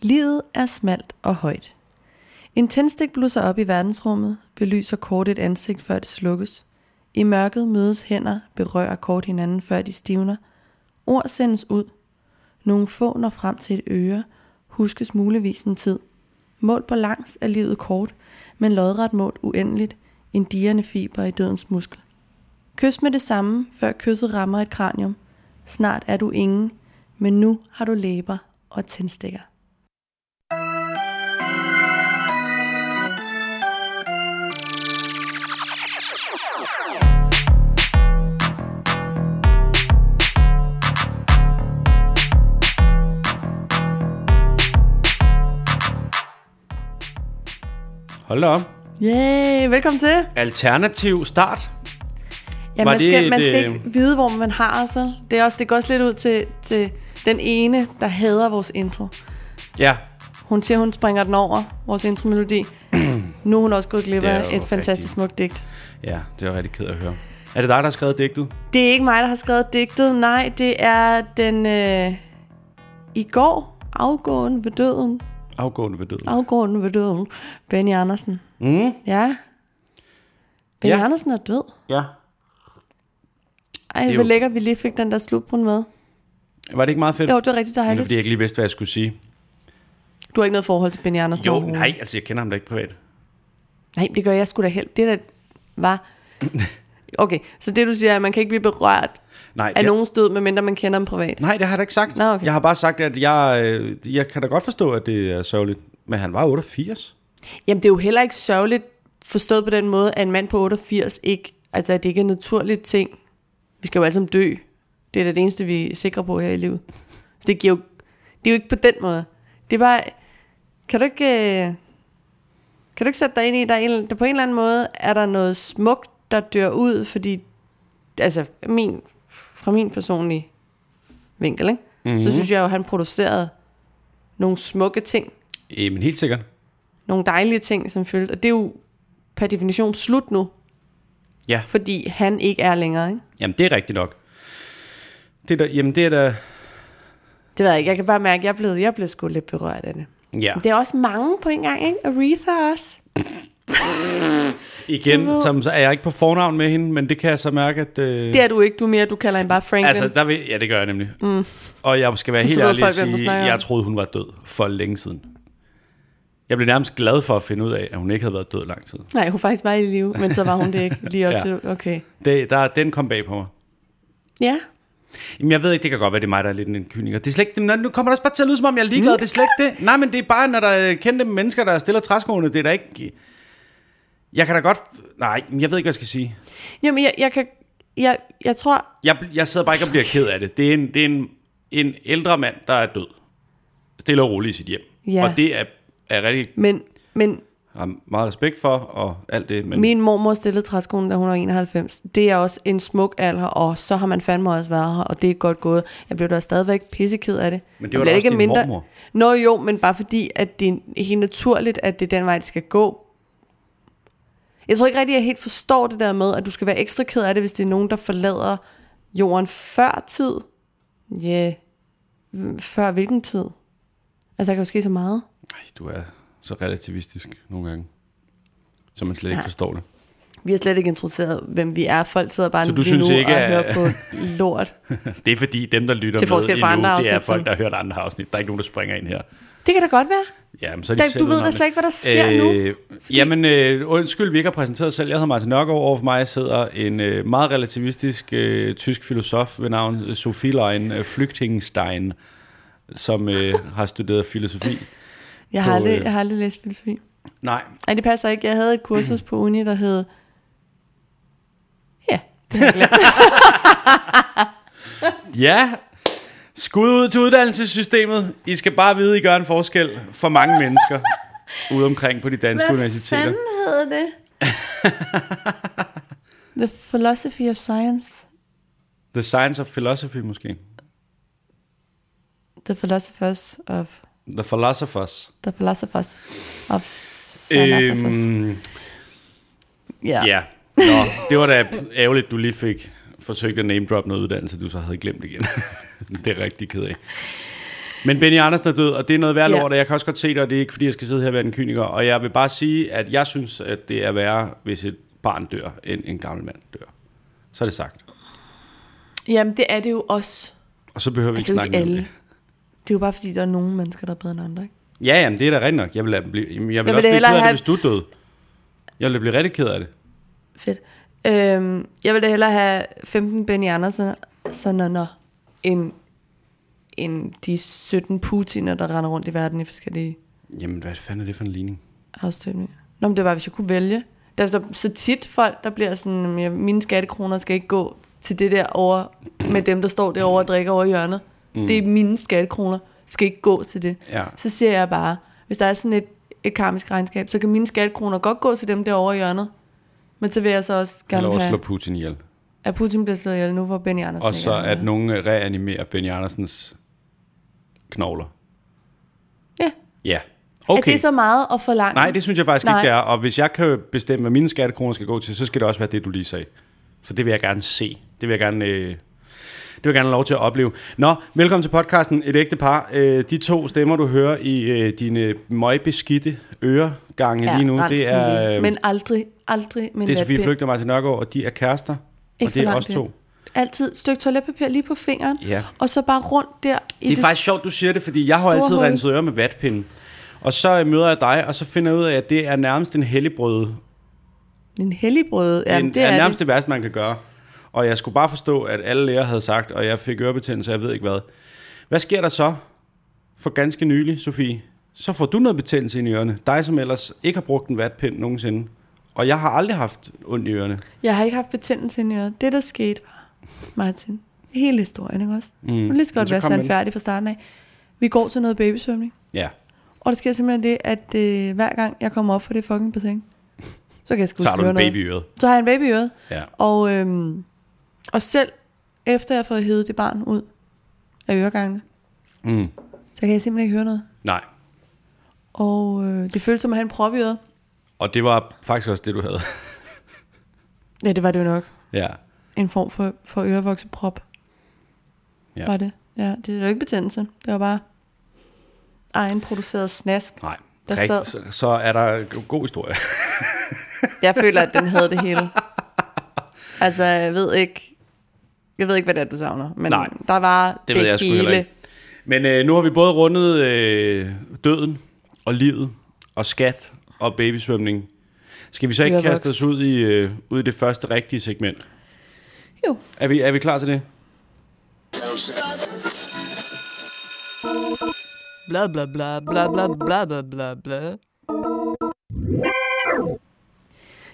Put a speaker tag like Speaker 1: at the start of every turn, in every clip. Speaker 1: Livet er smalt og højt. En tændstik blusser op i verdensrummet, belyser kort et ansigt, før det slukkes. I mørket mødes hænder, berører kort hinanden, før de stivner. Ord sendes ud. Nogle få når frem til et øre, huskes muligvis en tid. Mål på langs er livet kort, men lodret målt uendeligt, en dirrende fiber i dødens muskel. Kys med det samme, før kysset rammer et kranium. Snart er du ingen, men nu har du læber og tændstikker.
Speaker 2: Hold da op.
Speaker 1: Yeah, velkommen til.
Speaker 2: Alternativ start.
Speaker 1: Ja,
Speaker 2: Var
Speaker 1: man
Speaker 2: det
Speaker 1: skal, man
Speaker 2: et,
Speaker 1: skal
Speaker 2: øh,
Speaker 1: ikke vide, hvor man har sig. Det, er også, det går også lidt ud til, til den ene, der hader vores intro.
Speaker 2: Ja,
Speaker 1: Hun siger, hun springer den over, vores intromelodi. nu er hun også gået glip
Speaker 2: Det er
Speaker 1: af
Speaker 2: jo
Speaker 1: et fantastisk smukt digt.
Speaker 2: ja, det er jeg rigtig ked af at høre. Er det dig, der har skrevet digtet?
Speaker 1: Det er ikke mig, der har skrevet digtet. Nej, det er den øh, i går afgående ved døden.
Speaker 2: Afgående ved døden.
Speaker 1: Afgående ved døden. Benny Andersen.
Speaker 2: Mm.
Speaker 1: Ja. Benny
Speaker 2: Ja.
Speaker 1: Andersen er død.
Speaker 2: Ja.
Speaker 1: Ej,
Speaker 2: er
Speaker 1: hvor
Speaker 2: jo-
Speaker 1: lækker, vi lige fik den der slutbrun med.
Speaker 2: Var det ikke meget fedt?
Speaker 1: Jo, det er rigtig
Speaker 2: det er
Speaker 1: dejligt.
Speaker 2: fordi, jeg ikke lige vidste, hvad jeg skulle sige.
Speaker 1: Du har ikke noget forhold til Benny Andersen
Speaker 2: Jo,
Speaker 1: overhovedet.
Speaker 2: nej, altså jeg kender ham da ikke privat.
Speaker 1: Nej, det gør jeg sgu da helt. Det der var... Okay, så det du siger er, at man kan ikke blive berørt
Speaker 2: Nej,
Speaker 1: af
Speaker 2: jeg,
Speaker 1: nogens død, medmindre man kender dem privat.
Speaker 2: nej det har jeg da ikke sagt.
Speaker 1: Nå, okay.
Speaker 2: Jeg har bare sagt, at jeg, øh, jeg kan da godt forstå, at det er sørgeligt. Men han var 88.
Speaker 1: Jamen, det er jo heller ikke sørgeligt forstået på den måde, at en mand på 88 ikke... Altså, at det ikke er en naturlig ting. Vi skal jo alle sammen dø. Det er da det eneste, vi er sikre på her i livet. Så det giver jo... Det er jo ikke på den måde. Det er bare... Kan du ikke... øh, Kan du ikke sætte dig ind i, der, er en, der på en eller anden måde er der noget smukt, der dør ud, fordi... Altså, min, fra min personlige vinkel, ikke? Mm-hmm. Så synes jeg jo, at han producerede nogle smukke ting
Speaker 2: Øh, men helt sikkert.
Speaker 1: nogle dejlige ting, som følte. Og det er jo per definition slut nu.
Speaker 2: Ja.
Speaker 1: Fordi han ikke er længere, ikke?
Speaker 2: Jamen, det er rigtigt nok. Det er da, jamen, det er da...
Speaker 1: Det ved jeg ikke. Jeg kan bare mærke, at jeg blev, jeg blev sgu lidt berørt af det.
Speaker 2: Ja,
Speaker 1: Men det er også mange på en gang, ikke? Aretha også. du
Speaker 2: igen,
Speaker 1: ved-
Speaker 2: som, så er jeg ikke på fornavn med hende, men det kan jeg så mærke, at... Øh,
Speaker 1: Det er du ikke. Du er mere, du kalder hende bare Franklin.
Speaker 2: Altså, der vil, ja, det gør jeg nemlig. Mm. Og jeg skal være helt
Speaker 1: Så ved
Speaker 2: ærlig og
Speaker 1: folk, hvem du
Speaker 2: sige,
Speaker 1: snakker om.
Speaker 2: jeg troede, hun var død for længe siden. Jeg blev nærmest glad for at finde ud af, at hun ikke havde været død lang tid.
Speaker 1: Nej, hun faktisk var i live, men så var hun det ikke lige op
Speaker 2: Ja.
Speaker 1: ja. til... Okay.
Speaker 2: Det, der, den kom bag på mig.
Speaker 1: Ja.
Speaker 2: Jamen, jeg ved ikke, det kan godt være, det er mig, der er lidt en kyniker. Det er slet ikke, nå, nu kommer der også bare til at lyde, som om jeg er
Speaker 1: Mm.
Speaker 2: ligeglad. Det er slet ikke det. Nej, men det er bare, når der er kendte mennesker, der stiller træskoene. Det er da ikke... Jeg kan da godt... Nej, men jeg ved ikke, hvad jeg skal sige.
Speaker 1: Jamen, jeg, jeg kan... Jeg, jeg tror...
Speaker 2: Jeg, jeg sidder bare ikke og bliver ked af det. Det er en, det er en, en ældre mand, der er død. Stille og roligt i sit hjem.
Speaker 1: Ja.
Speaker 2: Og det er, er rigtig
Speaker 1: Men, men
Speaker 2: har meget respekt for og alt det, men
Speaker 1: min mormor stillede træskoen, da hun var 91. Det er også en smuk alder, og så har man fandme også været her, og det er godt gået. Jeg blev da stadigvæk pisseked af det.
Speaker 2: Men det
Speaker 1: Jeg
Speaker 2: var da
Speaker 1: bliver
Speaker 2: også din mormor.
Speaker 1: Nå jo, men bare fordi, at det er helt naturligt, at det er den vej, det skal gå. Jeg tror ikke rigtig, jeg helt forstår det der med, at du skal være ekstra ked af det, hvis det er nogen, der forlader jorden før tid. Ja, yeah. før hvilken tid? Altså, der kan jo ske så meget.
Speaker 2: Ej, du er så relativistisk nogle gange, så man slet ikke forstår det.
Speaker 1: Vi har slet ikke introduceret, hvem vi er. Folk sidder bare
Speaker 2: Så
Speaker 1: lige
Speaker 2: du synes
Speaker 1: nu
Speaker 2: ikke,
Speaker 1: og hører
Speaker 2: at-
Speaker 1: på lort.
Speaker 2: Det er fordi dem, der lytter
Speaker 1: Til
Speaker 2: med
Speaker 1: forskel fra
Speaker 2: endnu,
Speaker 1: andre
Speaker 2: det er
Speaker 1: afsnit,
Speaker 2: folk,
Speaker 1: så-
Speaker 2: der har hørt andre afsnit. Der er ikke nogen, der springer ind her.
Speaker 1: Det kan da godt være.
Speaker 2: Jamen, så er de
Speaker 1: Der-
Speaker 2: selv
Speaker 1: du ved
Speaker 2: udenom
Speaker 1: da
Speaker 2: det.
Speaker 1: slet ikke, hvad der sker
Speaker 2: øh, nu. Fordi... Jamen, øh, undskyld, vi ikke har præsenteret os selv. Jeg hedder Martin Nørgaard. Over for mig sidder en øh, meget relativistisk øh, tysk filosof ved navn Sophie Lein øh, Flygtingenstein, som øh, har studeret filosofi.
Speaker 1: Jeg har,
Speaker 2: På,
Speaker 1: aldrig,
Speaker 2: øh,
Speaker 1: jeg har aldrig læst filosofi.
Speaker 2: Nej,
Speaker 1: Nej, det passer ikke. Jeg havde et kursus på uni, der hed... Ja, det har jeg glemt.
Speaker 2: Ja, skud ud til uddannelsessystemet. I skal bare vide, I gør en forskel for mange mennesker ude omkring på de danske Hvad universiteter.
Speaker 1: Hvad fanden hed det? The Philosophy of Science.
Speaker 2: The Science of Philosophy måske.
Speaker 1: The Philosophers of...
Speaker 2: The Philosophers.
Speaker 1: The Philosophers of Science. Øhm, ja.
Speaker 2: ja, Nå, det var da ærgerligt, du lige fik forsøgt at name drop noget uddannelse, du så havde glemt igen. det er jeg rigtig ked af. Men Benny Andersen er død, og det er noget værd
Speaker 1: Ja.
Speaker 2: lort, og jeg kan også godt se det, og det er ikke, fordi jeg skal sidde her og være en kyniker. Og jeg vil bare sige, at jeg synes, at det er værre, hvis et barn dør, end en gammel mand dør. Så er det sagt.
Speaker 1: Jamen, det er det jo også.
Speaker 2: Og så behøver vi
Speaker 1: Altså,
Speaker 2: ikke
Speaker 1: det er jo ikke
Speaker 2: snakke mere om
Speaker 1: alle.
Speaker 2: det.
Speaker 1: Det er jo bare, fordi der er nogle mennesker, der er bedre end andre, ikke?
Speaker 2: Ja, jamen, det er da rigtigt nok. Jeg vil, lade dem blive, jamen, jeg vil,
Speaker 1: vil
Speaker 2: jeg også
Speaker 1: da
Speaker 2: blive ked
Speaker 1: hellere
Speaker 2: af det,
Speaker 1: have-
Speaker 2: hvis du døde. Jeg ville blive rigtig ked af det.
Speaker 1: Fedt. Øhm, jeg vil da hellere have 15 Benny Andersen, sådan når, end, end de 17 Putiner, der render rundt i verden i forskellige
Speaker 2: Jamen, hvad fanden er det for en ligning?
Speaker 1: afstemninger. Nå, men det var, hvis jeg kunne vælge. Der er så, så tit folk, der bliver sådan, "Jamen, jeg- mine skattekroner skal ikke gå til det der over, med dem, der står derovre og drikker over i hjørnet. Mm. Det er mine skattekroner, skal ikke gå til det.
Speaker 2: Ja.
Speaker 1: Så siger jeg bare, hvis der er sådan et, et karmisk regnskab, så kan mine skattekroner godt gå til dem derovre i hjørnet. Men så vil jeg så også gerne
Speaker 2: Eller også slå
Speaker 1: have,
Speaker 2: Putin ihjel.
Speaker 1: at Putin bliver slået ihjel nu, hvor Benny Andersen
Speaker 2: Og
Speaker 1: ikke
Speaker 2: så
Speaker 1: er
Speaker 2: at
Speaker 1: med.
Speaker 2: nogen øh, reanimerer Benny Andersens knogler.
Speaker 1: Ja.
Speaker 2: Ja.
Speaker 1: Okay.
Speaker 2: Okay.
Speaker 1: Er det så meget at forlange?
Speaker 2: Nej, det synes jeg faktisk Nej.
Speaker 1: Nej.
Speaker 2: ikke, det er. Og hvis jeg kan bestemme, hvad mine skattekroner skal gå til, så skal det også være det, du lige sagde. Så det vil jeg gerne se. Det vil jeg gerne... Øh, det vil jeg gerne have lov til at opleve. Nå, velkommen til podcasten Et ægte par. Øh, de to stemmer, du hører i øh, dine møgbeskidte øregange lige nu,
Speaker 1: rens den
Speaker 2: det er,
Speaker 1: lige.
Speaker 2: øh,
Speaker 1: Men aldrig, aldrig med
Speaker 2: det er Sofie
Speaker 1: natbind.
Speaker 2: Flygt og Martin Nørgaard, og de er kærester.
Speaker 1: Ikke
Speaker 2: og det
Speaker 1: for
Speaker 2: er
Speaker 1: langt
Speaker 2: os
Speaker 1: hen.
Speaker 2: to.
Speaker 1: Altid et stykke toiletpapir lige på fingeren,
Speaker 2: Ja.
Speaker 1: og så bare rundt der. I
Speaker 2: Det er faktisk sjovt, du siger det, fordi jeg har
Speaker 1: store
Speaker 2: altid
Speaker 1: hul.
Speaker 2: renset ører med vatpinden. Og så øh, møder jeg dig, og så finder jeg ud af, at det er nærmest en helligbrøde.
Speaker 1: En helligbrød. Ja,
Speaker 2: Jamen,
Speaker 1: det er,
Speaker 2: er nærmest
Speaker 1: det.
Speaker 2: det. det værste, man kan gøre. Og jeg skulle bare forstå, at alle læger havde sagt, og jeg fik ørebetændelse, jeg ved ikke hvad. Hvad sker der så for ganske nylig, Sofie? Så får du noget betændelse ind i ørerne. Dig, som ellers ikke har brugt en vatpind nogensinde. Og jeg har aldrig haft ondt i ørerne.
Speaker 1: Jeg har ikke haft betændelse i øret. Det, der skete, var, Martin, hele historien, ikke også? Mm. Nu lige så
Speaker 2: Men
Speaker 1: godt
Speaker 2: så
Speaker 1: være
Speaker 2: kom den.
Speaker 1: sandfærdig fra starten af. Vi går til noget babysvømning,
Speaker 2: Ja,
Speaker 1: og der sker simpelthen det, at øh, hver gang jeg kommer op for det fucking bassin, så kan jeg sgu
Speaker 2: så har
Speaker 1: ikke
Speaker 2: du
Speaker 1: høre
Speaker 2: en
Speaker 1: noget.
Speaker 2: baby i øret.
Speaker 1: Så har jeg en baby i øret,
Speaker 2: Ja.
Speaker 1: og, øhm, og selv efter jeg har fået hævet det barn ud af øregangene,
Speaker 2: Mm.
Speaker 1: så kan jeg simpelthen ikke høre noget.
Speaker 2: Nej,
Speaker 1: Og øh, det føltes som at have en prop i øret.
Speaker 2: og det var faktisk også det, du havde.
Speaker 1: Ja, det var det jo nok.
Speaker 2: ja.
Speaker 1: En form for, for ørevokseprop.
Speaker 2: Ja.
Speaker 1: Ja. Var det. Ja, det var jo ikke betændelse. Det var bare egenproduceret snask.
Speaker 2: Nej.
Speaker 1: Der
Speaker 2: Rigt-
Speaker 1: sad-
Speaker 2: så, så er der god historie.
Speaker 1: Jeg føler, at den havde det hele. Altså, jeg ved ikke, jeg ved ikke, hvad det er, du savner. Men
Speaker 2: Nej,
Speaker 1: der var det,
Speaker 2: Det, det ved jeg sgu
Speaker 1: hele.
Speaker 2: heller ikke. Men øh, nu har vi både rundet øh, døden og livet og skat og babysvømning. Skal vi så ikke
Speaker 1: Vi har
Speaker 2: kaste os
Speaker 1: vokset.
Speaker 2: ud i, øh, ud i det første rigtige segment?
Speaker 1: Jo.
Speaker 2: Er vi, er vi klar til det?
Speaker 3: blah blah blah blah blah blah blah blah blah.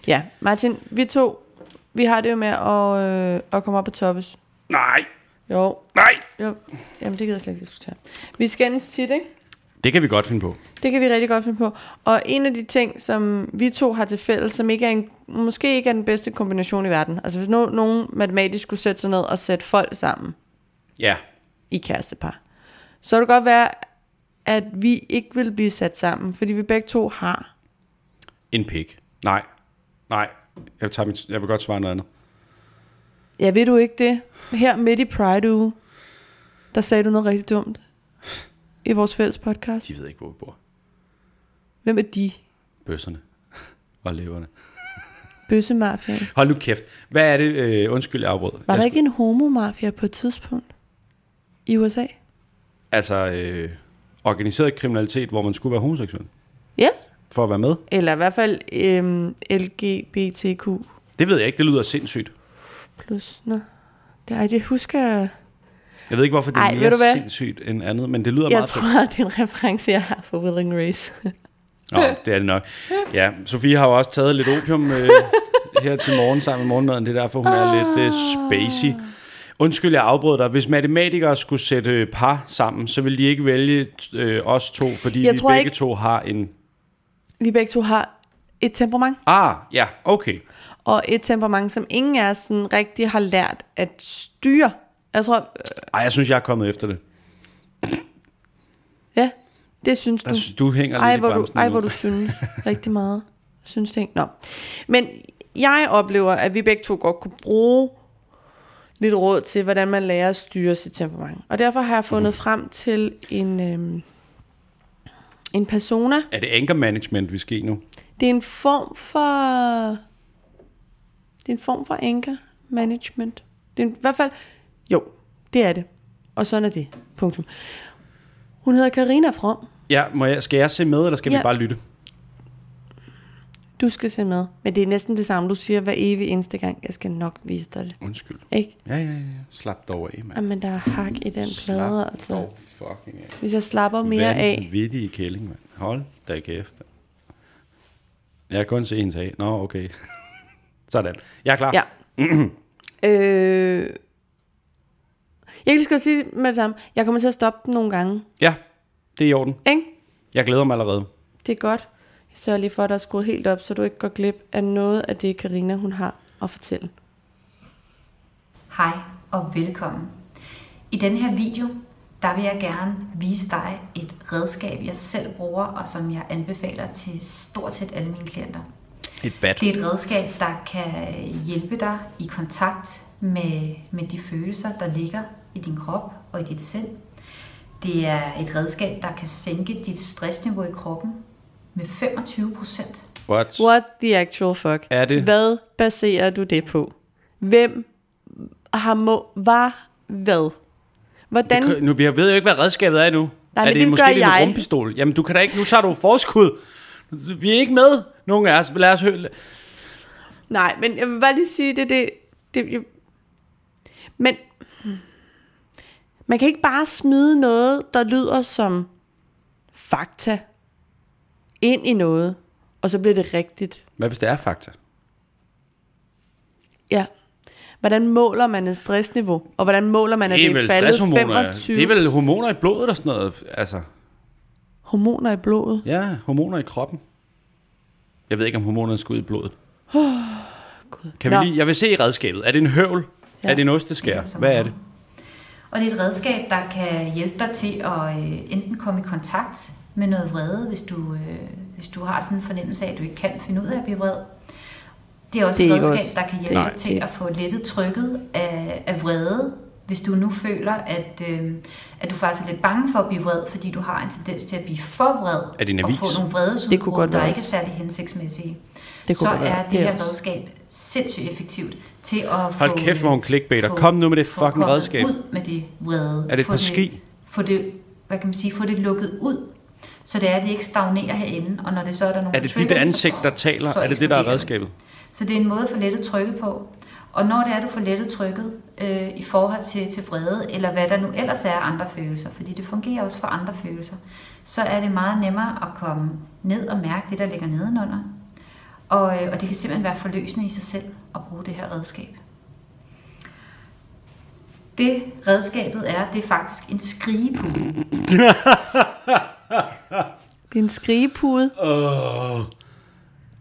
Speaker 1: Ja, Martin, vi to, vi har det jo med at, øh, at komme op på toppes.
Speaker 2: Nej,
Speaker 1: Jo,
Speaker 2: nej.
Speaker 1: jo. Jamen, det gider jeg slet ikke diskutere. Vi skændes tit, ikke?
Speaker 2: Det kan vi godt finde på.
Speaker 1: Det kan vi rigtig godt finde på. Og en af de ting, som vi to har til fælles, som ikke er en, måske ikke er den bedste kombination i verden. Altså hvis no, nogen matematisk skulle sætte sig ned og sætte folk sammen
Speaker 2: Ja,
Speaker 1: i kærestepar, så kunne det godt være, at vi ikke vil blive sat sammen, fordi vi begge to har.
Speaker 2: en pik. Nej, nej. Jeg, tager mit, jeg vil godt svare noget andet.
Speaker 1: Ja, ved du ikke det? Her midt i Pride uge, der sagde du noget rigtig dumt i vores fælles podcast.
Speaker 2: De ved ikke, hvor vi bor.
Speaker 1: Hvem er de?
Speaker 2: Bøsserne og leverne.
Speaker 1: Bøssemafiaen.
Speaker 2: Hold nu kæft. Hvad er det? Øh, undskyld, jeg afbrød.
Speaker 1: Var
Speaker 2: Jeg
Speaker 1: der
Speaker 2: sku-
Speaker 1: ikke en homomafia på et tidspunkt i USA?
Speaker 2: Altså, øh, organiseret kriminalitet, hvor man skulle være homoseksuel
Speaker 1: Ja.
Speaker 2: for at være med?
Speaker 1: Eller i hvert fald øhm, LGBTQ+.
Speaker 2: Det ved jeg ikke. Det lyder sindssygt.
Speaker 1: Nå. Det, ej, det husker jeg.
Speaker 2: Jeg ved ikke, hvorfor det er
Speaker 1: Ej,
Speaker 2: mere
Speaker 1: ved du hvad?
Speaker 2: sindssygt end andet, men det lyder
Speaker 1: Jeg
Speaker 2: meget fedt.
Speaker 1: tror, at det er en reference, jeg har for Willing Race.
Speaker 2: Nå, det er det nok. Ja, Sofie har jo også taget lidt opium øh, her til morgen sammen med morgenmaden. Det er derfor, hun er lidt øh, spacey. Undskyld, jeg afbrød dig. Hvis matematikere skulle sætte øh, par sammen, så ville de ikke vælge øh, os to, fordi
Speaker 1: Jeg
Speaker 2: vi
Speaker 1: tror
Speaker 2: begge
Speaker 1: ikke-
Speaker 2: to har en...
Speaker 1: Vi begge to har et temperament,
Speaker 2: Ah, ja, okay.
Speaker 1: og et temperament, som ingen af os sådan rigtig har lært at styre. Jeg tror, øh,
Speaker 2: Ej, jeg synes, jeg er kommet efter det.
Speaker 1: ja, det synes du.
Speaker 2: Jeg synes, du hænger
Speaker 1: Ej,
Speaker 2: lidt
Speaker 1: hvor
Speaker 2: i
Speaker 1: du,
Speaker 2: bremsen
Speaker 1: ej,
Speaker 2: nu.
Speaker 1: hvor du synes rigtig meget. Synes ting. Nå. Men jeg oplever, at vi begge to godt kunne bruge lidt råd til, hvordan man lærer at styre sit temperament. Og derfor
Speaker 2: Mhm.
Speaker 1: har jeg fundet frem til en, øhm, en persona.
Speaker 2: Er det anger management, vi skal i nu?
Speaker 1: Det er en form for... Det er en form for anger management. Det er en, i hvert fald... Jo, det er det. Og sådan er det. Punktum. Hun hedder Karina From.
Speaker 2: Ja, må jeg, skal jeg se med, eller skal ja.
Speaker 1: Ja.
Speaker 2: vi bare lytte?
Speaker 1: Du skal se med. Men det er næsten det samme, du siger hver evig eneste gang. Jeg skal nok vise dig det.
Speaker 2: Undskyld.
Speaker 1: Ikke?
Speaker 2: Ja, ja, ja. Slap dog af, mand.
Speaker 1: Jamen, der er hak i den plade, altså.
Speaker 2: dog fucking af.
Speaker 1: Hvis jeg slapper mere af.
Speaker 2: Vanvittige kælling, mand. Hold da kæft. Jeg kan kun se hendes af. Nå, okay. Sådan. Jeg er klar.
Speaker 1: Ja. øh, jeg kan lige skal sige med det samme. Jeg kommer til at stoppe den nogle gange.
Speaker 2: ja. Det er i orden.
Speaker 1: Ikke?
Speaker 2: Jeg glæder mig allerede.
Speaker 1: Det er godt. Jeg sørger lige for, at der er skruet helt op, så du ikke går glip af noget af det, Karina hun har at fortælle.
Speaker 4: Hej og velkommen. I den her video, der vil jeg gerne vise dig et redskab, jeg selv bruger og som jeg anbefaler til stort set alle mine klienter.
Speaker 2: Et bat.
Speaker 4: Det er et redskab, der kan hjælpe dig i kontakt med, med de følelser, der ligger i din krop og i dit sind. Det er et redskab, der kan sænke dit stressniveau i kroppen med 25 procent.
Speaker 2: What?
Speaker 1: What the actual fuck?
Speaker 2: Er det-
Speaker 1: Hvad baserer du det på? Hvem har må... Var hvad? Hvordan...
Speaker 2: Det, kan- nu, jeg ved jo ikke, hvad redskabet er endnu.
Speaker 1: Nej,
Speaker 2: er
Speaker 1: men
Speaker 2: det,
Speaker 1: det
Speaker 2: måske
Speaker 1: gør
Speaker 2: det er en
Speaker 1: jeg.
Speaker 2: rumpistol? Jamen, du kan da ikke. Nu tager du forskud. Vi er ikke med, nogen af os. Lad os høre.
Speaker 1: Nej, men jeg vil bare lige sige, det det... det jeg... Men... Man kan ikke bare smide noget, der lyder som fakta, ind i noget, og så bliver det rigtigt.
Speaker 2: Hvad hvis det er fakta?
Speaker 1: Ja. Hvordan måler man et stressniveau? Og hvordan måler man, at det er,
Speaker 2: vel
Speaker 1: faldet
Speaker 2: stresshormoner.
Speaker 1: 25
Speaker 2: Det er vel hormoner i blodet og sådan noget. Altså,
Speaker 1: hormoner i blodet?
Speaker 2: ja, hormoner i kroppen. Jeg ved ikke, om hormonerne skal ud i blodet. Kan vi
Speaker 1: Nå.
Speaker 2: lige, jeg vil se redskabet. Er det en høvl?
Speaker 1: Ja.
Speaker 2: Ja. Er det en osteskær? Hvad er det?
Speaker 4: Og det er et redskab, der kan hjælpe dig til at øh, enten komme i kontakt med noget vrede, hvis du, øh, hvis du har sådan en fornemmelse af, at du ikke kan finde ud af at blive vred. Det er også
Speaker 1: Det er
Speaker 4: et
Speaker 1: ikke
Speaker 4: redskab,
Speaker 1: os.
Speaker 4: der kan hjælpe
Speaker 2: Nej.
Speaker 4: dig til at få lettet trykket af, af vrede, hvis du nu føler, at, øh, at du faktisk er lidt bange for at blive vred, fordi du har en tendens til at blive for vred
Speaker 2: Er det en
Speaker 4: og
Speaker 2: avis?
Speaker 4: få nogle vredesudbrud,
Speaker 1: Det kunne godt
Speaker 4: der
Speaker 1: være
Speaker 4: ikke er
Speaker 1: os.
Speaker 4: særlig hensigtsmæssige.
Speaker 1: Det kunne
Speaker 4: så
Speaker 1: godt være.
Speaker 4: er det,
Speaker 1: Det er
Speaker 4: her
Speaker 1: os.
Speaker 4: redskab sindssygt effektivt til at
Speaker 2: Hold
Speaker 4: få,
Speaker 2: kæft, hvor hun clickbaiter.
Speaker 4: få-
Speaker 2: Kom nu med det
Speaker 4: få
Speaker 2: fucking
Speaker 4: kommet
Speaker 2: redskab.
Speaker 4: Ud med det vrede.
Speaker 2: Er det et
Speaker 4: Få
Speaker 2: par ski?
Speaker 4: Få det, hvad kan man sige, få det lukket ud, så det er, at det ikke stagnerer herinde, og når det så er der nogle
Speaker 2: Er det dit
Speaker 4: triggers,
Speaker 2: ansigt, der
Speaker 4: så-
Speaker 2: taler?
Speaker 4: så
Speaker 2: Er det det, der er
Speaker 4: eksploderer
Speaker 2: redskabet?
Speaker 4: Så det er en måde at få lettet trykket på. Og når det er, du får lettet trykket øh, i forhold til, til vrede, eller hvad der nu ellers er af andre følelser, fordi det fungerer også for andre følelser, så er det meget nemmere at komme ned og mærke det, der ligger nedenunder. Og, øh, og det kan simpelthen være forløsende i sig selv at bruge det her redskab. Det redskabet er, det er faktisk en skrigepude.
Speaker 1: Det er en skrigepude.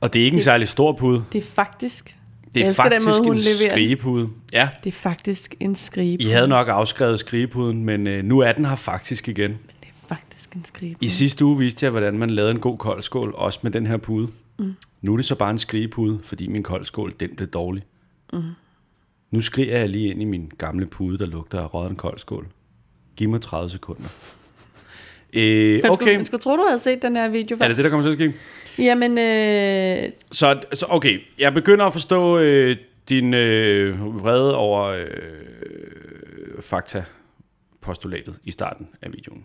Speaker 2: Og det er ikke en særlig stor pude.
Speaker 1: Det er faktisk...
Speaker 2: Det
Speaker 1: Jeg
Speaker 2: er
Speaker 1: elsker den
Speaker 2: faktisk
Speaker 1: måde, hun
Speaker 2: en
Speaker 1: leverer den.
Speaker 2: skrigepude. Ja,
Speaker 1: Det er faktisk en skrigepude.
Speaker 2: I havde nok afskrevet skrigepuden, men øh, nu er den her faktisk igen.
Speaker 1: Det er faktisk en skrigepude.
Speaker 2: I sidste uge viste jeg, hvordan man lavede en god koldskål, også med den her pude. Mm. Nu er det så bare en skrigepude, fordi min koldskål, den blev dårlig. Mm. Nu skriger jeg lige ind i min gamle pude, der lugter af rådden koldskål. Giv mig 30 sekunder. Øh,
Speaker 1: Man skulle,
Speaker 2: okay,
Speaker 1: man skulle tro, du havde set den her video. før.
Speaker 2: er det det, der kommer til at ske?
Speaker 1: Jamen, øh,
Speaker 2: Så, så okay, jeg begynder at forstå øh, din øh, vrede over øh, fakta-postulatet i starten af videoen.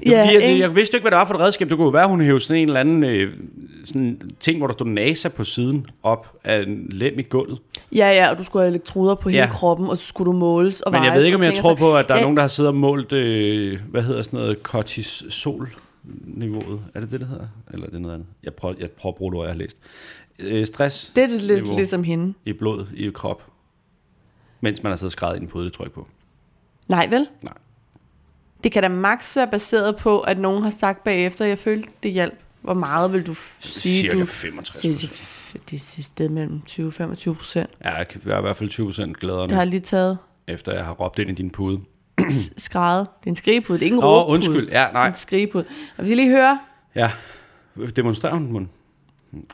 Speaker 2: Det
Speaker 1: ja,
Speaker 2: er fordi, jeg,
Speaker 1: ikke?
Speaker 2: jeg vidste ikke, hvad det var for et redskab. Det kunne jo være, hun hævde sådan en eller anden øh, sådan ting, hvor der stod NASA på siden op af en lem i gulvet.
Speaker 1: ja, ja, og du skulle have elektroder på ja.
Speaker 2: Ja.
Speaker 1: hele kroppen, og så skulle du måles og
Speaker 2: Men jeg
Speaker 1: vejes
Speaker 2: ved ikke,
Speaker 1: og
Speaker 2: om jeg
Speaker 1: ting og
Speaker 2: tror
Speaker 1: sager.
Speaker 2: på, at der er
Speaker 1: Ja.
Speaker 2: nogen, der har siddet og målt, øh, hvad hedder sådan noget, kortisol-niveauet. Er det det, det hedder? Eller er det noget andet? Jeg prøver, jeg prøver at bruge det ord, jeg har læst. Øh, stress
Speaker 1: Det er det lidt
Speaker 2: niveau.
Speaker 1: ligesom hende.
Speaker 2: i blod i krop, mens man har siddet og skrevet i en pude, det tror jeg ikke på.
Speaker 1: Nej, vel?
Speaker 2: Nej.
Speaker 1: Det kan da max være baseret på, at nogen har sagt bagefter, jeg følte, det hjalp. Hvor meget vil du f- sige,
Speaker 2: Cirka
Speaker 1: du...
Speaker 2: 65
Speaker 1: Cirka f- Det er et sted mellem 20 og 25 procent.
Speaker 2: Ja, jeg kan være i hvert fald 20% glæderne,
Speaker 1: Det har jeg lige taget
Speaker 2: efter jeg har råbt ind i din pude.
Speaker 1: s- skrevet. Det er en skrigepude, det er ikke en
Speaker 2: Nå,
Speaker 1: råbpude.
Speaker 2: undskyld. Ja, nej.
Speaker 1: Det er en skrigepude. Og hvis I lige hører,
Speaker 2: Ja, demonstrer hun den?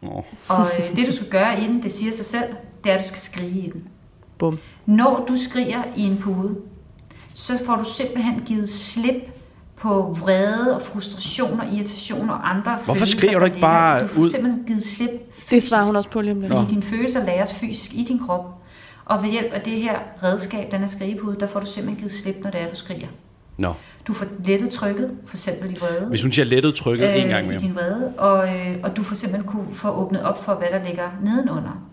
Speaker 2: Åh,
Speaker 4: Og øh, det, du skal gøre i den, det siger sig selv, det er, at du skal skrige i den.
Speaker 1: Bum.
Speaker 4: Når du skriger i en pude, så får du simpelthen givet slip på vrede og frustration og irritation og andre Hvorfor
Speaker 2: skriger du ikke bare
Speaker 4: Du får
Speaker 2: ud?
Speaker 4: simpelthen givet slip
Speaker 1: Det svarer hun også på lige om lidt.
Speaker 4: fordi dine følelser læres fysisk i din krop. Og ved hjælp af det her redskab, den er skrigepude, der får du simpelthen givet slip, når det er, du skriger.
Speaker 2: Nå.
Speaker 4: Du får lettet trykket, for eksempel i vrede.
Speaker 2: Hvis hun siger lettet trykket øh, en gang
Speaker 4: i
Speaker 2: mere.
Speaker 4: din vrede, og, øh, og du får simpelthen kunne få åbnet op for, hvad der ligger nedenunder.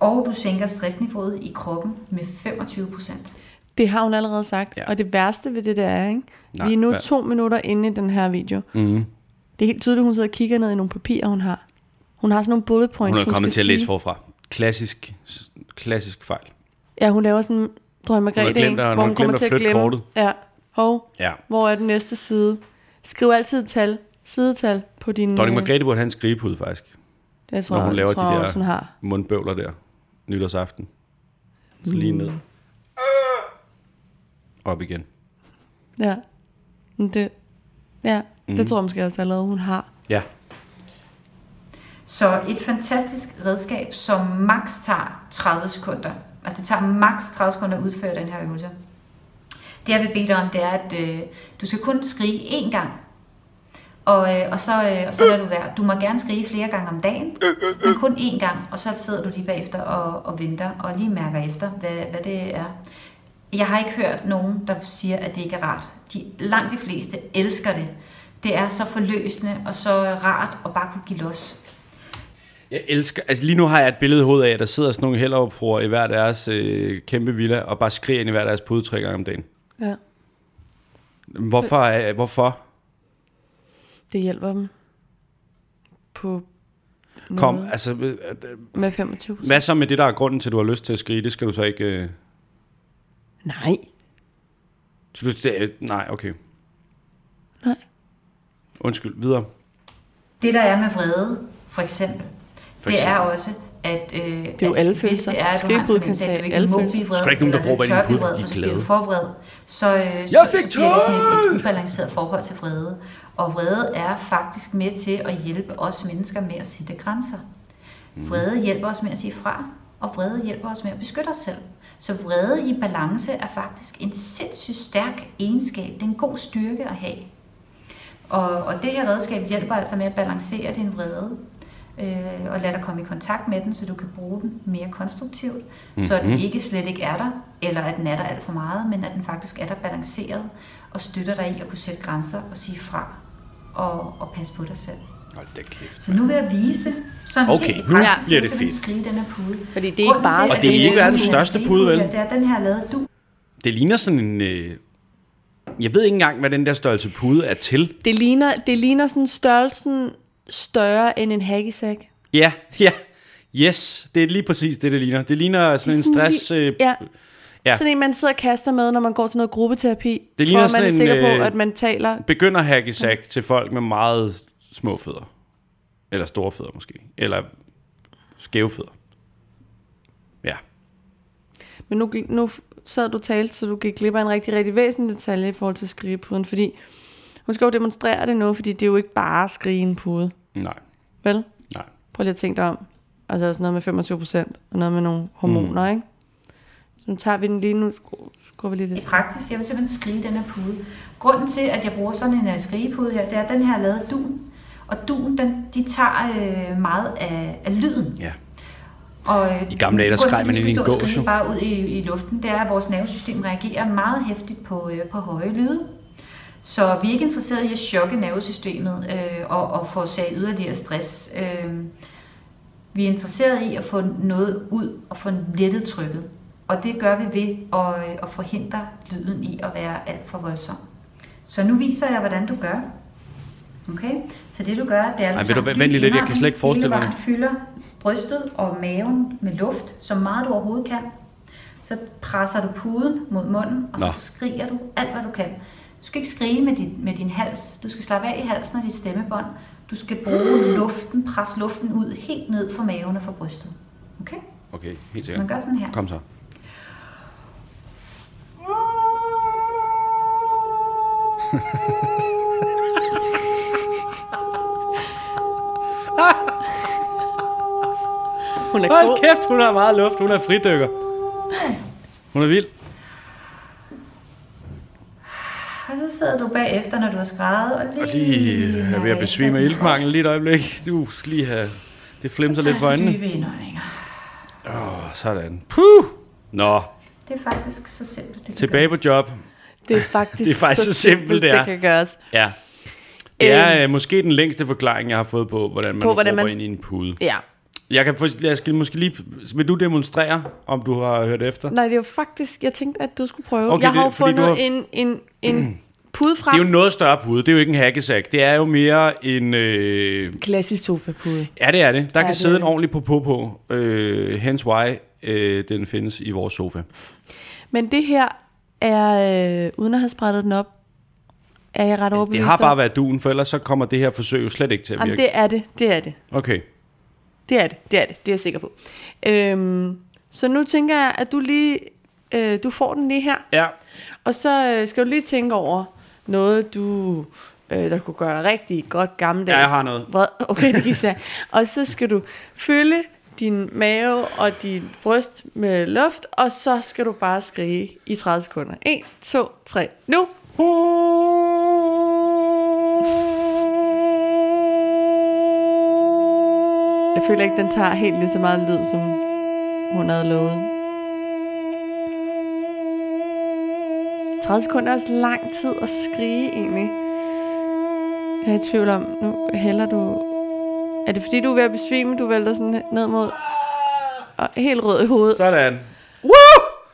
Speaker 4: Og du sænker stressniveauet i kroppen med 25 procent.
Speaker 1: Det har hun allerede sagt.
Speaker 2: Ja.
Speaker 1: Ja. Og det værste ved det der er, ikke?
Speaker 2: Nej,
Speaker 1: Nej, vi er nu
Speaker 2: hvad?
Speaker 1: hvad? to minutter inde i den her video.
Speaker 2: Mm.
Speaker 1: Det er helt tydeligt, hun sidder og kigger ned i nogle papirer, hun har. Hun har sådan nogle bullet points,
Speaker 2: Hun er kommet
Speaker 1: skal
Speaker 2: til at læse
Speaker 1: sige.
Speaker 2: forfra. Klassisk, klassisk fejl.
Speaker 1: Ja, hun laver sådan en Drøn
Speaker 2: Hun har
Speaker 1: Margrethe,
Speaker 2: glemt
Speaker 1: en,
Speaker 2: at- hun
Speaker 1: hvor
Speaker 2: har
Speaker 1: hun kommer
Speaker 2: glemt
Speaker 1: til
Speaker 2: at
Speaker 1: at
Speaker 2: flytte
Speaker 1: glemme.
Speaker 2: kortet.
Speaker 1: Ja. Hov,
Speaker 2: Ja.
Speaker 1: hvor er den næste side? Skriv altid tal, sidetal på din...
Speaker 2: Dronning
Speaker 1: øh,
Speaker 2: Margrethe burde have en skrigepude, faktisk.
Speaker 1: Jeg tror,
Speaker 2: når hun
Speaker 1: jeg
Speaker 2: laver de
Speaker 1: tror,
Speaker 2: der-
Speaker 1: også, hun har.
Speaker 2: Mundbøvler der. Nytårsaften. Så lige ned. Op igen.
Speaker 1: Ja. Men Det, ja, mm.
Speaker 2: Mhm.
Speaker 1: det tror jeg måske også allerede, hun har.
Speaker 2: Ja.
Speaker 4: Så et fantastisk redskab, som maks tager 30 sekunder. Altså det tager maks 30 sekunder at udføre den her øvelse. Det jeg vil bede dig om, det er, at øh, du skal kun skrige én gang. Og, øh, og, så, øh, og så lader du være. Du må gerne skrige flere gange om dagen, men kun én gang. Og så sidder du lige bagefter og, og venter og lige mærker efter, hvad, hvad det er. Jeg har ikke hørt nogen, der siger, at det ikke er rart. De, langt de fleste elsker det. Det er så forløsende og så rart at bare kunne give los.
Speaker 2: Jeg elsker, altså lige nu har jeg et billede i hovedet af, at der sidder sådan nogle hellerupfruer i hver deres øh, kæmpe villa, og bare skriger ind i hver deres pude tre gange om dagen.
Speaker 1: Ja,
Speaker 2: Hvorfor? Øh, hvorfor?
Speaker 1: det hjælper dem. På noget
Speaker 2: Kom, altså, øh, øh,
Speaker 1: med 25
Speaker 2: hvad så med det, der er grunden til, at du har lyst til at skrige? Det skal du så ikke... Øh,
Speaker 1: Nej.
Speaker 2: så du, det, øh, nej, okay.
Speaker 1: Nej.
Speaker 2: Undskyld, videre.
Speaker 4: Det der er med vrede, for eksempel,
Speaker 2: For
Speaker 4: for det
Speaker 2: eksempel.
Speaker 4: er også, at... Øh, det er
Speaker 1: jo alle følelser.
Speaker 4: Hvis det er, at du har en
Speaker 1: Skrigepude kan
Speaker 4: fornemmelse af,
Speaker 1: tage
Speaker 4: at du ikke
Speaker 1: alle
Speaker 4: må
Speaker 1: følelser.
Speaker 4: blive vred,
Speaker 2: Skal ikke nogen, der
Speaker 4: eller
Speaker 2: råber ind i
Speaker 4: tør blive
Speaker 2: puden,
Speaker 4: vred,
Speaker 2: de er
Speaker 4: så bliver
Speaker 2: glade.
Speaker 4: du for vred, så, øh, så, så
Speaker 2: fik
Speaker 4: bliver det sådan et- et ubalanceret forhold til vrede. Og vrede er faktisk med til at hjælpe os mennesker med at sætte grænser.
Speaker 2: Mm.
Speaker 4: Vrede hjælper os med at sige fra, og vrede hjælper os med at beskytte os selv. Så vrede i balance er faktisk en sindssygt stærk egenskab. Det er en god styrke at have. Og, og det her redskab hjælper altså med at balancere din vrede øh, og lade dig komme i kontakt med den, så du kan bruge den mere konstruktivt, mm-hmm. så
Speaker 2: Mhm.
Speaker 4: den ikke slet ikke er der, eller at den er der alt for meget, men at den faktisk er der balanceret og støtter dig i at kunne sætte grænser og sige fra og, og passe på dig selv.
Speaker 2: Hold da kæft.
Speaker 4: Så nu vil jeg vise det. Sådan
Speaker 2: Okay,
Speaker 4: helt i
Speaker 2: nu
Speaker 4: praksis,
Speaker 2: bliver det
Speaker 4: så vil jeg
Speaker 2: fedt.
Speaker 4: Skrige den her pude.
Speaker 1: Fordi det er ikke
Speaker 4: Grunden
Speaker 1: bare at
Speaker 4: til, at
Speaker 2: Og det er
Speaker 4: den
Speaker 2: ikke
Speaker 4: her
Speaker 2: verdens
Speaker 4: pude er en
Speaker 2: største pude, vel?
Speaker 4: her, Det er, den her er lavet du.
Speaker 2: Det ligner sådan en... Øh, jeg ved ikke engang, hvad den der størrelse pude er til.
Speaker 1: Det ligner, det ligner sådan størrelsen større end en haggis-sæk.
Speaker 2: Ja, ja. Yes, det er lige præcis det, det ligner. Det ligner sådan en stress... Øh,
Speaker 1: ja.
Speaker 2: ja.
Speaker 1: ja. Sådan en, man sidder og kaster med, når man går til noget gruppeterapi.
Speaker 2: Det
Speaker 1: Det
Speaker 2: ligner
Speaker 1: for at man
Speaker 2: sådan
Speaker 1: er
Speaker 2: en,
Speaker 1: sikker på,
Speaker 2: øh,
Speaker 1: at man taler.
Speaker 2: begynder hackesack til folk med meget små fødder. Eller store fødder måske. Eller skæve fødder. Ja.
Speaker 1: Men nu, gl- nu f- sad du og talte, så du gik glip af en rigtig, rigtig væsentlig detalje i forhold til skrigepuden. Fordi hun skal jo demonstrere det nu, fordi det er jo ikke bare at skrige i en pude.
Speaker 2: Nej.
Speaker 1: Vel?
Speaker 2: Nej.
Speaker 1: Prøv lige at tænke dig om. Altså der er sådan noget med 25 procent, og noget med nogle hormoner, mm. ikke? Så nu tager vi den lige nu. Skru- Skruer vi lige
Speaker 4: i
Speaker 1: lidt.
Speaker 4: praksis. Jeg vil simpelthen skrige den her pude. Grunden til, at jeg bruger sådan en øh, skrigepude her, det er, at den her er lavet af dun. Og dun, den, de tager øh, meget af, af lyden.
Speaker 2: Ja.
Speaker 4: Og, øh,
Speaker 2: I gamle dage, der
Speaker 4: grunden til,
Speaker 2: skreg
Speaker 4: at
Speaker 2: man
Speaker 4: vi
Speaker 2: ind i en
Speaker 4: skal stå og
Speaker 2: gås,
Speaker 4: skrige
Speaker 2: jo.
Speaker 4: bare ud i, i luften, det er, at vores nervesystem reagerer meget hæftigt på, øh, på høje lyde. Så vi er ikke interesserede i at chokke nervesystemet øh, og, og forårsage yderligere stress. Øh, vi er interesserede i at få noget ud og få lettet trykket. Og det gør vi ved at, øh, at forhindre lyden i at være alt for voldsom. Så nu viser jeg, hvordan du gør. Okay? Så det du gør, det er, at
Speaker 2: Ej,
Speaker 4: du
Speaker 2: ved du
Speaker 4: tager
Speaker 2: hvad,
Speaker 4: en dyb
Speaker 2: vent lige lidt, jeg kan slet ikke
Speaker 4: indånding,
Speaker 2: forestille mig
Speaker 4: hele vejen fylder brystet og maven med luft, så meget du overhovedet kan. Så presser du puden mod munden, og så
Speaker 2: Nå.
Speaker 4: skriger du alt, hvad du kan. Du skal ikke skrige med din, med din hals. Du skal slappe af i halsen og dit stemmebånd. Du skal bruge luften, presse luften ud helt ned fra maven og fra brystet. Okay?
Speaker 2: Okay, helt
Speaker 4: Man
Speaker 2: sikkert.
Speaker 4: gør sådan her.
Speaker 2: Kom så.
Speaker 1: Hun er
Speaker 2: Hold
Speaker 1: god.
Speaker 2: kæft, hun har meget luft. Hun er fridykker. Hun er vild.
Speaker 4: Og så sidder du bagefter, når du har skrevet, og lige,
Speaker 2: Og lige øh, er ved at besvime af iltmangel lige et øjeblik. Du skal lige have... Det flimser lidt for øjnene.
Speaker 4: Dybe indåndinger.
Speaker 2: Åh, oh, sådan. Puh! Nå,
Speaker 4: Det er faktisk så simpelt. Det kan
Speaker 2: tilbage på
Speaker 4: gøres.
Speaker 2: job.
Speaker 1: Det er faktisk,
Speaker 2: Det er faktisk så simpelt, det er.
Speaker 1: det kan gøres.
Speaker 2: Ja. Det er øh, måske den længste forklaring, jeg har fået på, hvordan man
Speaker 1: Øhm. På, hvordan
Speaker 2: råber
Speaker 1: man-
Speaker 2: ind i en pude.
Speaker 1: Ja.
Speaker 2: Jeg kan få, jeg skal måske lige... Vil du demonstrere, om du har hørt efter?
Speaker 1: Nej, det var faktisk, jeg tænkte, at du skulle prøve.
Speaker 2: Okay,
Speaker 1: Okay, jeg har
Speaker 2: det-
Speaker 1: jo
Speaker 2: fordi
Speaker 1: fundet
Speaker 2: du
Speaker 1: har...
Speaker 2: har-
Speaker 1: en, en, en pude frem.
Speaker 2: Det er jo en noget større pude. Det er jo ikke en hakkesæk. Det er jo mere en... Øh...
Speaker 1: klassisk sofapude.
Speaker 2: Ja, det er det.
Speaker 1: Ja,
Speaker 2: Der ja, kan
Speaker 1: det er
Speaker 2: sidde en
Speaker 1: det.
Speaker 2: ordentlig popo på. Øh, hence why øh, den findes i vores sofa.
Speaker 1: Men det her er, øh, uden at have sprættet den op, er jeg ret overbevist
Speaker 2: Det har bare
Speaker 1: om.
Speaker 2: været duen, for ellers så kommer det her forsøg jo slet ikke til at
Speaker 1: Jamen,
Speaker 2: virke.
Speaker 1: det er det, det er det.
Speaker 2: Okay.
Speaker 1: Det er det, det er det, det er jeg sikker på. Øhm, så nu tænker jeg, at du lige, øh, du får den lige her,
Speaker 2: Ja.
Speaker 1: og så øh, skal du lige tænke over noget, du, øh, der kunne gøre dig rigtig godt gammeldags.
Speaker 2: Ja, jeg har noget.
Speaker 1: Vred. Okay, det kan jeg Og så skal du fylde din mave og din bryst med luft, og så skal du bare skrige i 30 sekunder. 1, 2, 3, nu! Jeg føler ikke, den tager helt lige så meget lyd, som hun havde lovet. 30 sekunder er også lang tid at skrige, egentlig. Jeg er i tvivl om, nu hælder du... Er det fordi, du er ved at besvime, du vælter sådan ned mod... Og helt rød i hovedet.
Speaker 2: Sådan.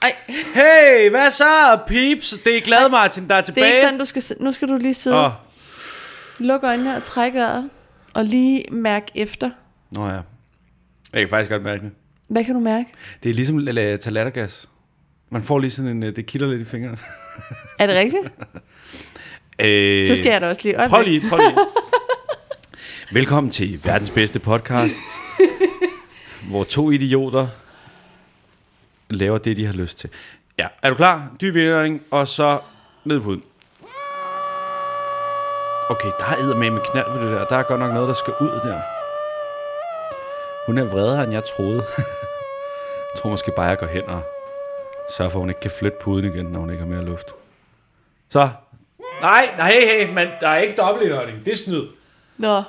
Speaker 1: Ej,
Speaker 2: Hey, hvad så, peeps? Det er glad Martin, der er
Speaker 1: det er
Speaker 2: tilbage.
Speaker 1: ikke sådan, du skal... si- Nu skal du lige sidde...
Speaker 2: Åh.
Speaker 1: Luk øjnene og træk vejret. Og lige mærk efter.
Speaker 2: Nå ja. Jeg kan faktisk godt mærke det.
Speaker 1: Hvad kan du mærke?
Speaker 2: Det er ligesom at lade- tage lattergas. Man får lige sådan en, øh, det kilder lidt i fingrene.
Speaker 1: Er det rigtigt?
Speaker 2: Øh,
Speaker 1: Så skal jeg da også lige...
Speaker 2: Prøv lige, prøv lige. Velkommen til verdens bedste podcast, hvor to idioter laver det, de har lyst til. Ja, er du klar? Dyb indånding, og så ned på huden. Okay, der er med med knald ved det der. Der er godt nok noget, der skal ud der. Hun er vredere, end jeg troede. jeg tror måske bare, jeg går hen og sørger for, at hun ikke kan flytte puden igen, når hun ikke har mere luft. Så. Nej, nej, hey, hey, men der er ikke dobbeltindånding. Det er snyd.
Speaker 1: Nå,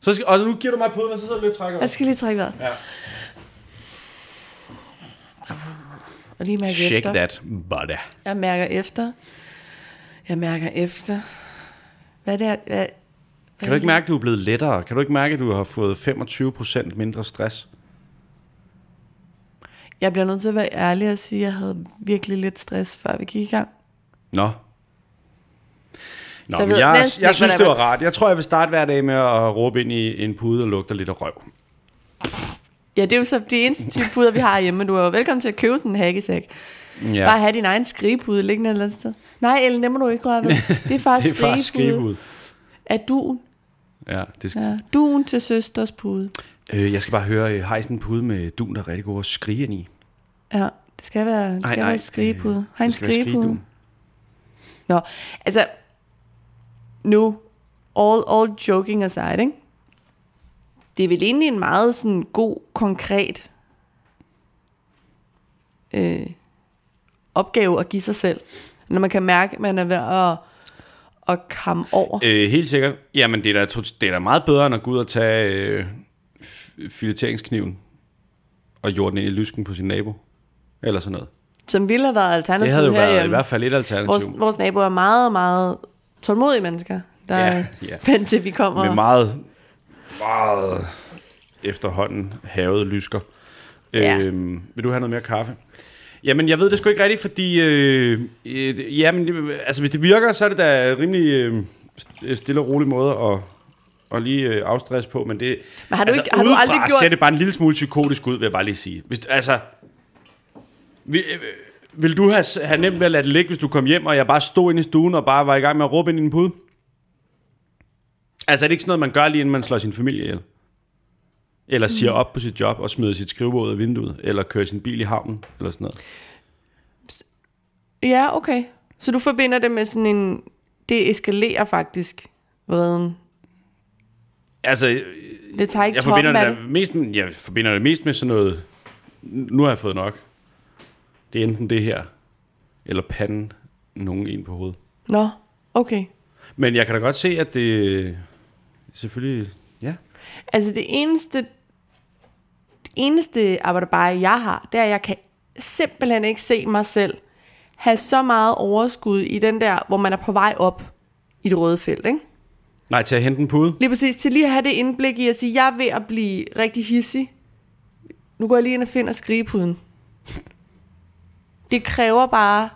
Speaker 2: Så skal, og nu giver du mig puden, og så sidder du lidt og trækker.
Speaker 1: jeg skal lige trække vejret.
Speaker 2: Ja.
Speaker 1: Og lige mærke
Speaker 2: Shake
Speaker 1: efter.
Speaker 2: that, buddy.
Speaker 1: Jeg mærker efter. Jeg mærker efter. Hvad det er... Hvad,
Speaker 2: Kan du ikke mærke, at du er blevet lettere? Kan du ikke mærke, at du har fået 25% mindre stress?
Speaker 1: Jeg bliver nødt til at være ærlig og sige, at jeg havde virkelig lidt stress, før vi gik i gang.
Speaker 2: Nå. Nå,
Speaker 1: Så jeg
Speaker 2: men
Speaker 1: ved
Speaker 2: jeg, jeg,
Speaker 1: næsten
Speaker 2: jeg
Speaker 1: ikke,
Speaker 2: synes,
Speaker 1: hvordan
Speaker 2: det var
Speaker 1: man-
Speaker 2: rart. Jeg tror, jeg vil starte hver dag med at råbe ind i en pude og lugte lidt af røv.
Speaker 1: Ja, det er jo så det eneste type puder, vi har hjemme. Du er jo velkommen til at købe sådan en hakkesæk. Ja.
Speaker 2: Ja.
Speaker 1: Bare have din egen skrigepude liggende et eller andet sted. Nej, Ellen, det må du ikke røre ved. Det er fars
Speaker 2: det er fars
Speaker 1: skrigepude.
Speaker 2: skrivehud.
Speaker 1: Er duen.
Speaker 2: Ja, det skal... ja.
Speaker 1: Ja, duen til søsters pude.
Speaker 2: Øh, jeg skal bare høre, øh, har I sådan en pude med dun, der er rigtig god at skrige ind i?
Speaker 1: Ja, det skal være, det skal være en skrigepude. Har en
Speaker 2: det skal være
Speaker 1: skrigepude.
Speaker 2: skrigedun.
Speaker 1: Nå, altså, nu, all, all joking aside, ikke? det er vel egentlig en meget sådan god, konkret øh, opgave at give sig selv. Når man kan mærke, at man er ved at, at kamme over.
Speaker 2: Øh, helt sikkert. Jamen, det er, da, tot- det er da meget bedre, end at gå ud og tage øh, f- fileteringskniven og jorde den ind i lysken på sin nabo. Eller sådan noget.
Speaker 1: Som ville have været
Speaker 2: Det havde jo
Speaker 1: alternativet
Speaker 2: været i
Speaker 1: herhjemme.
Speaker 2: hvert fald et alternativ.
Speaker 1: Vores, vores naboer er meget, meget tålmodige mennesker, der
Speaker 2: Ja,
Speaker 1: er
Speaker 2: ja.
Speaker 1: vant til, at vi kommer.
Speaker 2: Med meget, meget efterhånden havet lysker.
Speaker 1: Ja.
Speaker 2: Ja. Øhm, vil du have noget mere kaffe? Jamen, jeg ved det sgu ikke rigtigt, fordi... Øh, øh, jamen, det- altså, hvis det virker, så er det da rimelig øh, st- stille og rolig måde at, at lige øh, afstresse på, men det...
Speaker 1: Men har du
Speaker 2: altså,
Speaker 1: ikke- har du
Speaker 2: udefra
Speaker 1: aldrig gjort-
Speaker 2: ser det bare en lille smule psykotisk ud, vil jeg bare lige sige. Hvis, altså... Vi, øh, vil du have, s- have nemt ved at lade det ligge, hvis du kom hjem, og jeg bare stod inde i stuen og bare var i gang med at råbe ind i din pude? Altså er det ikke sådan noget, man gør lige inden man slår sin familie ihjel? Eller siger
Speaker 1: Mm.
Speaker 2: op på sit job og smider sit skrivebord ud af vinduet? Eller kører sin bil i havnen? Eller sådan noget.
Speaker 1: Ja, okay. Så du forbinder det med sådan en... Det eskalerer faktisk vreden.
Speaker 2: Altså, jeg
Speaker 1: Det tager ikke jeg
Speaker 2: forbinder,
Speaker 1: toppen af
Speaker 2: det
Speaker 1: det.
Speaker 2: da mest, jeg forbinder det mest med sådan noget, nu har jeg fået nok. Det er enten det her, eller panden nogen en på hovedet.
Speaker 1: Nå, okay.
Speaker 2: Men jeg kan da godt se, at det selvfølgelig... Ja.
Speaker 1: Altså det eneste, det eneste arbejderbare, jeg har, det er, at jeg kan simpelthen ikke se mig selv have så meget overskud i den der, hvor man er på vej op i det røde felt, ikke?
Speaker 2: Nej, til at hente en pude.
Speaker 1: Lige præcis, til lige at have det indblik i at sige, jeg er ved at blive rigtig hissig. Nu går jeg lige ind og finder skrigepuden. Det kræver bare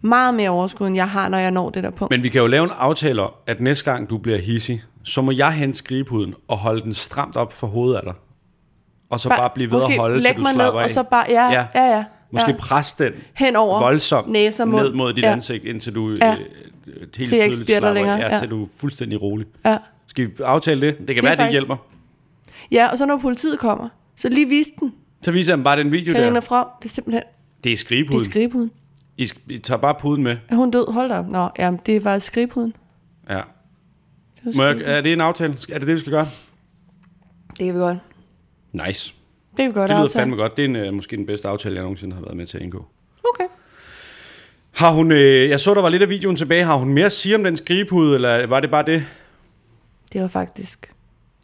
Speaker 1: meget mere overskud, end jeg har, når jeg når det der punkt.
Speaker 2: Men vi kan jo lave en aftale om, at næste gang du bliver hissig, så må jeg hente skrigepuden og holde den stramt op for hovedet af dig. Og så bare, bare blive ved
Speaker 1: måske
Speaker 2: at holde, til
Speaker 1: lægge
Speaker 2: du
Speaker 1: mig
Speaker 2: slapper
Speaker 1: ned,
Speaker 2: af.
Speaker 1: og så bare, ja, ja, ja. ja.
Speaker 2: Måske
Speaker 1: ja.
Speaker 2: presse den
Speaker 1: Hen over
Speaker 2: voldsomt
Speaker 1: næse og mund.
Speaker 2: ned mod dit
Speaker 1: Ja.
Speaker 2: ansigt, indtil du ja.
Speaker 1: Ja.
Speaker 2: øh, helt til
Speaker 1: jeg ikke
Speaker 2: tydeligt
Speaker 1: spjætter
Speaker 2: slapper
Speaker 1: længere,
Speaker 2: længere. Ja,
Speaker 1: ja.
Speaker 2: til du er fuldstændig rolig.
Speaker 1: Ja.
Speaker 2: Skal vi aftale det? Det kan
Speaker 1: er
Speaker 2: det være, det
Speaker 1: faktisk-
Speaker 2: hjælper.
Speaker 1: ja, og så når politiet kommer, så lige vis den,
Speaker 2: Så viser jeg dem bare den video
Speaker 1: Karina
Speaker 2: der.
Speaker 1: From. Det er simpelthen,
Speaker 2: Det er
Speaker 1: det er
Speaker 2: skrigepuden.
Speaker 1: skrigepuden.
Speaker 2: I, sk- I tager bare puden med.
Speaker 1: Er hun død? Hold da op. Nå, jamen, det var skrigepuden.
Speaker 2: Ja.
Speaker 1: Det, var
Speaker 2: Må jeg,
Speaker 1: skrigepuden.
Speaker 2: er det en aftale? Er det det, vi skal gøre?
Speaker 1: det kan vi godt.
Speaker 2: Nice.
Speaker 1: Det kan vi godt
Speaker 2: Det lyder
Speaker 1: aftale.
Speaker 2: fandme godt. Det er en, øh, måske den bedste aftale, jeg nogensinde har været med til at indgå.
Speaker 1: Okay.
Speaker 2: Har hun, øh, jeg så, der var lidt af videoen tilbage. Har hun mere at sige om den skrigepude, eller var det bare det?
Speaker 1: Det var faktisk,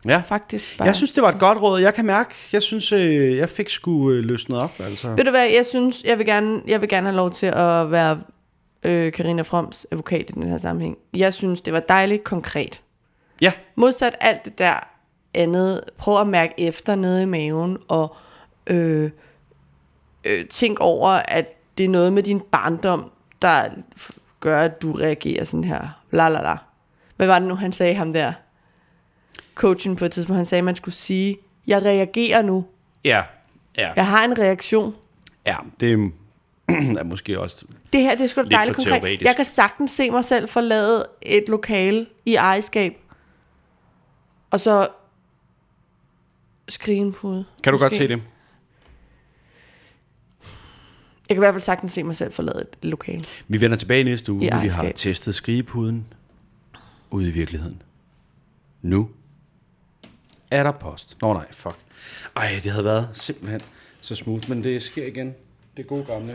Speaker 2: Ja.
Speaker 1: faktisk bare...
Speaker 2: Jeg synes, det var et godt råd. Jeg kan mærke, jeg synes, øh, jeg fik sgu øh, løsnet op. Altså.
Speaker 1: Ved du hvad, jeg synes, jeg vil gerne, jeg vil gerne have lov til at være øh, Karina Froms advokat i den her sammenhæng. Jeg synes, det var dejligt konkret.
Speaker 2: Ja,
Speaker 1: Modsat alt det der andet, prøv at mærke efter nede i maven, og øh, øh, tænk over, at det er noget med din barndom, der f- gør, at du reagerer sådan her. La la la. Hvad var det nu, han sagde ham der? Coachen på et tidspunkt, han sagde, at man skulle sige, jeg reagerer nu.
Speaker 2: ja, ja, ja.
Speaker 1: Jeg har en reaktion.
Speaker 2: ja. Det er, er måske også...
Speaker 1: Det her, det er sgu da
Speaker 2: Lidt
Speaker 1: dejligt
Speaker 2: for
Speaker 1: konkret.
Speaker 2: teoretisk.
Speaker 1: Jeg kan sagtens se mig selv forlade et lokale i ejerskab. Og så skrige en pude.
Speaker 2: Kan du
Speaker 1: måske.
Speaker 2: godt se det?
Speaker 1: Jeg kan i hvert fald sagtens se mig selv forlade et lokale.
Speaker 2: Vi vender tilbage næste uge,
Speaker 1: I
Speaker 2: når vi har
Speaker 1: ejerskab.
Speaker 2: testet skrigepuden ude i virkeligheden. Nu er der post. Nå nej, fuck. Ej, det havde været simpelthen så smooth, men det sker igen. Det er gode gamle.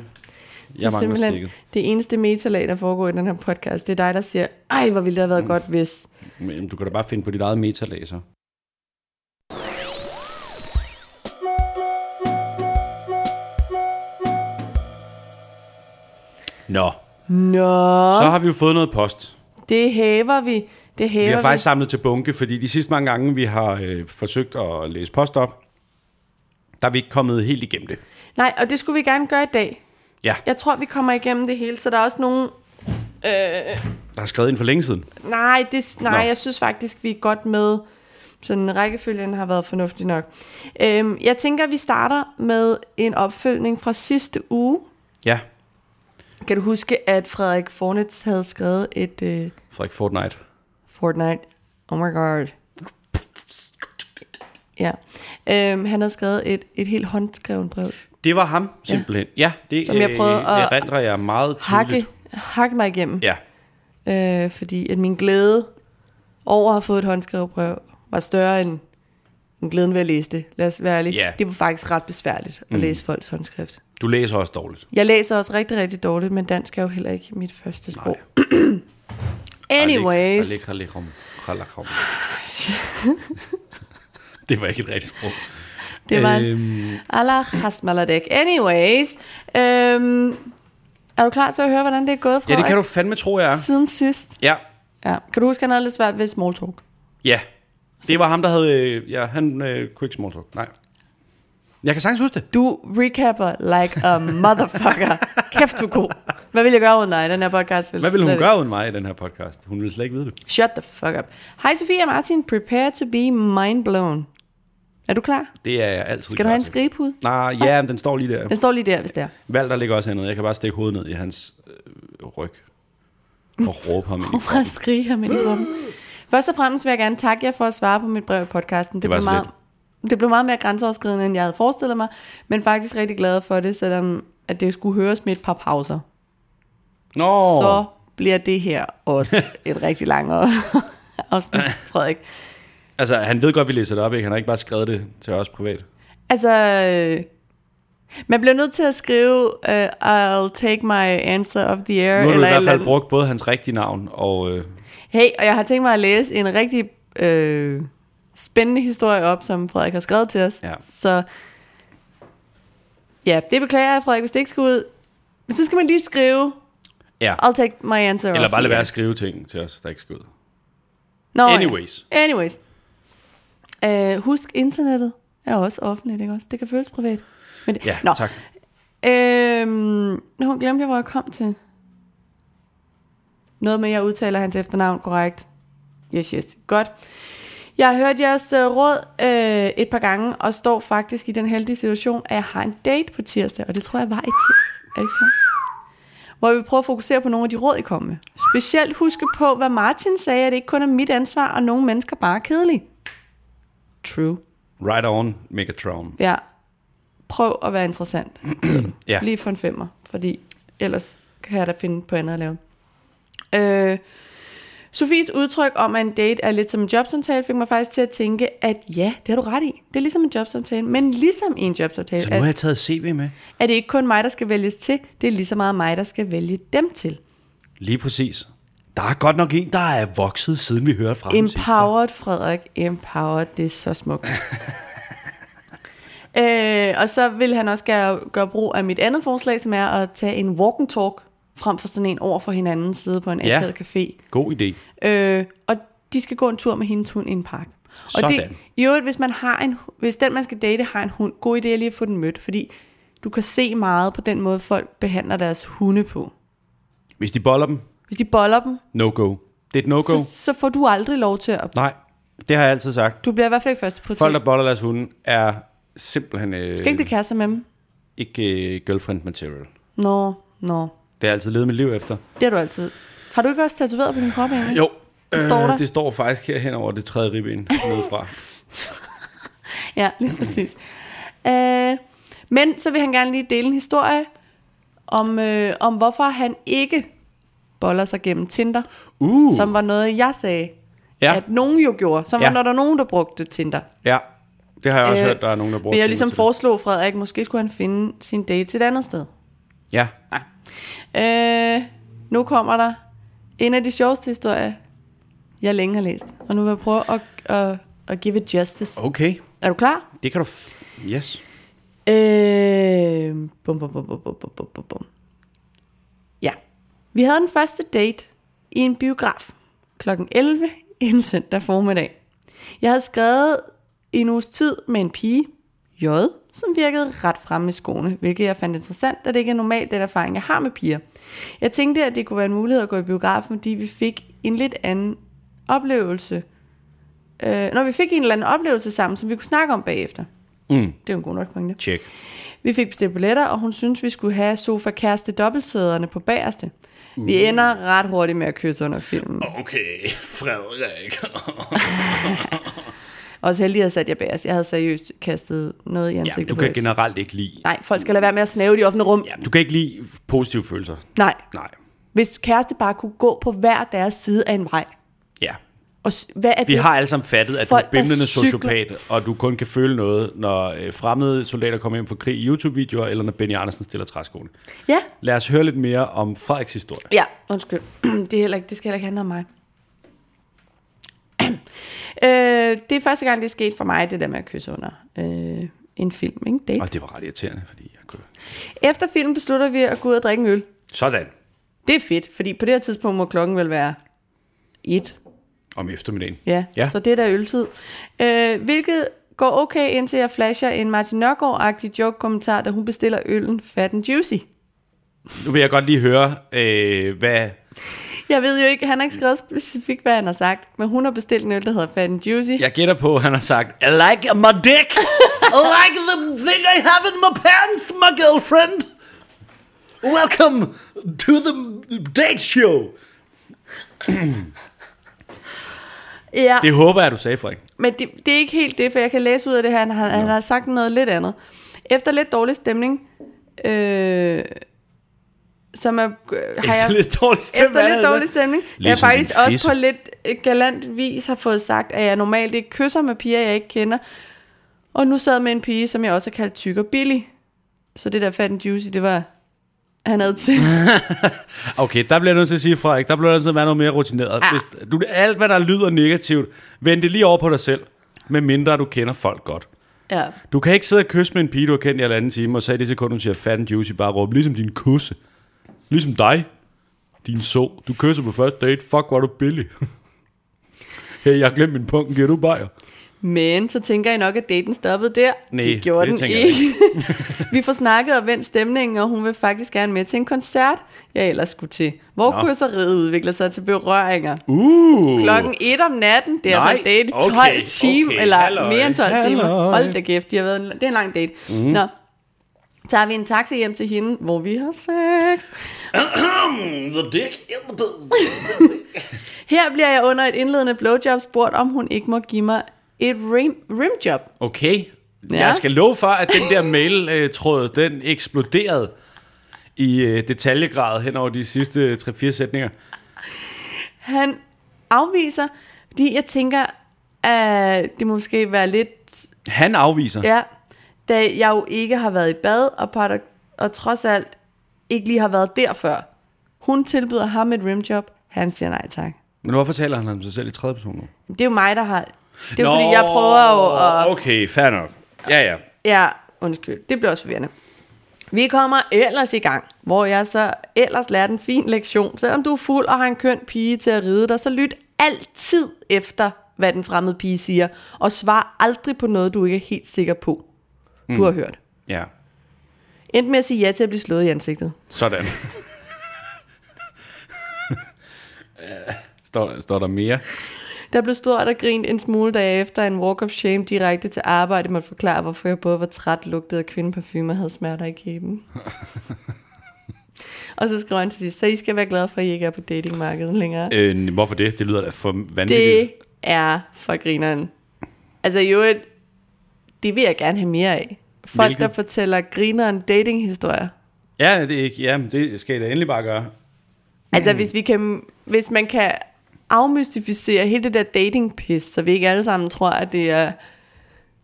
Speaker 2: Jeg
Speaker 1: det er
Speaker 2: mangler
Speaker 1: simpelthen
Speaker 2: stikket.
Speaker 1: det eneste metalag, der foregår i den her podcast. Det er dig, der siger, ej, hvor ville det have været mm. godt, hvis...
Speaker 2: Men du kan da bare finde på dit eget metalag, så. Nå,
Speaker 1: Nå,
Speaker 2: så har vi jo fået noget post.
Speaker 1: det hæver vi. Det hæver
Speaker 2: Vi har faktisk
Speaker 1: vi.
Speaker 2: samlet til bunke, fordi de sidste mange gange, vi har øh, forsøgt at læse post op, der er vi ikke kommet helt igennem det.
Speaker 1: Nej, og det skulle vi gerne gøre i dag.
Speaker 2: Ja,
Speaker 1: Jeg tror, vi kommer igennem det hele, så der er også nogle...
Speaker 2: der er skrevet ind for længe siden.
Speaker 1: Nej, det, nej
Speaker 2: Nå.
Speaker 1: jeg synes faktisk, vi er godt med. Sådan rækkefølgen har været fornuftig nok. Øhm, jeg tænker, vi starter med en opfølgning fra sidste uge.
Speaker 2: Ja,
Speaker 1: Kan du huske, at Frederik Fornets havde skrevet et øh,
Speaker 2: Frederik Fortnite.
Speaker 1: Fortnite? Oh my god. Ja. Øhm, han havde skrevet et, et helt håndskrevet brev.
Speaker 2: Det var ham, simpelthen. Ja, det
Speaker 1: Som jeg prøvede
Speaker 2: øh,
Speaker 1: at
Speaker 2: erindrer jeg meget
Speaker 1: Hakke,
Speaker 2: tydeligt.
Speaker 1: hakke mig igennem.
Speaker 2: Ja,
Speaker 1: øh, fordi at min glæde over at have fået et håndskrevet brev var større end, end glæden ved at læse det. Lad os være ærlige.
Speaker 2: Ja.
Speaker 1: Det var faktisk ret besværligt at mm. læse folks håndskrift.
Speaker 2: du læser også dårligt.
Speaker 1: Jeg læser også rigtig, rigtig dårligt, men dansk er jo heller ikke mit første sprog. Anyways,
Speaker 2: Alek, alek, alek, alek, alek. det var ikke et rigtigt sprog.
Speaker 1: det var en
Speaker 2: Øhm,
Speaker 1: Allah Hasmaladek. Anyways, øhm, er du klar til at høre, hvordan det er gået fra
Speaker 2: ja, det kan du fandme tro, jeg er.
Speaker 1: siden sidst?
Speaker 2: Ja,
Speaker 1: Ja. Kan du huske, han havde lidt svært ved small talk?
Speaker 2: ja. Det var ham, der havde... øh, Ja, han øh, kunne ikke small talk. Nej. Jeg kan sagtens huske det.
Speaker 1: Du recapper like a motherfucker. Kæft, du er god. Hvad vil jeg gøre uden dig? i Den her podcast vil
Speaker 2: Hvad ville
Speaker 1: slet
Speaker 2: hun
Speaker 1: ikke-
Speaker 2: gøre uden mig i den her podcast? Hun ville slet ikke vide det.
Speaker 1: Shut the fuck up. Hej Sofie og Martin, prepare to be mind blown. Er du klar?
Speaker 2: Det er jeg altid
Speaker 1: Skal du
Speaker 2: klar
Speaker 1: have en
Speaker 2: til.
Speaker 1: skrigepude?
Speaker 2: Nej, ja, men den står lige der.
Speaker 1: Den står lige der, hvis det er.
Speaker 2: Valter ligger også hernede. Jeg kan bare stikke hovedet ned i hans øh, ryg og råbe ham ind i
Speaker 1: Prøv at skrige ham ind i rummet. Først og fremmest vil jeg gerne takke jer for at svare på mit brev i podcasten. Det,
Speaker 2: var
Speaker 1: blev
Speaker 2: så
Speaker 1: meget, det blev meget mere grænseoverskridende, end jeg havde forestillet mig, men faktisk rigtig glad for det, selvom at det skulle høres med et par pauser.
Speaker 2: Nå,
Speaker 1: så bliver det her også et rigtig langt afsnit, Frederik.
Speaker 2: altså han ved godt, vi læser det op, ikke? Han har ikke bare skrevet det til os privat.
Speaker 1: Altså, øh, Man bliver nødt til at skrive, uh, I'll take my answer of the air.
Speaker 2: Nu har du
Speaker 1: eller
Speaker 2: i
Speaker 1: et
Speaker 2: hvert
Speaker 1: eller
Speaker 2: fald
Speaker 1: andet.
Speaker 2: brugt både hans rigtige navn og... Øh,
Speaker 1: Hey, og jeg har tænkt mig at læse en rigtig øh, spændende historie op, som Frederik har skrevet til os.
Speaker 2: Ja.
Speaker 1: Så ja, det beklager jeg, Frederik, hvis det ikke skal ud. Men så skal man lige skrive,
Speaker 2: ja.
Speaker 1: I'll take my answer.
Speaker 2: Eller
Speaker 1: off
Speaker 2: bare lade
Speaker 1: the
Speaker 2: være
Speaker 1: air.
Speaker 2: at skrive ting til os, der ikke skal ud.
Speaker 1: Nå, ja.
Speaker 2: Anyways.
Speaker 1: Anyways. Uh, husk, internettet er også offentligt, ikke også? Det kan føles privat. Men det,
Speaker 2: Ja,
Speaker 1: Nå.
Speaker 2: tak.
Speaker 1: Øhm, nu glemte jeg, hvor jeg kom til. Noget med, at jeg udtaler hans efternavn korrekt. Yes, yes. Godt. Jeg har hørt jeres øh, råd øh, et par gange, og står faktisk i den heldige situation, at jeg har en date på tirsdag, og det tror jeg var i tirsdag. Er det ikke sådan? Hvor vi prøver at fokusere på nogle af de råd, I kom med. Specielt huske på, hvad Martin sagde, at det ikke kun er mit ansvar, og nogle mennesker bare er kedelige. True.
Speaker 2: Right on, Megatron.
Speaker 1: Ja. Prøv at være interessant.
Speaker 2: Ja.
Speaker 1: Lige for en femmer, fordi ellers kan jeg da finde på andet at lave. Øh, Sofies udtryk om, at en date er lidt som en jobsamtale, fik mig faktisk til at tænke, at ja, det har du ret i. Det er ligesom en jobsamtale, men ligesom i en jobsamtale,
Speaker 2: Så nu har
Speaker 1: er,
Speaker 2: jeg taget CV med.
Speaker 1: er det ikke kun mig, der skal vælges til, det er lige så meget mig, der skal vælge dem til.
Speaker 2: Lige præcis. Der er godt nok en, der er vokset, siden vi hørte fra ham sidst.
Speaker 1: Empowered, Frederik. Empowered, det er så smukt. øh, og så vil han også gøre, gøre brug af mit andet forslag, som er at tage en walk and talk frem for sådan en over for hinanden side på en
Speaker 2: Ja.
Speaker 1: akavet café.
Speaker 2: God idé.
Speaker 1: Øh, og de skal gå en tur med hendes hund i en park. Og det,
Speaker 2: Sådan.
Speaker 1: i øvrigt, hvis, man har en, hvis den, man skal date, har en hund, god idé er lige at få den mødt, fordi du kan se meget på den måde, folk behandler deres hunde på.
Speaker 2: Hvis de boller dem,
Speaker 1: Hvis de boller dem,
Speaker 2: no-go. Det er et no-go.
Speaker 1: så, så får du aldrig lov til at...
Speaker 2: Nej, det har jeg altid sagt.
Speaker 1: Du bliver i hvert fald ikke første på
Speaker 2: Folk, der boller deres hunde, er simpelthen øh,
Speaker 1: Skal ikke det kæreste med dem?
Speaker 2: ikke øh, girlfriend material.
Speaker 1: Nå, nå.
Speaker 2: Det har jeg altid levet mit liv efter.
Speaker 1: Det har du altid. Har du ikke også tatoveret på din krop egentlig?
Speaker 2: Jo.
Speaker 1: Det står der.
Speaker 2: Øh, det står faktisk her hen over det tredje ribben nedefra.
Speaker 1: Ja, lige præcis. Øh, men så vil han gerne lige dele en historie om, øh, om hvorfor han ikke boller sig gennem Tinder,
Speaker 2: Uh,
Speaker 1: som var noget, jeg sagde,
Speaker 2: ja,
Speaker 1: at nogen jo gjorde. Som
Speaker 2: Ja.
Speaker 1: var, når der var nogen, der brugte Tinder.
Speaker 2: ja. Det har jeg også
Speaker 1: Øh,
Speaker 2: hørt, der er nogen, der bruger
Speaker 1: Men jeg
Speaker 2: timer
Speaker 1: ligesom
Speaker 2: til det.
Speaker 1: foreslog Frederik, måske skulle han finde sin date et andet sted.
Speaker 2: Ja,
Speaker 1: Øh, nu kommer der en af de sjoveste historier, jeg længe har læst. Og nu vil jeg prøve at, at, at give it justice.
Speaker 2: okay.
Speaker 1: Er du klar?
Speaker 2: Det kan du... F- yes.
Speaker 1: Øh, bum, bum, bum, bum, bum, bum, bum, bum, bum. Ja. Vi havde den første date i en biograf kl. 11 en søndag formiddag. Jeg havde skrevet i en uges tid med en pige, J, som virkede ret fremme i skoene, hvilket jeg fandt interessant, da det ikke er normalt den erfaring, jeg har med piger. Jeg tænkte, at det kunne være en mulighed at gå i biografen, fordi vi fik en lidt anden oplevelse. Øh, når vi fik en eller anden oplevelse sammen, som vi kunne snakke om bagefter.
Speaker 2: Mm.
Speaker 1: Det er jo en god nok pointe.
Speaker 2: Check.
Speaker 1: Vi fik bestilt billetter, og hun syntes, vi skulle have sofa kæreste dobbeltsæderne på bagerste.
Speaker 2: Uh.
Speaker 1: Vi ender ret hurtigt med at kysse under filmen.
Speaker 2: Okay, Frederik.
Speaker 1: Også heldig, at jeg satte jer bagerst. Jeg havde seriøst kastet noget i ansigtet
Speaker 2: ja, du
Speaker 1: på
Speaker 2: kan
Speaker 1: Øks.
Speaker 2: generelt ikke lide...
Speaker 1: Nej, folk skal lade være med at snave i de offentlige rum.
Speaker 2: Ja, du kan ikke lide positive følelser.
Speaker 1: Nej,
Speaker 2: Nej.
Speaker 1: hvis kæreste bare kunne gå på hver deres side af en vej.
Speaker 2: Ja.
Speaker 1: Og s- hvad er
Speaker 2: Vi
Speaker 1: det?
Speaker 2: har alle sammen fattet, at
Speaker 1: Folk,
Speaker 2: du er
Speaker 1: der
Speaker 2: bimlende
Speaker 1: cykler.
Speaker 2: sociopat, og du kun kan føle noget, når øh, fremmede soldater kommer hjem fra krig i YouTube-videoer, eller når Benny Andersen stiller træskoene.
Speaker 1: Ja,
Speaker 2: Lad os høre lidt mere om Frederiks historie.
Speaker 1: Ja, undskyld. Det, er heller ikke, det skal heller ikke handle om mig. øh, det er første gang, det er sket for mig, det der med at kysse under øh, en film. Ikke? Date.
Speaker 2: Og det var ret irriterende, fordi jeg kunne...
Speaker 1: Efter filmen beslutter vi at gå ud og drikke en øl.
Speaker 2: Sådan.
Speaker 1: Det er fedt, fordi på det her tidspunkt må klokken vel være et.
Speaker 2: Om eftermiddagen.
Speaker 1: Ja,
Speaker 2: Ja.
Speaker 1: ja. så det er da øltid. Øh, hvilket går okay, indtil jeg flasher en Martin Nørgaard-agtig joke-kommentar, da hun bestiller øllen fat and juicy.
Speaker 2: Nu vil jeg godt lige høre, øh, hvad...
Speaker 1: Jeg ved jo ikke, han har ikke skrevet specifikt, hvad han har sagt, men hun har bestilt en øl, der hedder fat and juicy.
Speaker 2: Jeg gætter på, at han har sagt, I like my dick! I like the thing I have in my pants, my girlfriend! Welcome to the date show!
Speaker 1: Ja,
Speaker 2: Det håber jeg, du sagde, Frederik.
Speaker 1: men det, det er ikke helt det, for jeg kan læse ud af det her, han, han, han har sagt noget lidt andet. Efter lidt dårlig stemning, øh, som er... øh, Har
Speaker 2: Efter lidt dårlig stemme.
Speaker 1: Efter lidt dårlig stemning. Ligesom jeg
Speaker 2: Ligesom
Speaker 1: faktisk
Speaker 2: din
Speaker 1: også
Speaker 2: fisse.
Speaker 1: på lidt øh, galant vis har fået sagt, at jeg normalt ikke kysser med piger, jeg ikke kender. Og nu sad jeg med en pige, som jeg også har kaldt tyk og billig. Så det der fat and juicy, det var... Han havde til.
Speaker 2: Okay, der bliver jeg nødt til at sige, Frederik, der bliver jeg nødt til at være noget mere rutineret. Ah. Hvis du, alt, hvad der lyder negativt, vend det lige over på dig selv, med mindre du kender folk godt.
Speaker 1: ja.
Speaker 2: Du kan ikke sidde og kysse med en pige, du har kendt i halvanden time, og så i det sekund, hun siger fat and juicy, bare råbe, ligesom din kusse. Ligesom dig. Din så. Du kysser på første date. Fuck, var du billig. hey, jeg har glemt min punkt. Giver du bajer?
Speaker 1: Men så tænker I nok, at daten stoppede der.
Speaker 2: Nej,
Speaker 1: det gjorde
Speaker 2: det
Speaker 1: den
Speaker 2: tænker jeg
Speaker 1: ikke. Vi får snakket og vendt stemningen, og hun vil faktisk gerne med til en koncert, jeg ellers skulle til. Hvor
Speaker 2: Nå.
Speaker 1: kysseriet udvikler sig til berøringer.
Speaker 2: Uh.
Speaker 1: Klokken 1 om natten, det er
Speaker 2: Nej,
Speaker 1: altså en date i 12
Speaker 2: okay,
Speaker 1: timer,
Speaker 2: okay,
Speaker 1: eller
Speaker 2: halløj,
Speaker 1: mere end 12 timer.
Speaker 2: halløj. Mhm.
Speaker 1: Hold da kæft, de har været en, det er en lang date. Mm. Nå, tager vi en taxa hjem til hende, hvor vi har sex.
Speaker 2: The dick in the bed.
Speaker 1: Her bliver jeg under et indledende blowjob spurgt, om hun ikke må give mig et rim, rimjob.
Speaker 2: Okay. Ja.
Speaker 1: Ja.
Speaker 2: Jeg skal love for, at den der mail-tråd, den eksploderede i øh, detaljegrad hen over de sidste øh, 3-4 sætninger.
Speaker 1: Han afviser, fordi jeg tænker, at det måske være lidt...
Speaker 2: Han afviser. Ja.
Speaker 1: Ja, da jeg jo ikke har været i bad, og, paradok- og trods alt ikke lige har været der før. Hun tilbyder ham et rimjob, han siger nej tak.
Speaker 2: Men hvorfor taler han om sig selv i tredje person nu?
Speaker 1: Det er jo mig, der har... Det er jo fordi, jeg prøver jo at...
Speaker 2: Okay, fair nok. Ja, ja.
Speaker 1: Ja, undskyld. Det bliver også forvirrende. Vi kommer ellers i gang, hvor jeg så ellers lærte en fin lektion. Selvom du er fuld og har en køn pige til at ride dig, så lyt altid efter, hvad den fremmede pige siger, og svar aldrig på noget, du ikke er helt sikker på, du har hørt.
Speaker 2: Ja,
Speaker 1: Endte med at sige ja til at blive slået i ansigtet.
Speaker 2: sådan. står, står der mere?
Speaker 1: Der blev spurgt og grint en smule dage efter en walk of shame direkte til arbejde måtte forklare, hvorfor jeg både var træt, lugtede af kvindeparfume og havde smerter i kæben. og så skriver han til sidst, så I skal være glade for, at I ikke er på datingmarkedet længere.
Speaker 2: Øh, hvorfor det? Det lyder da for vanvittigt.
Speaker 1: Det er for grineren. Altså jo, et- det vil jeg gerne have mere af. Folk,
Speaker 2: Hvilket?
Speaker 1: Hvilket? der fortæller grineren datinghistorier.
Speaker 2: Ja, det, er ikke, ja, det skal jeg da endelig bare gøre.
Speaker 1: Altså
Speaker 2: Mm.
Speaker 1: hvis, vi kan, hvis man kan afmystificere hele det der datingpis, så vi ikke alle sammen tror, at det er...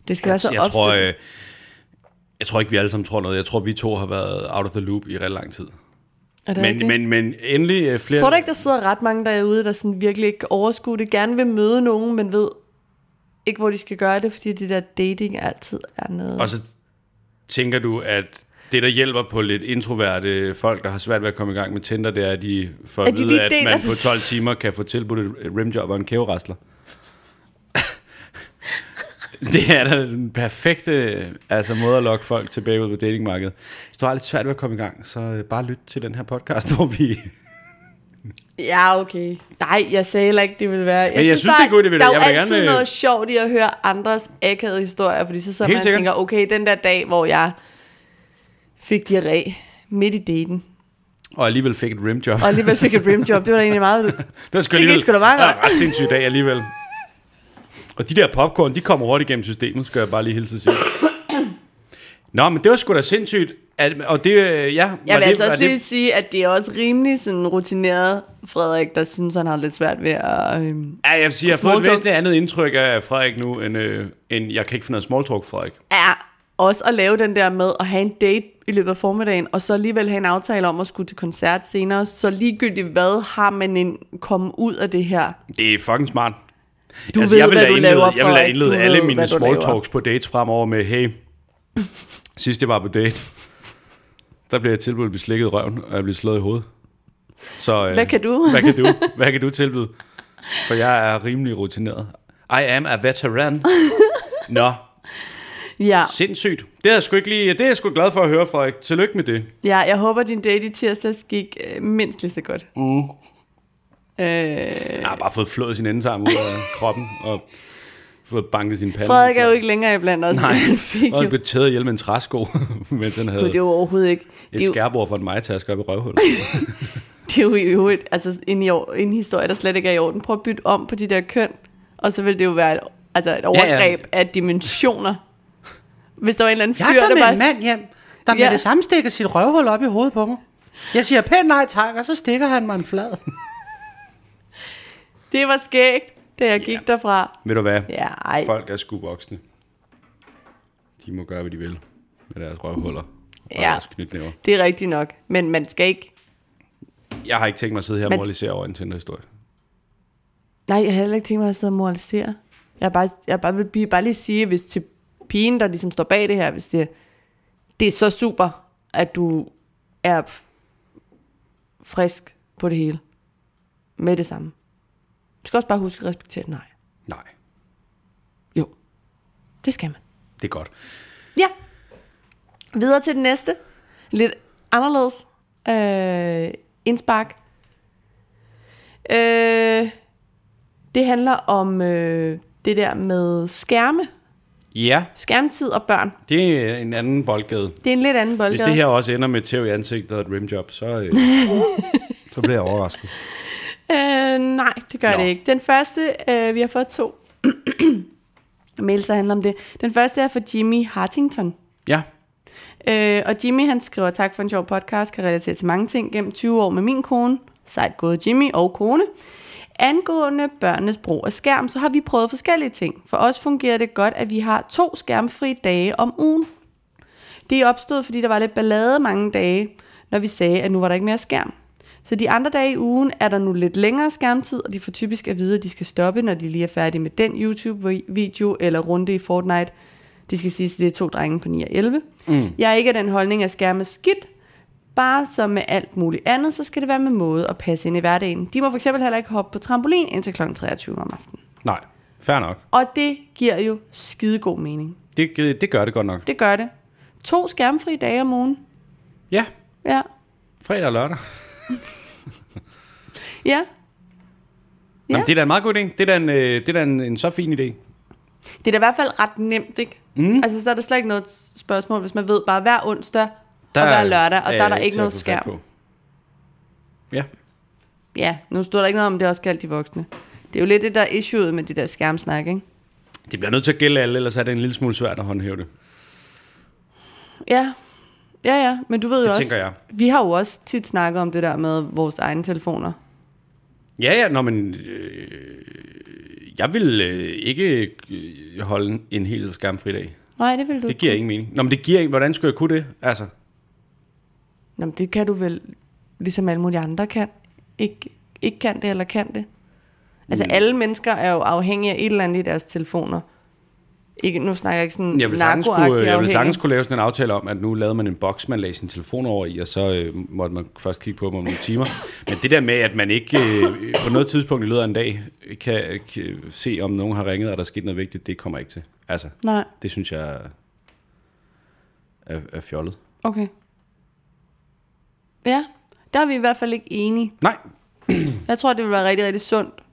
Speaker 1: Det skal være så
Speaker 2: jeg tror,
Speaker 1: opsættende.
Speaker 2: øh, jeg tror ikke, vi alle sammen tror noget. Jeg tror, vi to har været out of the loop i ret lang tid.
Speaker 1: Er det
Speaker 2: Men,
Speaker 1: rigtigt?
Speaker 2: men, men endelig øh, flere...
Speaker 1: Tror du ikke, der sidder ret mange derude, der sådan virkelig ikke kan overskue det, gerne vil møde nogen, men ved ikke, hvor de skal gøre det, fordi det der dating altid er noget...
Speaker 2: Og så tænker du, at det, der hjælper på lidt introverte folk, der har svært ved at komme i gang med Tinder, det er, at de får at
Speaker 1: At de
Speaker 2: vide,
Speaker 1: lige
Speaker 2: at
Speaker 1: deler
Speaker 2: man
Speaker 1: det.
Speaker 2: på 12 timer kan få tilbudt et rimjob og en kæverasler. det er da den perfekte altså, måde at lokke folk tilbage ud på datingmarkedet. Hvis du har lidt svært ved at komme i gang, så øh, bare lyt til den her podcast, hvor vi...
Speaker 1: Ja, okay. Nej, jeg sagde heller ikke, det ville være... Jeg
Speaker 2: jeg synes, det er en god idé, Peter.
Speaker 1: Der er jo
Speaker 2: Jeg vil
Speaker 1: altid
Speaker 2: gerne, øh,
Speaker 1: noget sjovt i at høre andres akavede historier, fordi så sidder
Speaker 2: Helt
Speaker 1: man og
Speaker 2: sikkert.
Speaker 1: tænker, okay, den der dag, hvor jeg fik diarré midt i daten,
Speaker 2: Og alligevel fik et rimjob.
Speaker 1: og alligevel fik et rimjob, det var da egentlig meget...
Speaker 2: Det skal
Speaker 1: Det gik sgu da meget
Speaker 2: Det er
Speaker 1: godt.
Speaker 2: ret sindssygt i dag alligevel. Og de der popcorn, de kommer hurtigt igennem systemet, skal jeg bare lige hilse at sige. Nå, men det var sgu da sindssygt. At, og det, øh, ja, var
Speaker 1: Jeg vil
Speaker 2: det,
Speaker 1: altså
Speaker 2: var
Speaker 1: også lige
Speaker 2: det,
Speaker 1: sige, at det er også rimelig sådan rutineret Frederik, der synes, han har lidt svært ved at... Øhm,
Speaker 2: ja, jeg vil sige, jeg har fået et
Speaker 1: Smalltalk.
Speaker 2: væsentligt andet indtryk af Frederik nu, end, øh, end jeg kan ikke finde noget small talk, Frederik.
Speaker 1: er også at lave den der med at have en date i løbet af formiddagen, og så alligevel have en aftale om at skulle til koncert senere. Så ligegyldigt hvad har man en komme ud af det her?
Speaker 2: Det er fucking smart. Altså,
Speaker 1: Du ved,
Speaker 2: jeg vil
Speaker 1: hvad
Speaker 2: da
Speaker 1: du
Speaker 2: indlede,
Speaker 1: laver,
Speaker 2: Jeg vil da
Speaker 1: Frederik.
Speaker 2: indlede
Speaker 1: Du
Speaker 2: alle
Speaker 1: ved,
Speaker 2: mine
Speaker 1: hvad du
Speaker 2: small
Speaker 1: laver.
Speaker 2: talks på dates fremover med, hey, sidst jeg var på date, der blev jeg tilbudt at blive slikket i røven, og jeg blev slået i hovedet. Så, øh,
Speaker 1: Hvad kan du?
Speaker 2: hvad kan du? Hvad kan du tilbyde? For jeg er rimelig rutineret. I am a veteran. Nå,
Speaker 1: Ja,
Speaker 2: sindssygt. Det er jeg sgu, ikke lige, det er jeg sgu glad for at høre, Frederik. Tillykke med det.
Speaker 1: ja jeg håber, din date i tirsdags gik øh, mindst lige så godt. Mm. Øh,
Speaker 2: Jeg har bare fået flået sin endetarm ud af kroppen og fået banket sin pande.
Speaker 1: Frederik er jo ikke længere iblandt os.
Speaker 2: Nej,
Speaker 1: Han fik
Speaker 2: og
Speaker 1: jo,
Speaker 2: han blev taget ihjel med en træsko, mens han havde
Speaker 1: det er jo overhovedet ikke. Det er
Speaker 2: et
Speaker 1: jo,
Speaker 2: skærbord for en majtaske op i røvhullet.
Speaker 1: det er jo i øvrigt altså, en, i or- en historie, der slet ikke er i orden. Prøv at bytte om på de der køn, og så vil det jo være et, altså et overgreb ja, ja. af dimensioner. Hvis der var en eller anden fyr, der bare...
Speaker 5: mand hjem, der
Speaker 1: med Ja. det
Speaker 5: samme stikker sit røvhul op i hovedet på mig. Jeg siger pænt nej tak, og så stikker han mig en flad.
Speaker 1: Det var skægt, da jeg gik ja. derfra.
Speaker 2: Ved du hvad?
Speaker 1: Ja, ej.
Speaker 2: Folk er sgu voksne. De må gøre, hvad de vil med deres røvhuller og
Speaker 1: Ja.
Speaker 2: ja. deres knytnæver.
Speaker 1: Det er rigtigt nok, men man skal ikke...
Speaker 2: Jeg har ikke tænkt mig at sidde her og
Speaker 1: Men-
Speaker 2: moralisere over en Tinder-historie.
Speaker 1: Nej, jeg har heller ikke tænkt mig at sidde og moralisere. Jeg, er bare, jeg bare vil blive, bare lige sige, hvis til pigen, der ligesom står bag det her, hvis det, det er så super, at du er f- frisk på det hele. Med det samme. Du skal også bare huske at respektere et nej.
Speaker 2: Nej,
Speaker 1: Jo, det skal man.
Speaker 2: det er godt.
Speaker 1: Ja. Videre til den næste. Lidt anderledes øh, indspark. Øh, det handler om øh, det der med skærme,
Speaker 2: Ja,
Speaker 1: skærmtid og børn.
Speaker 2: det er en anden boldgade.
Speaker 1: Det er en lidt anden
Speaker 2: Hvis
Speaker 1: boldgade.
Speaker 2: det her også ender med et tæv i ansigtet og et rimjob, så, øh, så bliver jeg overrasket.
Speaker 1: Øh, nej, det gør Nå.
Speaker 2: Nå.
Speaker 1: det ikke. Den første, øh, vi har fået to mails, der handler om det. Den første er fra Jimmy Hartington.
Speaker 2: Ja,
Speaker 1: Øh, og Jimmy han skriver, tak for en sjov podcast, kan relatere til mange ting gennem 20 år med min kone, sejt gået Jimmy og kone. Angående børnenes brug af skærm, så har vi prøvet forskellige ting. For os fungerer det godt, at vi har to skærmfri dage om ugen. Det opstod, fordi der var lidt ballade mange dage, når vi sagde, at nu var der ikke mere skærm. Så de andre dage i ugen er der nu lidt længere skærmtid, og de får typisk at vide, at de skal stoppe, når de lige er færdige med den YouTube-video eller runde i Fortnite. Det skal siges, at det er to drenge på 9 og 11. Mm. Jeg er ikke af den holdning, at skærme er skidt, bare som med alt muligt andet, så skal det være med måde at passe ind i hverdagen. De må fx heller ikke hoppe på trampolin indtil kl. 23 om aftenen.
Speaker 2: nej, fair nok.
Speaker 1: Og det giver jo skidegod mening.
Speaker 2: Det, det gør det godt nok.
Speaker 1: Det gør det. To skærmfri dage om ugen.
Speaker 2: Ja,
Speaker 1: Ja.
Speaker 2: fredag og lørdag.
Speaker 1: Ja.
Speaker 2: Ja.
Speaker 1: Ja.
Speaker 2: Jamen, det er da en meget god idé. Det er da en, øh, det er da en, en så fin idé.
Speaker 1: Det er da i hvert fald ret nemt, ikke? Mm. Altså, så er der slet ikke noget spørgsmål, hvis man ved bare hver onsdag der og hver lørdag, og der er der ikke
Speaker 2: til at
Speaker 1: noget
Speaker 2: få fat
Speaker 1: skærm.
Speaker 2: på. Ja,
Speaker 1: Ja, nu står der ikke noget om, at det også galt de voksne. Det er jo lidt det, der er issueet med det der skærmsnak, ikke?
Speaker 2: det bliver nødt til at gælde alle, ellers er det en lille smule svært at håndhæve det.
Speaker 1: Ja. Ja, ja, men du ved jo
Speaker 2: Det
Speaker 1: også,
Speaker 2: tænker jeg.
Speaker 1: vi har jo også tit snakket om det der med vores egne telefoner.
Speaker 2: Ja, ja, nå, men øh, jeg vil øh, ikke øh, holde en- en helt skærmfri dag.
Speaker 1: Nej, det vil du
Speaker 2: Det
Speaker 1: ikke.
Speaker 2: giver ingen mening. Nå, men det giver ikke. Hvordan skulle jeg kunne det? Altså,
Speaker 1: Nå, men det kan du vel, ligesom alle mulige andre kan. Ikke, ikke kan det eller kan det. Altså
Speaker 2: Mm.
Speaker 1: alle mennesker er jo afhængige af et eller andet i deres telefoner. Ikke, nu snakker jeg ikke sådan
Speaker 2: jeg vil, sagtens kunne,
Speaker 1: narkoagtig
Speaker 2: jeg vil sagtens
Speaker 1: afhængig.
Speaker 2: kunne lave sådan en aftale om, at nu lavede man en boks, man lagde sin telefon over i, og så øh, måtte man først kigge på dem om nogle timer. Men det der med, at man ikke øh, på noget tidspunkt i løbet af en dag kan, kan se, om nogen har ringet, og der er sket noget vigtigt, det kommer jeg ikke til. Altså,
Speaker 1: Nej,
Speaker 2: det synes jeg er, er fjollet.
Speaker 1: okay. Ja, der er vi i hvert fald ikke enige.
Speaker 2: Nej,
Speaker 1: Jeg tror, det vil være rigtig, rigtig sundt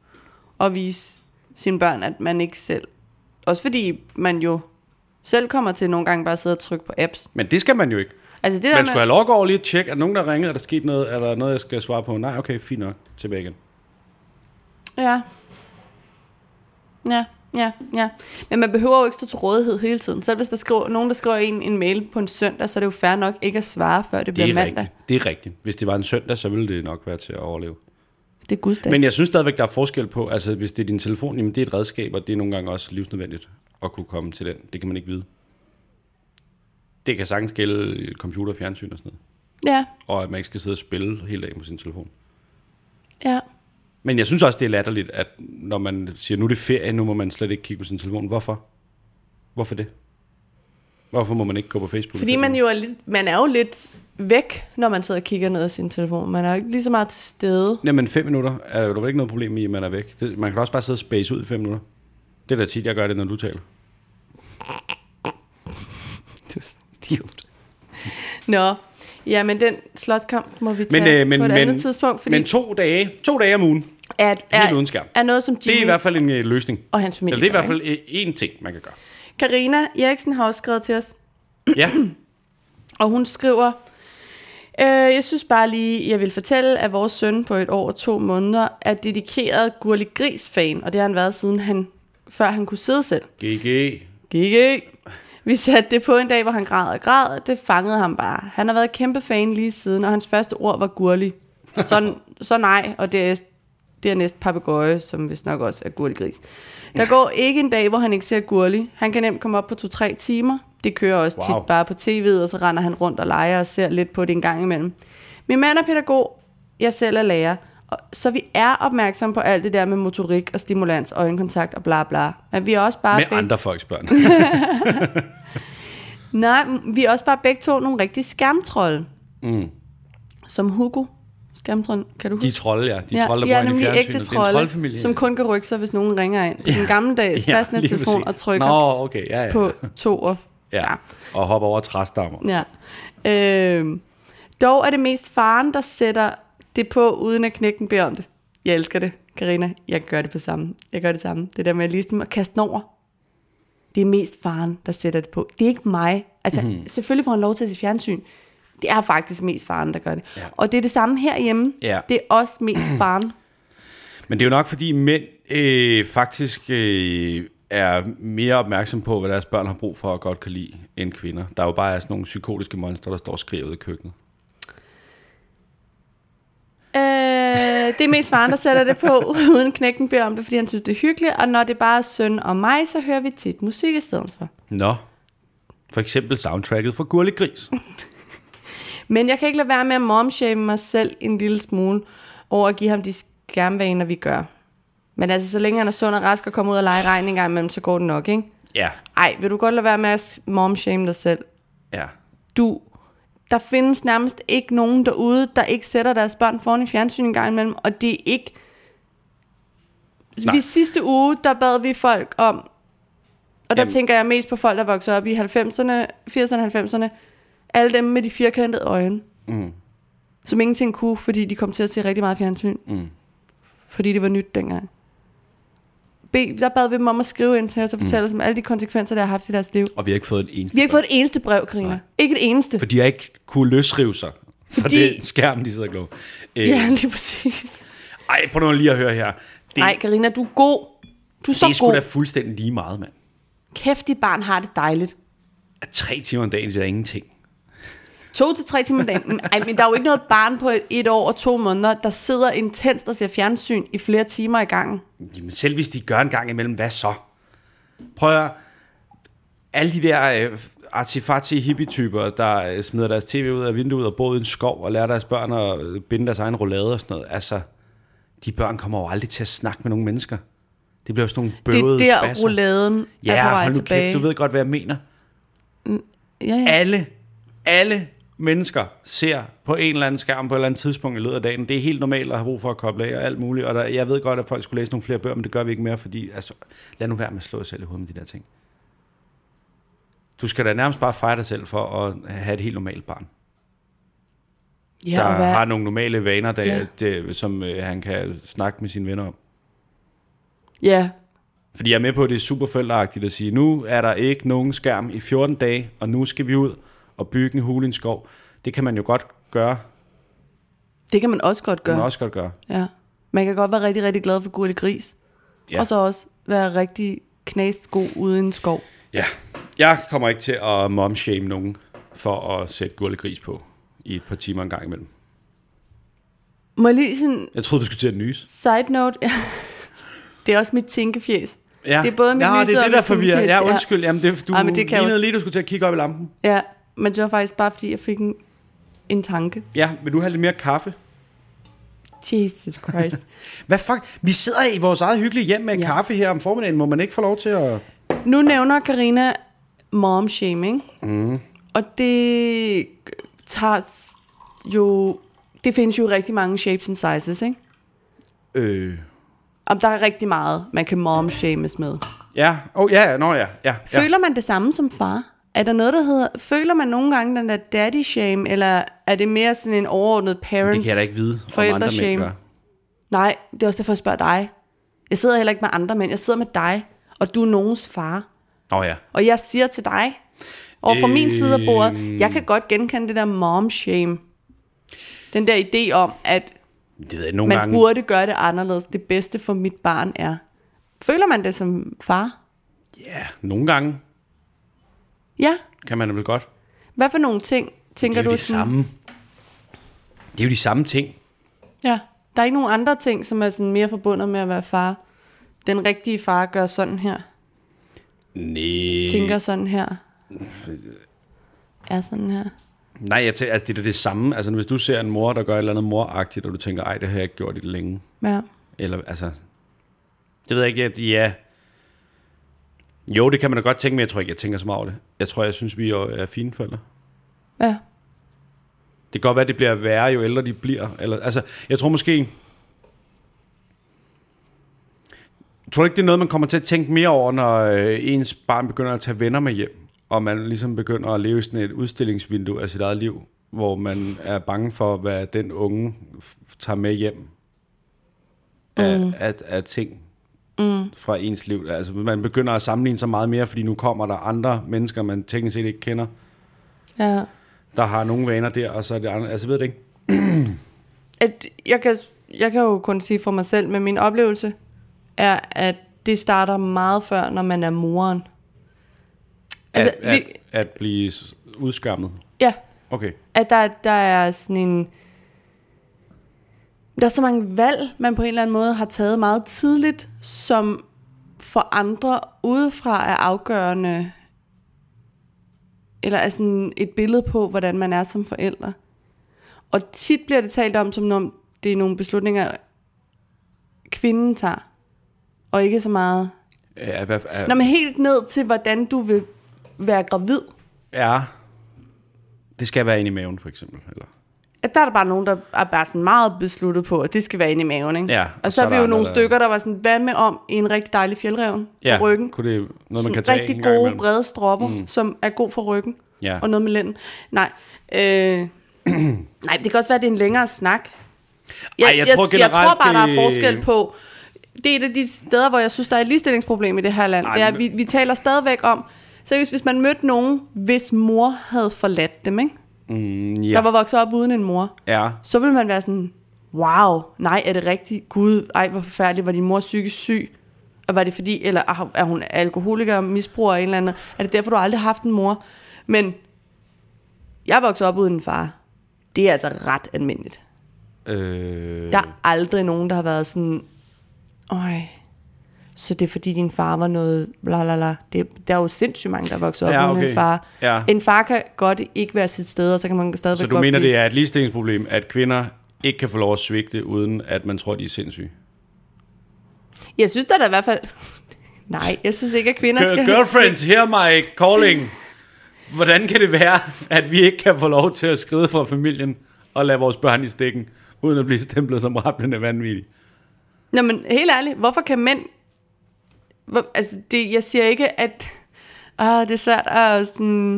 Speaker 1: at vise sine børn, at man ikke selv... Også fordi man jo selv kommer til nogle gange bare at sidde og trykke på apps.
Speaker 2: men det skal man jo ikke.
Speaker 1: Altså det der
Speaker 2: Man
Speaker 1: med,
Speaker 2: skulle have lov at gå over lige og tjekke, er der nogen, der har ringet, er der sket noget, er der noget, jeg skal svare på? Nej, okay, fint nok. Tilbage igen.
Speaker 1: Ja. Ja, ja, ja. Men man behøver jo ikke stå til rådighed hele tiden. Selv hvis der skriver, nogen, der skriver en, en mail på en søndag, så er det jo fair nok ikke at svare, før det, det bliver
Speaker 2: Det er
Speaker 1: mandag.
Speaker 2: rigtigt. Det er rigtigt. Hvis det var en søndag, så ville det nok være til at overleve.
Speaker 1: Det er gudsdag. Men...
Speaker 2: Men jeg synes stadigvæk, der er forskel på, altså hvis det er din telefon, jamen det er et redskab, og det er nogle gange også livsnødvendigt at kunne komme til den. Det kan man ikke vide. Det kan sagtens gælde computer, fjernsyn og sådan noget.
Speaker 1: Ja,
Speaker 2: Og at man ikke skal sidde og spille hele dagen på sin telefon.
Speaker 1: ja.
Speaker 2: Men jeg synes også, det er latterligt, at når man siger, nu er det ferie, nu må man slet ikke kigge på sin telefon. Hvorfor? Hvorfor det? Hvorfor må man ikke gå på Facebook?
Speaker 1: Fordi man jo er, lidt, man er jo lidt væk, når man sidder og kigger ned af sin telefon. Man er jo ikke lige så meget til stede.
Speaker 2: Jamen fem minutter er der vel ikke noget problem i, at man er væk. Det, man kan også bare sidde og space ud i fem minutter. Det er da tit, jeg gør det, når du taler.
Speaker 1: Du er så idiot. Nå, ja, men den slotkamp må vi tage
Speaker 2: Men,
Speaker 1: men,
Speaker 2: øh, men,
Speaker 1: på et
Speaker 2: men,
Speaker 1: andet tidspunkt, fordi
Speaker 2: men to dage, to dage om ugen,
Speaker 1: at,
Speaker 2: helt
Speaker 1: er,
Speaker 2: uden skærm.
Speaker 1: er noget, som Jimmy
Speaker 2: Det er i hvert fald en øh, løsning.
Speaker 1: og hans familie
Speaker 2: Eller det er i
Speaker 1: gør,
Speaker 2: hvert fald øh, én ting, man kan gøre.
Speaker 1: Karina Eriksen har også skrevet til os,
Speaker 2: Ja,
Speaker 1: og hun skriver, øh, jeg synes bare lige, jeg vil fortælle, at vores søn på et år og to måneder er dedikeret Gurli Gris-fan, og det har han været siden han, før han kunne sidde selv.
Speaker 2: GG.
Speaker 1: Gigi. Vi satte det på en dag, hvor han græd og græd, og det fangede ham bare. Han har været kæmpe fan lige siden, og hans første ord var gurlig. Så, så nej, og det er, det er næst papegøje, som vist nok også er gurlig gris. Der går ikke en dag, hvor han ikke ser gurlig. Han kan nemt komme op på 2-3 timer. Det kører også wow.
Speaker 2: Wow.
Speaker 1: tit bare på tv, og så render han rundt og leger og ser lidt på det en gang imellem. Min mand er pædagog, jeg selv er lærer, og- så vi er opmærksomme på alt det der med motorik og stimulans, øjenkontakt og bla bla. Men vi er også bare
Speaker 2: Med
Speaker 1: beg-
Speaker 2: andre folks børn.
Speaker 1: Nej, men vi er også bare begge to nogle rigtige skærmtrolde. Mm. Som Hugo. Skærmtrolden, kan du huske?
Speaker 2: De er trolde, ja. De er
Speaker 1: Ja,
Speaker 2: trolde,
Speaker 1: de
Speaker 2: der
Speaker 1: er
Speaker 2: bor inde i
Speaker 1: nemlig ægte
Speaker 2: fjernsynet. Det er en
Speaker 1: trolde,
Speaker 2: troldfamilie.
Speaker 1: som kun kan rykke sig, hvis nogen ringer ind på ja. den gamle dags ja, fastnetttelefon
Speaker 2: lige
Speaker 1: og
Speaker 2: præcis.
Speaker 1: trykker Nå.
Speaker 2: Nå, okay, ja, ja.
Speaker 1: på to og...
Speaker 2: ja. Og hopper over træstammer.
Speaker 1: ja. Øhm, dog er det mest faren, der sætter det på, uden at knækken beder om det. Jeg elsker det, Karina. Jeg gør det på samme. Jeg gør det samme. Det der med at ligesom at kaste den over. Det er mest faren, der sætter det på. Det er ikke mig. Altså, mm. selvfølgelig får han lov til at se fjernsyn. Det er faktisk mest faren, der gør det. Ja. Og det er det samme herhjemme.
Speaker 2: Ja.
Speaker 1: Det er også mest faren.
Speaker 2: Men det er jo nok, fordi mænd øh, faktisk øh, er mere opmærksom på, hvad deres børn har brug for og godt kan lide, end kvinder. Der er jo bare sådan nogle psykotiske monstre, der står og skriger ud i køkkenet.
Speaker 1: Øh, det er mest faren, der sætter det på, uden knækken beder om det, fordi han synes, det er hyggeligt. Og når det bare er søn og mig, så hører vi tit musik i stedet for.
Speaker 2: Nå. For eksempel soundtracket fra Gurlig Gris.
Speaker 1: Men jeg kan ikke lade være med at momshame mig selv en lille smule over at give ham de skærmvaner, vi gør. Men altså, så længe han er sund og rask og kommer ud og lege i regn en gang imellem, så går det nok, ikke?
Speaker 2: Ja,
Speaker 1: Ej, vil du godt lade være med at momshame dig selv?
Speaker 2: ja.
Speaker 1: Du, der findes nærmest ikke nogen derude, der ikke sætter deres børn foran i fjernsyn en gang imellem, og det er ikke...
Speaker 2: Nej.
Speaker 1: Nej. Vi sidste uge, der bad vi folk om, og der
Speaker 2: Jamen.
Speaker 1: Jamen. tænker jeg mest på folk, der voksede op i 90'erne, 80'erne, 90'erne, alle dem med de firkantede øjne, mm. som ingenting kunne, fordi de kom til at se rigtig meget fjernsyn. Mm. Fordi det var nyt dengang. Be- der bad vi dem om at skrive ind til os og fortælle mm. os om alle de konsekvenser, det har haft i deres liv.
Speaker 2: Og vi har ikke fået en eneste.
Speaker 1: Vi har ikke fået et eneste brev, Karina. Ikke et eneste.
Speaker 2: For de har ikke kunne løsrive sig
Speaker 1: Fordi-
Speaker 2: fra Fordi... den skærm, de sidder og glår. Øh,
Speaker 1: Ja, lige præcis.
Speaker 2: Ej, prøv nu lige at høre her. Det,
Speaker 1: Nej, Karina, du er god. Du er
Speaker 2: det er
Speaker 1: så
Speaker 2: sgu
Speaker 1: god.
Speaker 2: da
Speaker 1: Da...
Speaker 2: fuldstændig lige meget, mand.
Speaker 1: Kæft, dit barn har det dejligt.
Speaker 2: At tre timer om dagen, det er da ingenting.
Speaker 1: To til tre timer om dagen. Men- Ej, men der er jo ikke noget barn på et, et år og to måneder, der sidder intenst og ser fjernsyn i flere timer i gangen.
Speaker 2: Jamen selv hvis de gør en gang imellem, hvad så? Prøv at høre. alle de der øh, artifati hippie-typer, der øh, smider deres tv ud af vinduet og bor i en skov og lærer deres børn at øh, binde deres egen roulade og sådan noget. Altså, de børn kommer jo aldrig til at snakke med nogen mennesker. Det bliver jo sådan nogle
Speaker 1: Det er
Speaker 2: bøvede
Speaker 1: der,
Speaker 2: spasser.
Speaker 1: rouladen er på
Speaker 2: Ja,
Speaker 1: vej
Speaker 2: hold nu
Speaker 1: tilbage.
Speaker 2: kæft, du ved godt, hvad jeg mener.
Speaker 1: Ja, ja.
Speaker 2: Alle, alle mennesker ser på en eller anden skærm på et eller andet tidspunkt i løbet af dagen. Det er helt normalt at have brug for at koble af og alt muligt. Og der, jeg ved godt, at folk skulle læse nogle flere bøger, men det gør vi ikke mere, fordi altså, lad nu være med at slå jer selv i hovedet med de der ting. Du skal da nærmest bare fejre dig selv for at have et helt normalt barn,
Speaker 1: ja
Speaker 2: der
Speaker 1: og hvad,
Speaker 2: har nogle normale vaner, der,
Speaker 1: Ja.
Speaker 2: ja. det, som øh, han kan snakke med sine venner om.
Speaker 1: ja.
Speaker 2: Fordi jeg er med på, at det er super forældreagtigt at sige, nu er der ikke nogen skærm i 14 dage, og nu skal vi ud og bygge en hule i en skov. Det kan man jo godt gøre.
Speaker 1: Det kan man også godt
Speaker 2: Det kan
Speaker 1: gøre.
Speaker 2: man
Speaker 1: Også.
Speaker 2: også godt gøre.
Speaker 1: Ja. Man kan godt være rigtig, rigtig glad for gurlig gris. Ja.
Speaker 2: Ja.
Speaker 1: Og så også være rigtig knæst god uden skov.
Speaker 2: Ja. Jeg kommer ikke til at momshame nogen for at sætte gurle gris på i et par timer en gang imellem.
Speaker 1: Må jeg lige sådan
Speaker 2: Jeg troede, du skulle til at nys.
Speaker 1: side note? det er også mit tænkefjes.
Speaker 2: Ja.
Speaker 1: Det er både mit
Speaker 2: Nå,
Speaker 1: nyser
Speaker 2: det er
Speaker 1: og
Speaker 2: det, der
Speaker 1: mit
Speaker 2: forvirrer.
Speaker 1: tænkefjes,
Speaker 2: Ja,
Speaker 1: ja.
Speaker 2: undskyld. Jamen, det, du
Speaker 1: Ej,
Speaker 2: Ej,
Speaker 1: men det
Speaker 2: det
Speaker 1: kan jeg
Speaker 2: lignede
Speaker 1: også-
Speaker 2: lige, du skulle til at kigge op i lampen.
Speaker 1: Ja, men det var faktisk bare, fordi jeg fik en, en tanke.
Speaker 2: Ja, vil du have lidt mere kaffe?
Speaker 1: Jesus Christ.
Speaker 2: Hvad fuck? Vi sidder i vores eget hyggelige hjem med ja. kaffe her om formiddagen. Må man ikke få lov til at...
Speaker 1: nu nævner Karina mom shaming. Mm. Og det tager s- jo... Det findes jo rigtig mange shapes and sizes, ikke?
Speaker 2: Øh...
Speaker 1: Og der er rigtig meget, man kan mom shames med.
Speaker 2: Ja, oh, ja, ja, nå ja. ja, ja.
Speaker 1: Føler man det samme som far? Er der noget, der hedder... Føler man nogle gange den der daddy shame, eller er det mere sådan en overordnet parent?
Speaker 2: Det kan jeg da ikke vide, om andre mænd
Speaker 1: Forældreshame.
Speaker 2: gør.
Speaker 1: Nej, det er også derfor, jeg spørger dig. Jeg sidder heller ikke med andre mænd. Jeg sidder med dig, og du er nogens far.
Speaker 2: Nå ja.
Speaker 1: Og jeg siger til dig, og fra øh... min
Speaker 2: Øh.
Speaker 1: side af bordet, jeg kan godt genkende det der mom shame. Den der idé om, at
Speaker 2: Det ved jeg nogle
Speaker 1: man
Speaker 2: gange.
Speaker 1: burde gøre det anderledes. Det bedste for mit barn er. Føler man det som far?
Speaker 2: Ja, nogle gange
Speaker 1: Ja.
Speaker 2: kan man vel godt.
Speaker 1: Hvad for nogle ting
Speaker 2: Det er
Speaker 1: tænker
Speaker 2: jo
Speaker 1: du?
Speaker 2: de samme. Det er jo de samme ting.
Speaker 1: Ja. Der er ikke nogen andre ting, som er sådan mere forbundet med at være far. Den rigtige far gør sådan her,
Speaker 2: Nej.
Speaker 1: tænker sådan her. er sådan her.
Speaker 2: Nej, jeg tænker, altså, det er da det samme. Altså, hvis du ser en mor, der gør et eller andet moragtigt, og du tænker, ej, det har jeg ikke gjort i det længe.
Speaker 1: Ja.
Speaker 2: Eller, altså... Det ved jeg ikke, at ja... Jo, det kan man da godt tænke, men jeg tror ikke, jeg tænker så meget over det. Jeg tror, jeg synes, vi er- er fine forældre.
Speaker 1: Ja.
Speaker 2: Det kan godt være, at det bliver værre, jo ældre de bliver. Eller, altså, jeg tror måske... Tror du ikke, det er noget, man kommer til at tænke mere over, når øh, ens barn begynder at tage venner med hjem, og man ligesom begynder at leve i sådan et udstillingsvindue af sit eget liv, hvor man er bange for, hvad den unge f- tager med hjem af, mm. af, af ting mm. fra ens liv. Altså, man begynder at sammenligne sig meget mere, fordi nu kommer der andre mennesker, man teknisk set ikke kender,
Speaker 1: Ja.
Speaker 2: der har nogle vaner der, og så er det andre. Altså, jeg ved det ikke.
Speaker 1: At jeg, kan, jeg kan jo kun sige for mig selv, men min oplevelse er, at det starter meget før, når man er moren.
Speaker 2: At,
Speaker 1: Altså,
Speaker 2: altså,
Speaker 1: vi-
Speaker 2: at, at blive s- udskammet.
Speaker 1: Ja,
Speaker 2: Okay.
Speaker 1: at der, der er sådan en... Der er så mange valg, man på en eller anden måde har taget meget tidligt, som for andre udefra er afgørende, eller er sådan et billede på, hvordan man er som forældre. Og tit bliver det talt om, som om det er nogle beslutninger, kvinden tager, og ikke så meget.
Speaker 2: Er, er, er,
Speaker 1: Nå, men helt ned til, hvordan du vil være gravid.
Speaker 2: er, det skal være inde i maven, for eksempel. Eller?
Speaker 1: at der er der bare nogen, der er bare sådan meget besluttet på, at det skal være inde i maven, ikke?
Speaker 2: Ja,
Speaker 1: og, og så er vi
Speaker 2: der
Speaker 1: jo nogle
Speaker 2: andre, der-
Speaker 1: stykker, der var sådan, hvad med om i en rigtig dejlig fjeldreven ja, på ryggen?
Speaker 2: Kunne det noget, man
Speaker 1: Sådan
Speaker 2: kan tage
Speaker 1: rigtig
Speaker 2: en gang
Speaker 1: gode,
Speaker 2: imellem?
Speaker 1: brede stropper, mm. som er god for ryggen.
Speaker 2: Ja.
Speaker 1: Og noget med lænden. Nej. Øh, nej, det kan også være, at det er en længere snak. Jeg,
Speaker 2: Ej, jeg tror
Speaker 1: jeg tror
Speaker 2: generelt,
Speaker 1: bare, der er
Speaker 2: det-
Speaker 1: forskel på... Det er et af de steder, hvor jeg synes, der er et ligestillingsproblem i det her land.
Speaker 2: Ej,
Speaker 1: Ej, det er, at
Speaker 2: men-
Speaker 1: vi, vi taler stadigvæk om... Seriøst, hvis man mødte nogen, hvis mor havde forladt dem, ikke?
Speaker 2: Mm,
Speaker 1: Ja.
Speaker 2: ja.
Speaker 1: der var vokset op uden en mor,
Speaker 2: ja.
Speaker 1: så vil man være sådan, wow, nej, er det rigtigt? Gud, ej, hvor forfærdeligt, var din mor psykisk syg? Og var det fordi, eller ah, er hun alkoholiker, misbruger en eller anden? Er det derfor, du aldrig har haft en mor? Men jeg voksede op uden en far. Det er altså ret almindeligt.
Speaker 2: Øh,
Speaker 1: Der er aldrig nogen, der har været sådan, øj, så det er fordi din far var noget bla bla bla. Det, der er jo sindssygt mange, der vokser op
Speaker 2: Ja,
Speaker 1: ja, okay. uden
Speaker 2: okay.
Speaker 1: en far.
Speaker 2: Ja.
Speaker 1: En far kan godt ikke være sit sted, og så kan man stadigvæk
Speaker 2: Så du
Speaker 1: godt
Speaker 2: mener,
Speaker 1: blive
Speaker 2: det er et ligestillingsproblem, at kvinder ikke kan få lov at svigte, uden at man tror, de er sindssyge?
Speaker 1: Jeg synes da da i hvert fald... Nej, jeg synes ikke, at kvinder skal...
Speaker 2: Girl- Girlfriends, hear my calling. Hvordan kan det være, at vi ikke kan få lov til at skride fra familien og lade vores børn i stikken, uden at blive stemplet som rappelende vanvittige?
Speaker 1: Nå, men helt ærligt, hvorfor kan mænd... Hvor, altså, det, jeg siger ikke, at... Ah, det er svært at sådan...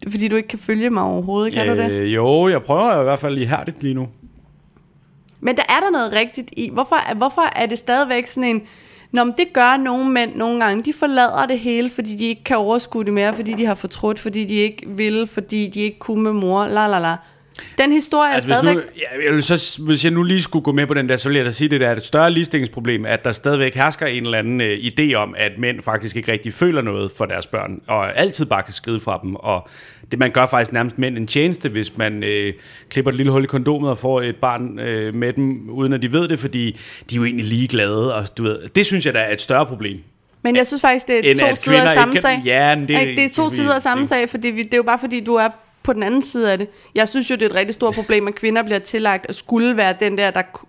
Speaker 1: Det er Fordi du ikke kan følge mig overhovedet, kan øh. du det?
Speaker 2: Øh, jo, jeg prøver i hvert fald ihærdigt lige nu.
Speaker 1: Men der er der noget rigtigt i. Hvorfor, er- hvorfor er det stadigvæk sådan en... Nå, men det gør nogle mænd nogle gange. De forlader det hele, fordi de ikke kan overskue det mere, fordi de har fortrudt, fordi de ikke ville, fordi de ikke kunne med mor, la la la. Den historie
Speaker 2: Altså,
Speaker 1: er
Speaker 2: hvis,
Speaker 1: stadigvæk...
Speaker 2: nu, ja, jeg vil så, hvis jeg nu lige skulle gå med på den der, så ville jeg da sige, at det der er et større ligestillingsproblem, at der stadigvæk hersker en eller anden øh, idé om, at mænd faktisk ikke rigtig føler noget for deres børn, og altid bare kan skride fra dem. Og det man gør faktisk nærmest mænd en tjeneste, hvis man øh, klipper et lille hul i kondomet og får et barn øh, med dem, uden at de ved det, fordi de er jo egentlig ligeglade. Og du ved, det synes jeg da er et større problem.
Speaker 1: Men jeg synes faktisk, det er
Speaker 2: End
Speaker 1: to
Speaker 2: at
Speaker 1: sider
Speaker 2: kvinder
Speaker 1: af
Speaker 2: ikke
Speaker 1: samme
Speaker 2: kan-
Speaker 1: sag.
Speaker 2: Ja, men det-
Speaker 1: Ikke? det er to
Speaker 2: det-
Speaker 1: sider af samme
Speaker 2: det-
Speaker 1: sag, fordi vi, det er jo bare fordi, du er på den anden side af det. Jeg synes jo, det er et rigtig stort problem, at kvinder bliver tillagt at skulle være den der, der k-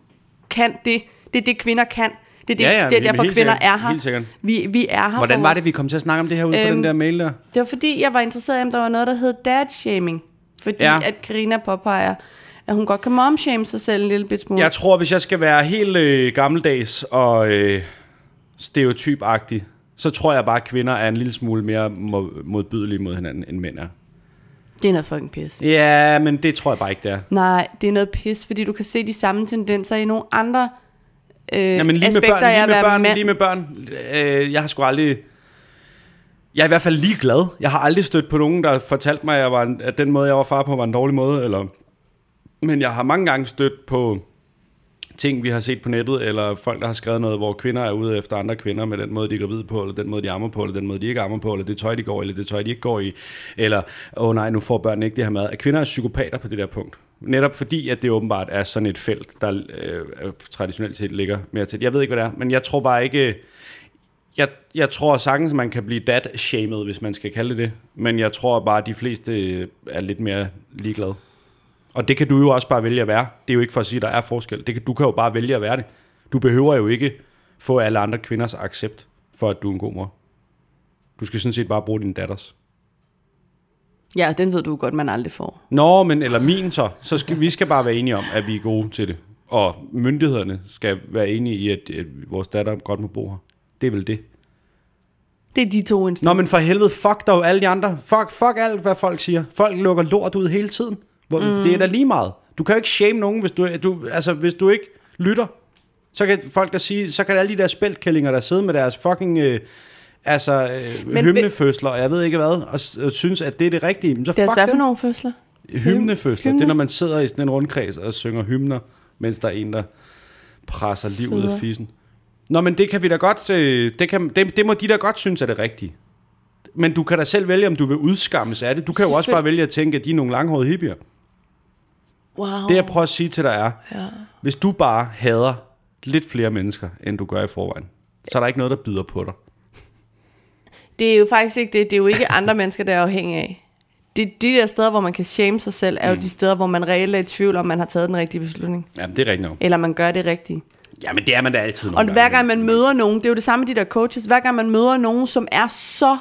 Speaker 1: kan det. Det er det, kvinder kan. Det er, det,
Speaker 2: Ja, ja,
Speaker 1: det er
Speaker 2: men
Speaker 1: derfor,
Speaker 2: helt
Speaker 1: kvinder
Speaker 2: sikkert.
Speaker 1: er her.
Speaker 2: Helt sikkert.
Speaker 1: Vi, vi er her
Speaker 2: Hvordan
Speaker 1: for
Speaker 2: var
Speaker 1: vores-
Speaker 2: det, vi kom til at snakke om det her ud øhm, fra
Speaker 1: Øhm,
Speaker 2: den der mail der?
Speaker 1: det var fordi, jeg var interesseret i, om der var noget, der hed dad-shaming. Fordi
Speaker 2: Ja.
Speaker 1: ja. at Karina påpeger, at hun godt kan momshame sig selv en lille bit smule.
Speaker 2: Jeg tror, hvis jeg skal være helt øh, gammeldags og øh, stereotypagtig, så tror jeg bare, at kvinder er en lille smule mere mo- modbydelige mod hinanden, end mænd er.
Speaker 1: Det er noget fucking pis.
Speaker 2: Ja, men det tror jeg bare ikke, det er.
Speaker 1: Nej, det er noget pis, fordi du kan se de samme tendenser i nogle andre øh,
Speaker 2: Ja, men lige med
Speaker 1: aspekter
Speaker 2: børn,
Speaker 1: af
Speaker 2: lige
Speaker 1: at
Speaker 2: med
Speaker 1: være
Speaker 2: børn,
Speaker 1: mand.
Speaker 2: lige med børn. Øh, jeg har sgu aldrig... Jeg er i hvert fald lige glad. Jeg har aldrig stødt på nogen, der fortalte mig, at, jeg var en, at den måde, jeg var far på, var en dårlig måde. Eller... Men jeg har mange gange stødt på ting, vi har set på nettet, eller folk, der har skrevet noget, hvor kvinder er ude efter andre kvinder med den måde, de er gravide på, eller den måde, de ammer på, eller den måde, de ikke ammer på, eller det tøj, de går i, eller det tøj, de ikke går i, eller, åh oh, nej, nu får børnene ikke det her mad. At kvinder er psykopater på det der punkt. Netop fordi, at det åbenbart er sådan et felt, der øh, traditionelt set ligger mere til. Jeg ved ikke, hvad det er, men jeg tror bare ikke... jeg, jeg tror sagtens, man kan blive dat-shamed, hvis man skal kalde det det. Men jeg tror bare, at de fleste øh, er lidt mere ligeglade. Og det kan du jo også bare vælge at være. Det er jo ikke for at sige, at der er forskel. Det kan, du kan jo bare vælge at være det. Du behøver jo ikke få alle andre kvinders accept for, at du er en god mor. Du skal sådan set bare bruge din datters.
Speaker 1: Ja, den ved du godt, man aldrig får.
Speaker 2: Nå, men eller min så. Så skal, vi skal bare være enige om, at vi er gode til det. Og myndighederne skal være enige i, at, at vores datter godt må bo her. Det er vel det.
Speaker 1: Det er de to instanser.
Speaker 2: Nå, men for helvede, fuck dog alle de andre. Fuck, fuck alt, hvad folk siger. Folk lukker lort ud hele tiden. Hvor, mm. Det er da lige meget. Du kan jo ikke shame nogen, hvis du, du, altså, hvis du ikke lytter. Så kan folk der sige, så kan alle de der spæltkællinger, der sidder med deres fucking... Øh, altså, øh,
Speaker 1: Men-
Speaker 2: hymnefødsler, og jeg ved ikke hvad, og, s- og synes, at det er det rigtige, men så
Speaker 1: Det er altså
Speaker 2: fuck
Speaker 1: svært for
Speaker 2: dem.
Speaker 1: nogle fødsler.
Speaker 2: Hymnefødsler, det
Speaker 1: Hymne.
Speaker 2: er, når man sidder i sådan en rundkreds og synger hymner, mens der er en, der presser liv ud af
Speaker 1: Føder.
Speaker 2: fissen. Nå, men det kan vi da godt, øh, det, kan, det, det må de da godt synes er det rigtige. Men du kan da selv vælge, om du vil udskammes af det. Du kan jo også
Speaker 1: Selvfølgelig.
Speaker 2: bare vælge at tænke, at de er nogle langhårede hippier.
Speaker 1: Wow.
Speaker 2: Det jeg prøver at sige til dig er, ja. hvis du bare hader lidt flere mennesker, end du gør i forvejen, så er der ikke noget, der bider på dig.
Speaker 1: Det er jo faktisk ikke det. Det er jo ikke andre mennesker, der er afhængige af. Det, de der steder, hvor man kan shame sig selv,
Speaker 2: Mm.
Speaker 1: er jo de steder, hvor man reelt er i tvivl, om man har taget den rigtige beslutning.
Speaker 2: Jamen, det er rigtigt nok.
Speaker 1: Eller man gør det rigtige.
Speaker 2: Jamen, det er man da altid nogle
Speaker 1: Og hver gang man møder nogen, det er jo det samme med de der coaches, hver gang man møder nogen, som er så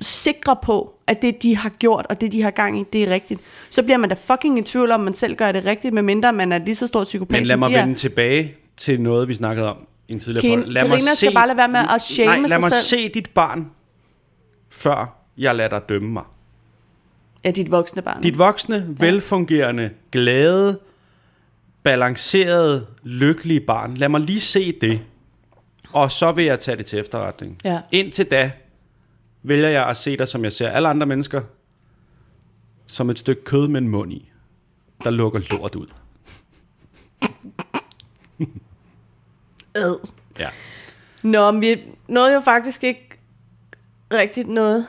Speaker 1: sikre på, at det, de har gjort, og det, de har gang i, det er rigtigt, så bliver man da fucking i tvivl om, man selv gør det rigtigt, medmindre man er lige så stor psykopat,
Speaker 2: Men lad
Speaker 1: som
Speaker 2: mig
Speaker 1: de er.
Speaker 2: vende tilbage til noget, vi snakkede om i en tidligere
Speaker 1: Kane-
Speaker 2: podcast. Lad
Speaker 1: Karina skal bare lade være med at shame
Speaker 2: Nej, lad
Speaker 1: sig
Speaker 2: mig
Speaker 1: selv.
Speaker 2: se dit barn, før jeg lader dig dømme mig.
Speaker 1: Ja, dit voksne barn.
Speaker 2: Dit voksne, velfungerende, glade, balancerede, lykkelige barn. Lad mig lige se det, og så vil jeg tage det til efterretning.
Speaker 1: Ja.
Speaker 2: Indtil da vælger jeg at se dig, som jeg ser alle andre mennesker, som et stykke kød med en mund i, der lukker lort ud.
Speaker 1: Ad.
Speaker 2: Ja.
Speaker 1: Nå, men vi nåede jo faktisk ikke rigtigt noget.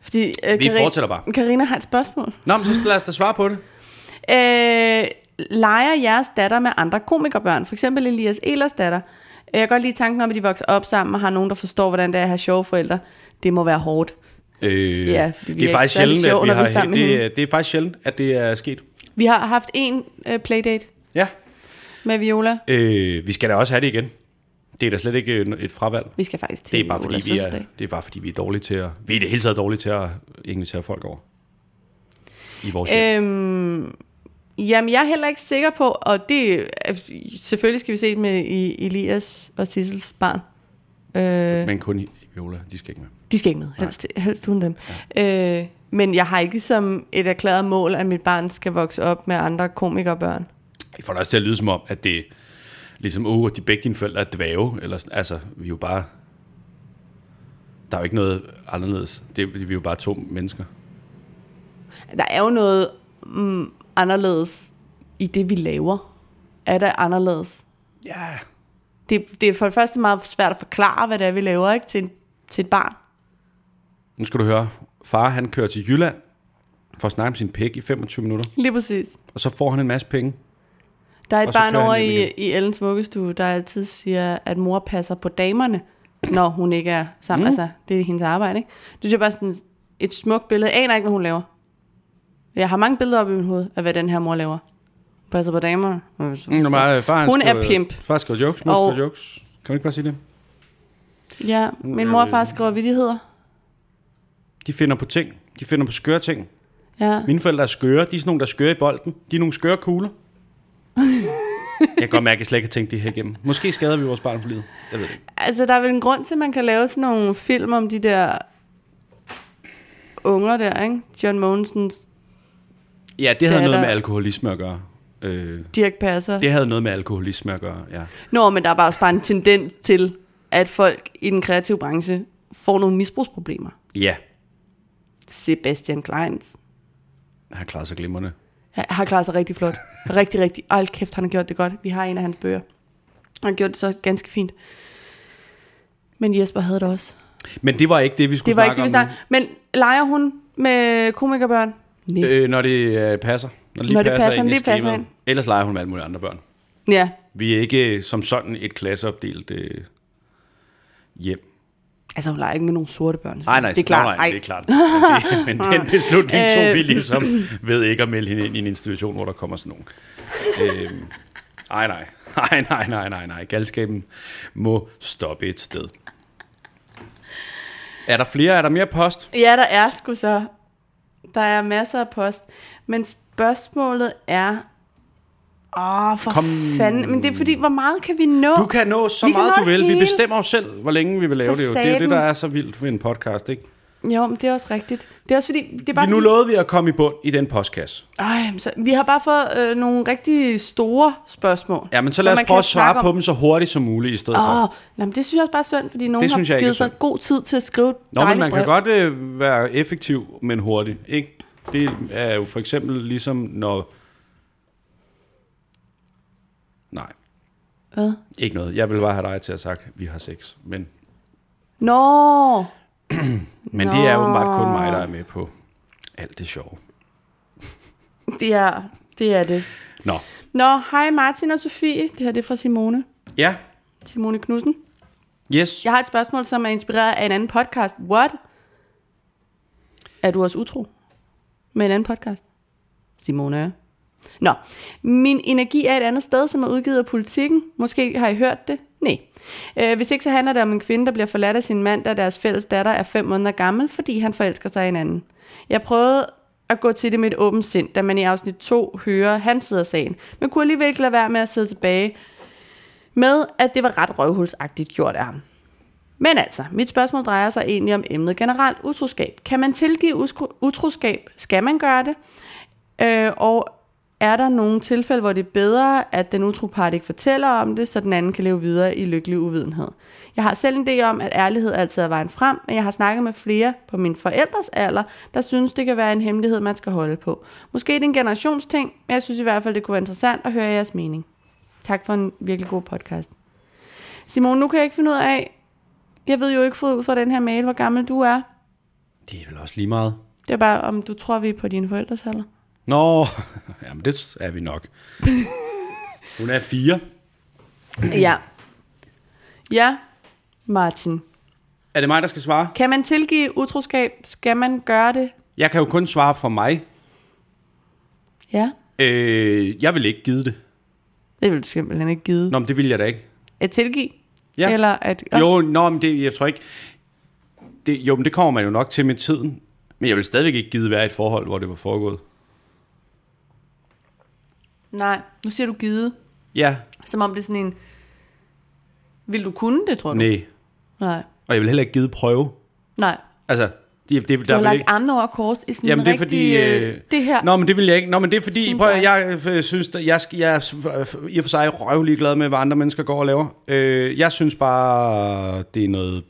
Speaker 1: Fordi, øh,
Speaker 2: Vi fortsætter bare.
Speaker 1: Karina har et spørgsmål.
Speaker 2: Nå, men så lad os da svare på det.
Speaker 1: Øh, leger jeres datter med andre komikerbørn? For eksempel Elias Elers datter. Jeg kan godt lide tanken om, at de vokser op sammen og har nogen, der forstår, hvordan det er at have sjove forældre. Det må være hårdt. Ja,
Speaker 2: Øh,
Speaker 1: vi
Speaker 2: det
Speaker 1: er
Speaker 2: er faktisk
Speaker 1: ikke særlig
Speaker 2: sjældent,
Speaker 1: sjov,
Speaker 2: at vi
Speaker 1: når vi er
Speaker 2: har,
Speaker 1: sammen med
Speaker 2: det,
Speaker 1: hende.
Speaker 2: er- det er faktisk sjældent, at det er sket.
Speaker 1: Vi har haft en øh, playdate
Speaker 2: Ja.
Speaker 1: med Viola.
Speaker 2: Øh, vi skal da også have det igen. Det er da slet ikke øh, et fravalg.
Speaker 1: Vi skal faktisk til
Speaker 2: Det er bare fordi,
Speaker 1: Violas
Speaker 2: vi er,
Speaker 1: fødselsdag.
Speaker 2: det er bare fordi, vi er dårlige til at... Vi er i det hele taget dårlige til at invitere folk over. I vores øh,
Speaker 1: Øhm, jamen, jeg er heller ikke sikker på, og det er- selvfølgelig skal vi se det med i- Elias og Sissels barn. Øh,
Speaker 2: Men kun i Viola, de skal ikke med.
Speaker 1: de skal ikke med, helst, helst uden dem. Ja. Øh, men jeg har ikke som et erklæret mål, at mit barn skal vokse op med andre komikerbørn.
Speaker 2: Jeg får det også til at lyde som om, at det er ligesom, uh, de begge dine forældre er dvæve. Eller, sådan. altså, vi er jo bare... Der er jo ikke noget anderledes. Det, er- vi er jo bare to mennesker.
Speaker 1: Der er jo noget mm, anderledes i det, vi laver. Er der anderledes?
Speaker 2: Ja.
Speaker 1: Det, det er for det første meget svært at forklare, hvad det er, vi laver ikke til, en, til et barn.
Speaker 2: Nu skal du høre. Far, han kører til Jylland for at snakke om sin pæk i 25 minutter.
Speaker 1: Lige præcis.
Speaker 2: Og så får han en masse penge.
Speaker 1: Der er et
Speaker 2: Og så
Speaker 1: barn
Speaker 2: kører han
Speaker 1: over
Speaker 2: hjem
Speaker 1: i,
Speaker 2: igen.
Speaker 1: i Ellens vuggestue, der altid siger, at mor passer på damerne, når hun ikke er sammen. Mm. Altså, det er hendes arbejde, ikke? Det synes jeg bare er sådan et smukt billede. Jeg aner ikke, hvad hun laver. Jeg har mange billeder op i mit hoved af, hvad den her mor laver. Passer på damerne.
Speaker 2: Nå, men, øh, far, han
Speaker 1: Hun
Speaker 2: skriver-
Speaker 1: er pimp.
Speaker 2: Far skriver jokes, mor
Speaker 1: Og-
Speaker 2: skriver jokes. Kan man ikke bare sige det?
Speaker 1: Ja,
Speaker 2: Mm,
Speaker 1: min mor og far skriver vidigheder.
Speaker 2: De finder på ting. De finder på skøre ting.
Speaker 1: Ja.
Speaker 2: Mine forældre er skøre. De er sådan nogle, der er skøre i bolden. De er nogle skøre kugler. jeg kan godt mærke, at jeg slet ikke har tænkt det her igennem. Måske skader vi vores barn for livet. Jeg ved det ikke.
Speaker 1: Altså, der er vel en grund til, at man kan lave sådan nogle film om de der unger der, ikke? John Mogensen,
Speaker 2: Ja, det havde
Speaker 1: er
Speaker 2: det noget
Speaker 1: der-
Speaker 2: med alkoholisme at gøre. Øh,
Speaker 1: Dirk Passer.
Speaker 2: det havde noget med alkoholisme at gøre, ja.
Speaker 1: Nå, men der er bare også bare en tendens til, at folk i den kreative branche får nogle misbrugsproblemer.
Speaker 2: Ja,
Speaker 1: Sebastian Kleins
Speaker 2: han klarede sig glimrende.
Speaker 1: Han har klaret sig rigtig flot. Rigtig, rigtig. Ej, hold kæft, han har gjort det godt. Vi har en af hans bøger. Han har gjort det så ganske fint. Men Jesper havde det også.
Speaker 2: Men det var ikke det, vi skulle
Speaker 1: Det var ikke det,
Speaker 2: snakke
Speaker 1: vi
Speaker 2: om.
Speaker 1: snakkede. Men leger hun med komikerbørn? Nej. Øh.
Speaker 2: Øh, når det øh, passer. Når det lige
Speaker 1: Når det
Speaker 2: passer,
Speaker 1: passer,
Speaker 2: ind i
Speaker 1: lige passer
Speaker 2: skemaet.
Speaker 1: ind.
Speaker 2: Ellers leger hun med alle mulige andre børn.
Speaker 1: Ja.
Speaker 2: Vi er ikke øh, som sådan et klasseopdelt... Øh, hjem.
Speaker 1: Altså, hun leger ikke med nogle sorte børn.
Speaker 2: Nej, nej,
Speaker 1: det er klart.
Speaker 2: Nej, nej, det er
Speaker 1: Ej,
Speaker 2: klart. Men, det, men den beslutning tog vi
Speaker 1: Øh.
Speaker 2: ligesom ved ikke at melde hende ind i en institution, hvor der kommer sådan nogen. Øhm, ej, nej. Nej, nej, nej, nej, nej. Galskaben må stoppe et sted. Er der flere? Er der mere post?
Speaker 1: Ja, der er sgu så. Der er masser af post. Men spørgsmålet er... Åh, for Kom. fanden. Men det er fordi, hvor meget kan vi nå?
Speaker 2: Du kan nå så
Speaker 1: Vi kan
Speaker 2: meget,
Speaker 1: nå
Speaker 2: du
Speaker 1: det
Speaker 2: vil. Vi
Speaker 1: hele.
Speaker 2: bestemmer jo selv, hvor længe vi vil lave
Speaker 1: For
Speaker 2: det. Jo. Det er jo det,
Speaker 1: satan.
Speaker 2: der er så vildt ved en podcast, ikke?
Speaker 1: Jo, men det er også rigtigt. Det er også fordi... Det er bare
Speaker 2: Vi nu
Speaker 1: fordi-
Speaker 2: lovede vi at komme i bund i den postkasse.
Speaker 1: Ej, men så, vi har bare fået øh, nogle rigtig store spørgsmål.
Speaker 2: Ja, men så lad os
Speaker 1: man
Speaker 2: prøve
Speaker 1: kan
Speaker 2: at svare
Speaker 1: snakke
Speaker 2: på
Speaker 1: om.
Speaker 2: dem så hurtigt som muligt i stedet for.
Speaker 1: Åh, nej, men det synes jeg også bare er synd, fordi nogen
Speaker 2: Det synes jeg
Speaker 1: har
Speaker 2: ikke er
Speaker 1: givet sig
Speaker 2: synd.
Speaker 1: god tid til at skrive et
Speaker 2: Nå, men
Speaker 1: dejligt
Speaker 2: man kan
Speaker 1: brev.
Speaker 2: godt øh, være effektiv, men hurtig, ikke? Det er jo for eksempel ligesom, når... Nej,
Speaker 1: Hvad?
Speaker 2: ikke noget. Jeg vil bare have dig til at sagt, vi har sex. Men,
Speaker 1: Nå,
Speaker 2: men det er åbenbart kun mig, der er med på alt det sjove.
Speaker 1: det er det. Er det.
Speaker 2: Nå,
Speaker 1: Nå, hej Martin og Sofie. Det her det er fra Simone.
Speaker 2: ja,
Speaker 1: Simone Knudsen.
Speaker 2: yes.
Speaker 1: Jeg har et spørgsmål, som er inspireret af en anden podcast. What? Er du også utro med en anden podcast? Simone. Nå, min energi er et andet sted, som er udgivet af politikken. Måske har I hørt det? Nej. Øh, hvis ikke, så handler det om en kvinde, der bliver forladt af sin mand, da deres fælles datter er fem måneder gammel, fordi han forelsker sig i en anden. Jeg prøvede at gå til det med et åbent sind, da man i afsnit 2 hører hans side af sagen, men kunne alligevel ikke lade være med at sidde tilbage med, at det var ret røvhulsagtigt gjort af ham. Men altså, mit spørgsmål drejer sig egentlig om emnet generelt utroskab. Kan man tilgive uskro- utroskab? Skal man gøre det? Øh, og er der nogle tilfælde, hvor det er bedre, at den utro part ikke fortæller om det, så den anden kan leve videre i lykkelig uvidenhed? Jeg har selv en idé om, at ærlighed altid er vejen frem, men jeg har snakket med flere på min forældres alder, der synes, det kan være en hemmelighed, man skal holde på. Måske det er en generationsting, men jeg synes i hvert fald, det kunne være interessant at høre jeres mening. Tak for en virkelig god podcast. Simon, nu kan jeg ikke finde ud af, jeg ved jo ikke fra- ud fra den her mail, hvor gammel du er.
Speaker 2: Det er vel også lige meget.
Speaker 1: Det er bare, om du tror, vi er på dine forældres alder.
Speaker 2: Nå, jamen det er vi nok. Hun er fire.
Speaker 1: Ja. Ja, Martin.
Speaker 2: Er det mig, der skal svare?
Speaker 1: Kan man tilgive utroskab? Skal man gøre det?
Speaker 2: Jeg kan jo kun svare for mig.
Speaker 1: Ja.
Speaker 2: Øh, jeg vil ikke give det.
Speaker 1: Det vil du simpelthen ikke give.
Speaker 2: Nå, men det vil jeg da ikke.
Speaker 1: At tilgive?
Speaker 2: Ja.
Speaker 1: Eller at...
Speaker 2: Jo, nå, men det, jeg tror ikke... Det, jo, men det kommer man jo nok til med tiden. Men jeg vil stadigvæk ikke gide være i et forhold, hvor det var foregået.
Speaker 1: Nej, nu siger du givet.
Speaker 2: Ja,
Speaker 1: Som om det er sådan en... Vil du kunne det, tror du?
Speaker 2: nej.
Speaker 1: Nej.
Speaker 2: Og jeg vil heller ikke gide prøve.
Speaker 1: Nej.
Speaker 2: Altså, det, det,
Speaker 1: Du
Speaker 2: der
Speaker 1: har
Speaker 2: vil
Speaker 1: lagt
Speaker 2: ikke...
Speaker 1: armene over kors i sådan
Speaker 2: Jamen,
Speaker 1: en
Speaker 2: det er
Speaker 1: rigtig...
Speaker 2: fordi... Øh,
Speaker 1: det her.
Speaker 2: Nå, men det vil jeg ikke. Nå, men det er fordi,
Speaker 1: Synes
Speaker 2: prøv, at-
Speaker 1: jeg.
Speaker 2: jeg øh, synes, at jeg, skal- jeg er s- øh, f- i og for sig røvlig glad med, hvad andre mennesker går og laver. Øh, jeg synes bare, det er noget...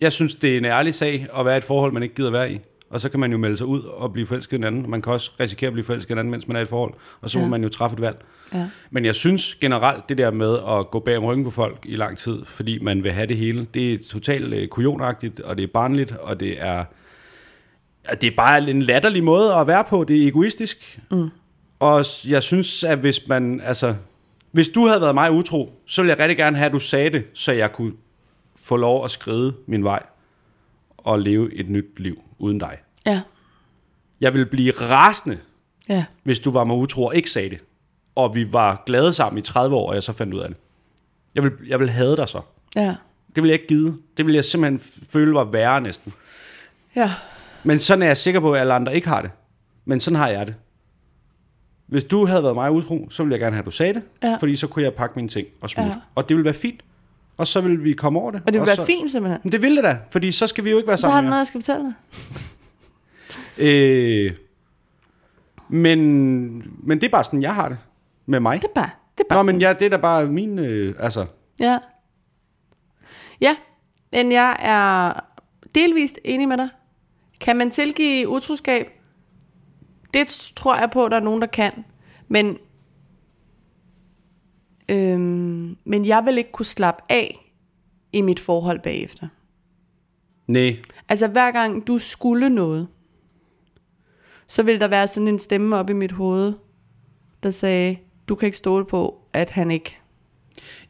Speaker 2: Jeg synes, det er en ærlig sag at være i et forhold, man ikke gider være i. Og så kan man jo melde sig ud og blive forelsket i en anden. Man kan også risikere at blive forelsket i en anden, mens man er i et forhold. Og så ja.
Speaker 1: Ja.
Speaker 2: må man jo træffe et valg.
Speaker 1: Ja.
Speaker 2: Men jeg synes generelt, det der med at gå bag om ryggen på folk i lang tid, fordi man vil have det hele, det er totalt øh, kujonagtigt, og det er barnligt, og det er, og det er bare en latterlig måde at være på. Det er egoistisk. Mm. Og s- jeg synes, at hvis man, altså, hvis du havde været mig utro, så ville jeg rigtig gerne have, at du sagde det, så jeg kunne få lov at skride min vej og leve et nyt liv uden dig.
Speaker 1: Ja.
Speaker 2: Jeg ville blive rasende,
Speaker 1: Ja.
Speaker 2: hvis du var mig utro og ikke sagde det, og vi var glade sammen i 30 år, og jeg så fandt ud af det. Jeg vil, jeg vil have dig så.
Speaker 1: Ja.
Speaker 2: Det vil jeg ikke gide. Det vil jeg simpelthen f- føle var værre næsten.
Speaker 1: Ja.
Speaker 2: Men sådan er jeg sikker på, at alle andre ikke har det. Men sådan har jeg det. Hvis du havde været mig utro, så ville jeg gerne have, at du sagde det,
Speaker 1: Ja.
Speaker 2: fordi så kunne jeg pakke mine ting og smutte.
Speaker 1: Ja.
Speaker 2: Og det ville være fint. Og så ville vi komme over det.
Speaker 1: Og det vil
Speaker 2: så...
Speaker 1: være fint, simpelthen.
Speaker 2: Men det ville det da, fordi så skal vi jo ikke være
Speaker 1: Så har
Speaker 2: sammen
Speaker 1: du
Speaker 2: mere.
Speaker 1: noget, jeg skal fortælle dig.
Speaker 2: Øh, men, men det er bare sådan, jeg har det med mig.
Speaker 1: Det er bare... Det er bare
Speaker 2: Nå,
Speaker 1: sådan.
Speaker 2: men ja, det er da bare min... Øh, altså,
Speaker 1: Ja. Ja, men jeg er delvist enig med dig. Kan man tilgive utroskab? Det tror jeg på, der er nogen, der kan. Men, øhm, men jeg vil ikke kunne slappe af i mit forhold bagefter.
Speaker 2: nej.
Speaker 1: Altså hver gang du skulle noget, så ville der være sådan en stemme op i mit hoved, der sagde, du kan ikke stole på, at han ikke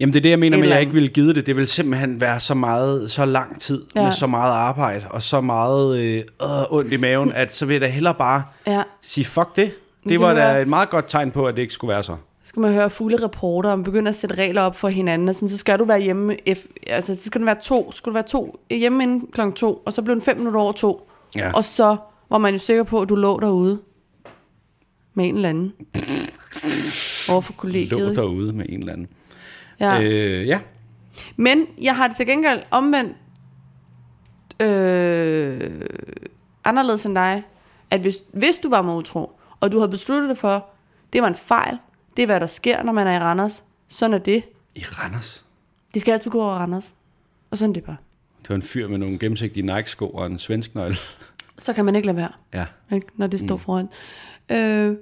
Speaker 2: Jamen det er det, jeg mener
Speaker 1: Et
Speaker 2: med, at
Speaker 1: eller
Speaker 2: jeg
Speaker 1: andet.
Speaker 2: ikke ville give det. Det vil simpelthen være så meget, så lang tid ja.
Speaker 1: Ja.
Speaker 2: med så meget arbejde og så meget øh, øh, ondt i maven, at så vil jeg da hellere bare
Speaker 1: Ja.
Speaker 2: sige fuck det. Det
Speaker 1: Det
Speaker 2: var
Speaker 1: kan
Speaker 2: da
Speaker 1: være.
Speaker 2: et meget godt tegn på, at det ikke skulle være så.
Speaker 1: Så skal man høre fulde reporter og begynde at sætte regler op for hinanden. Og sådan, så skal du være hjemme, F, altså, så skal du være to, skal du være to, hjemme inden klokken to, og så blev den fem minutter over to.
Speaker 2: Ja.
Speaker 1: Og så var man jo sikker på, at du lå derude med en eller anden. Overfor
Speaker 2: Lå
Speaker 1: kollegiet. ikke?
Speaker 2: derude med en eller anden.
Speaker 1: Ja.
Speaker 2: Øh, ja.
Speaker 1: Men jeg har det til gengæld omvendt øh, anderledes end dig, at hvis, hvis du var mig utro, og du havde besluttet dig for, det var en fejl, det er hvad der sker, når man er i Randers, sådan er det.
Speaker 2: I Randers.
Speaker 1: De skal altid gå over Randers. Og sådan er det bare.
Speaker 2: Det var en fyr med nogle gennemsigtige Nike-sko og en svensk nøgle.
Speaker 1: Så kan man ikke lade være,
Speaker 2: Ja.
Speaker 1: ikke? når det står mm. foran. Øh,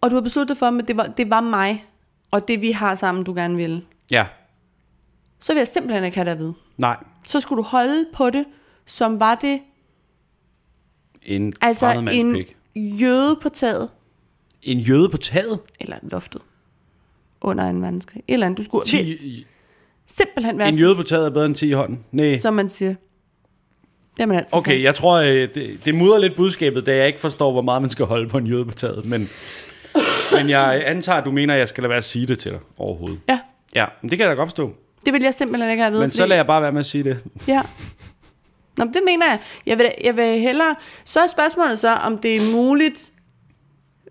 Speaker 1: og du har besluttet dig for, at det var, det var mig, og det vi har sammen, du gerne ville.
Speaker 2: Ja.
Speaker 1: Så vil jeg simpelthen ikke have dig at vide.
Speaker 2: Nej.
Speaker 1: Så skulle du holde på det, som var det
Speaker 2: En altså
Speaker 1: altså
Speaker 2: fremmed mands
Speaker 1: en
Speaker 2: en... pik.
Speaker 1: jøde på taget,
Speaker 2: En jøde på taget?
Speaker 1: eller loftet, under en vandskrig. Et eller andet. Du skulle
Speaker 2: Ti,
Speaker 1: simpelthen være
Speaker 2: en jøde på taget er bedre end 10 i hånden. Nej.
Speaker 1: som man siger. Det har man altid sagt.
Speaker 2: Okay, jeg tror, øh, det, det mudrer lidt budskabet, da jeg ikke forstår, hvor meget man skal holde på en jøde på taget. Men, men jeg antager, at du mener, at jeg skal lade være at sige det til dig overhovedet.
Speaker 1: Ja,
Speaker 2: Ja, men det kan jeg da godt forstå.
Speaker 1: det vil jeg simpelthen ikke have at vide.
Speaker 2: Men så
Speaker 1: fordi-
Speaker 2: lader jeg bare være med at sige det.
Speaker 1: Ja. Nå, men det mener jeg. Jeg vil, jeg vil hellere... Så er spørgsmålet så, om det er muligt,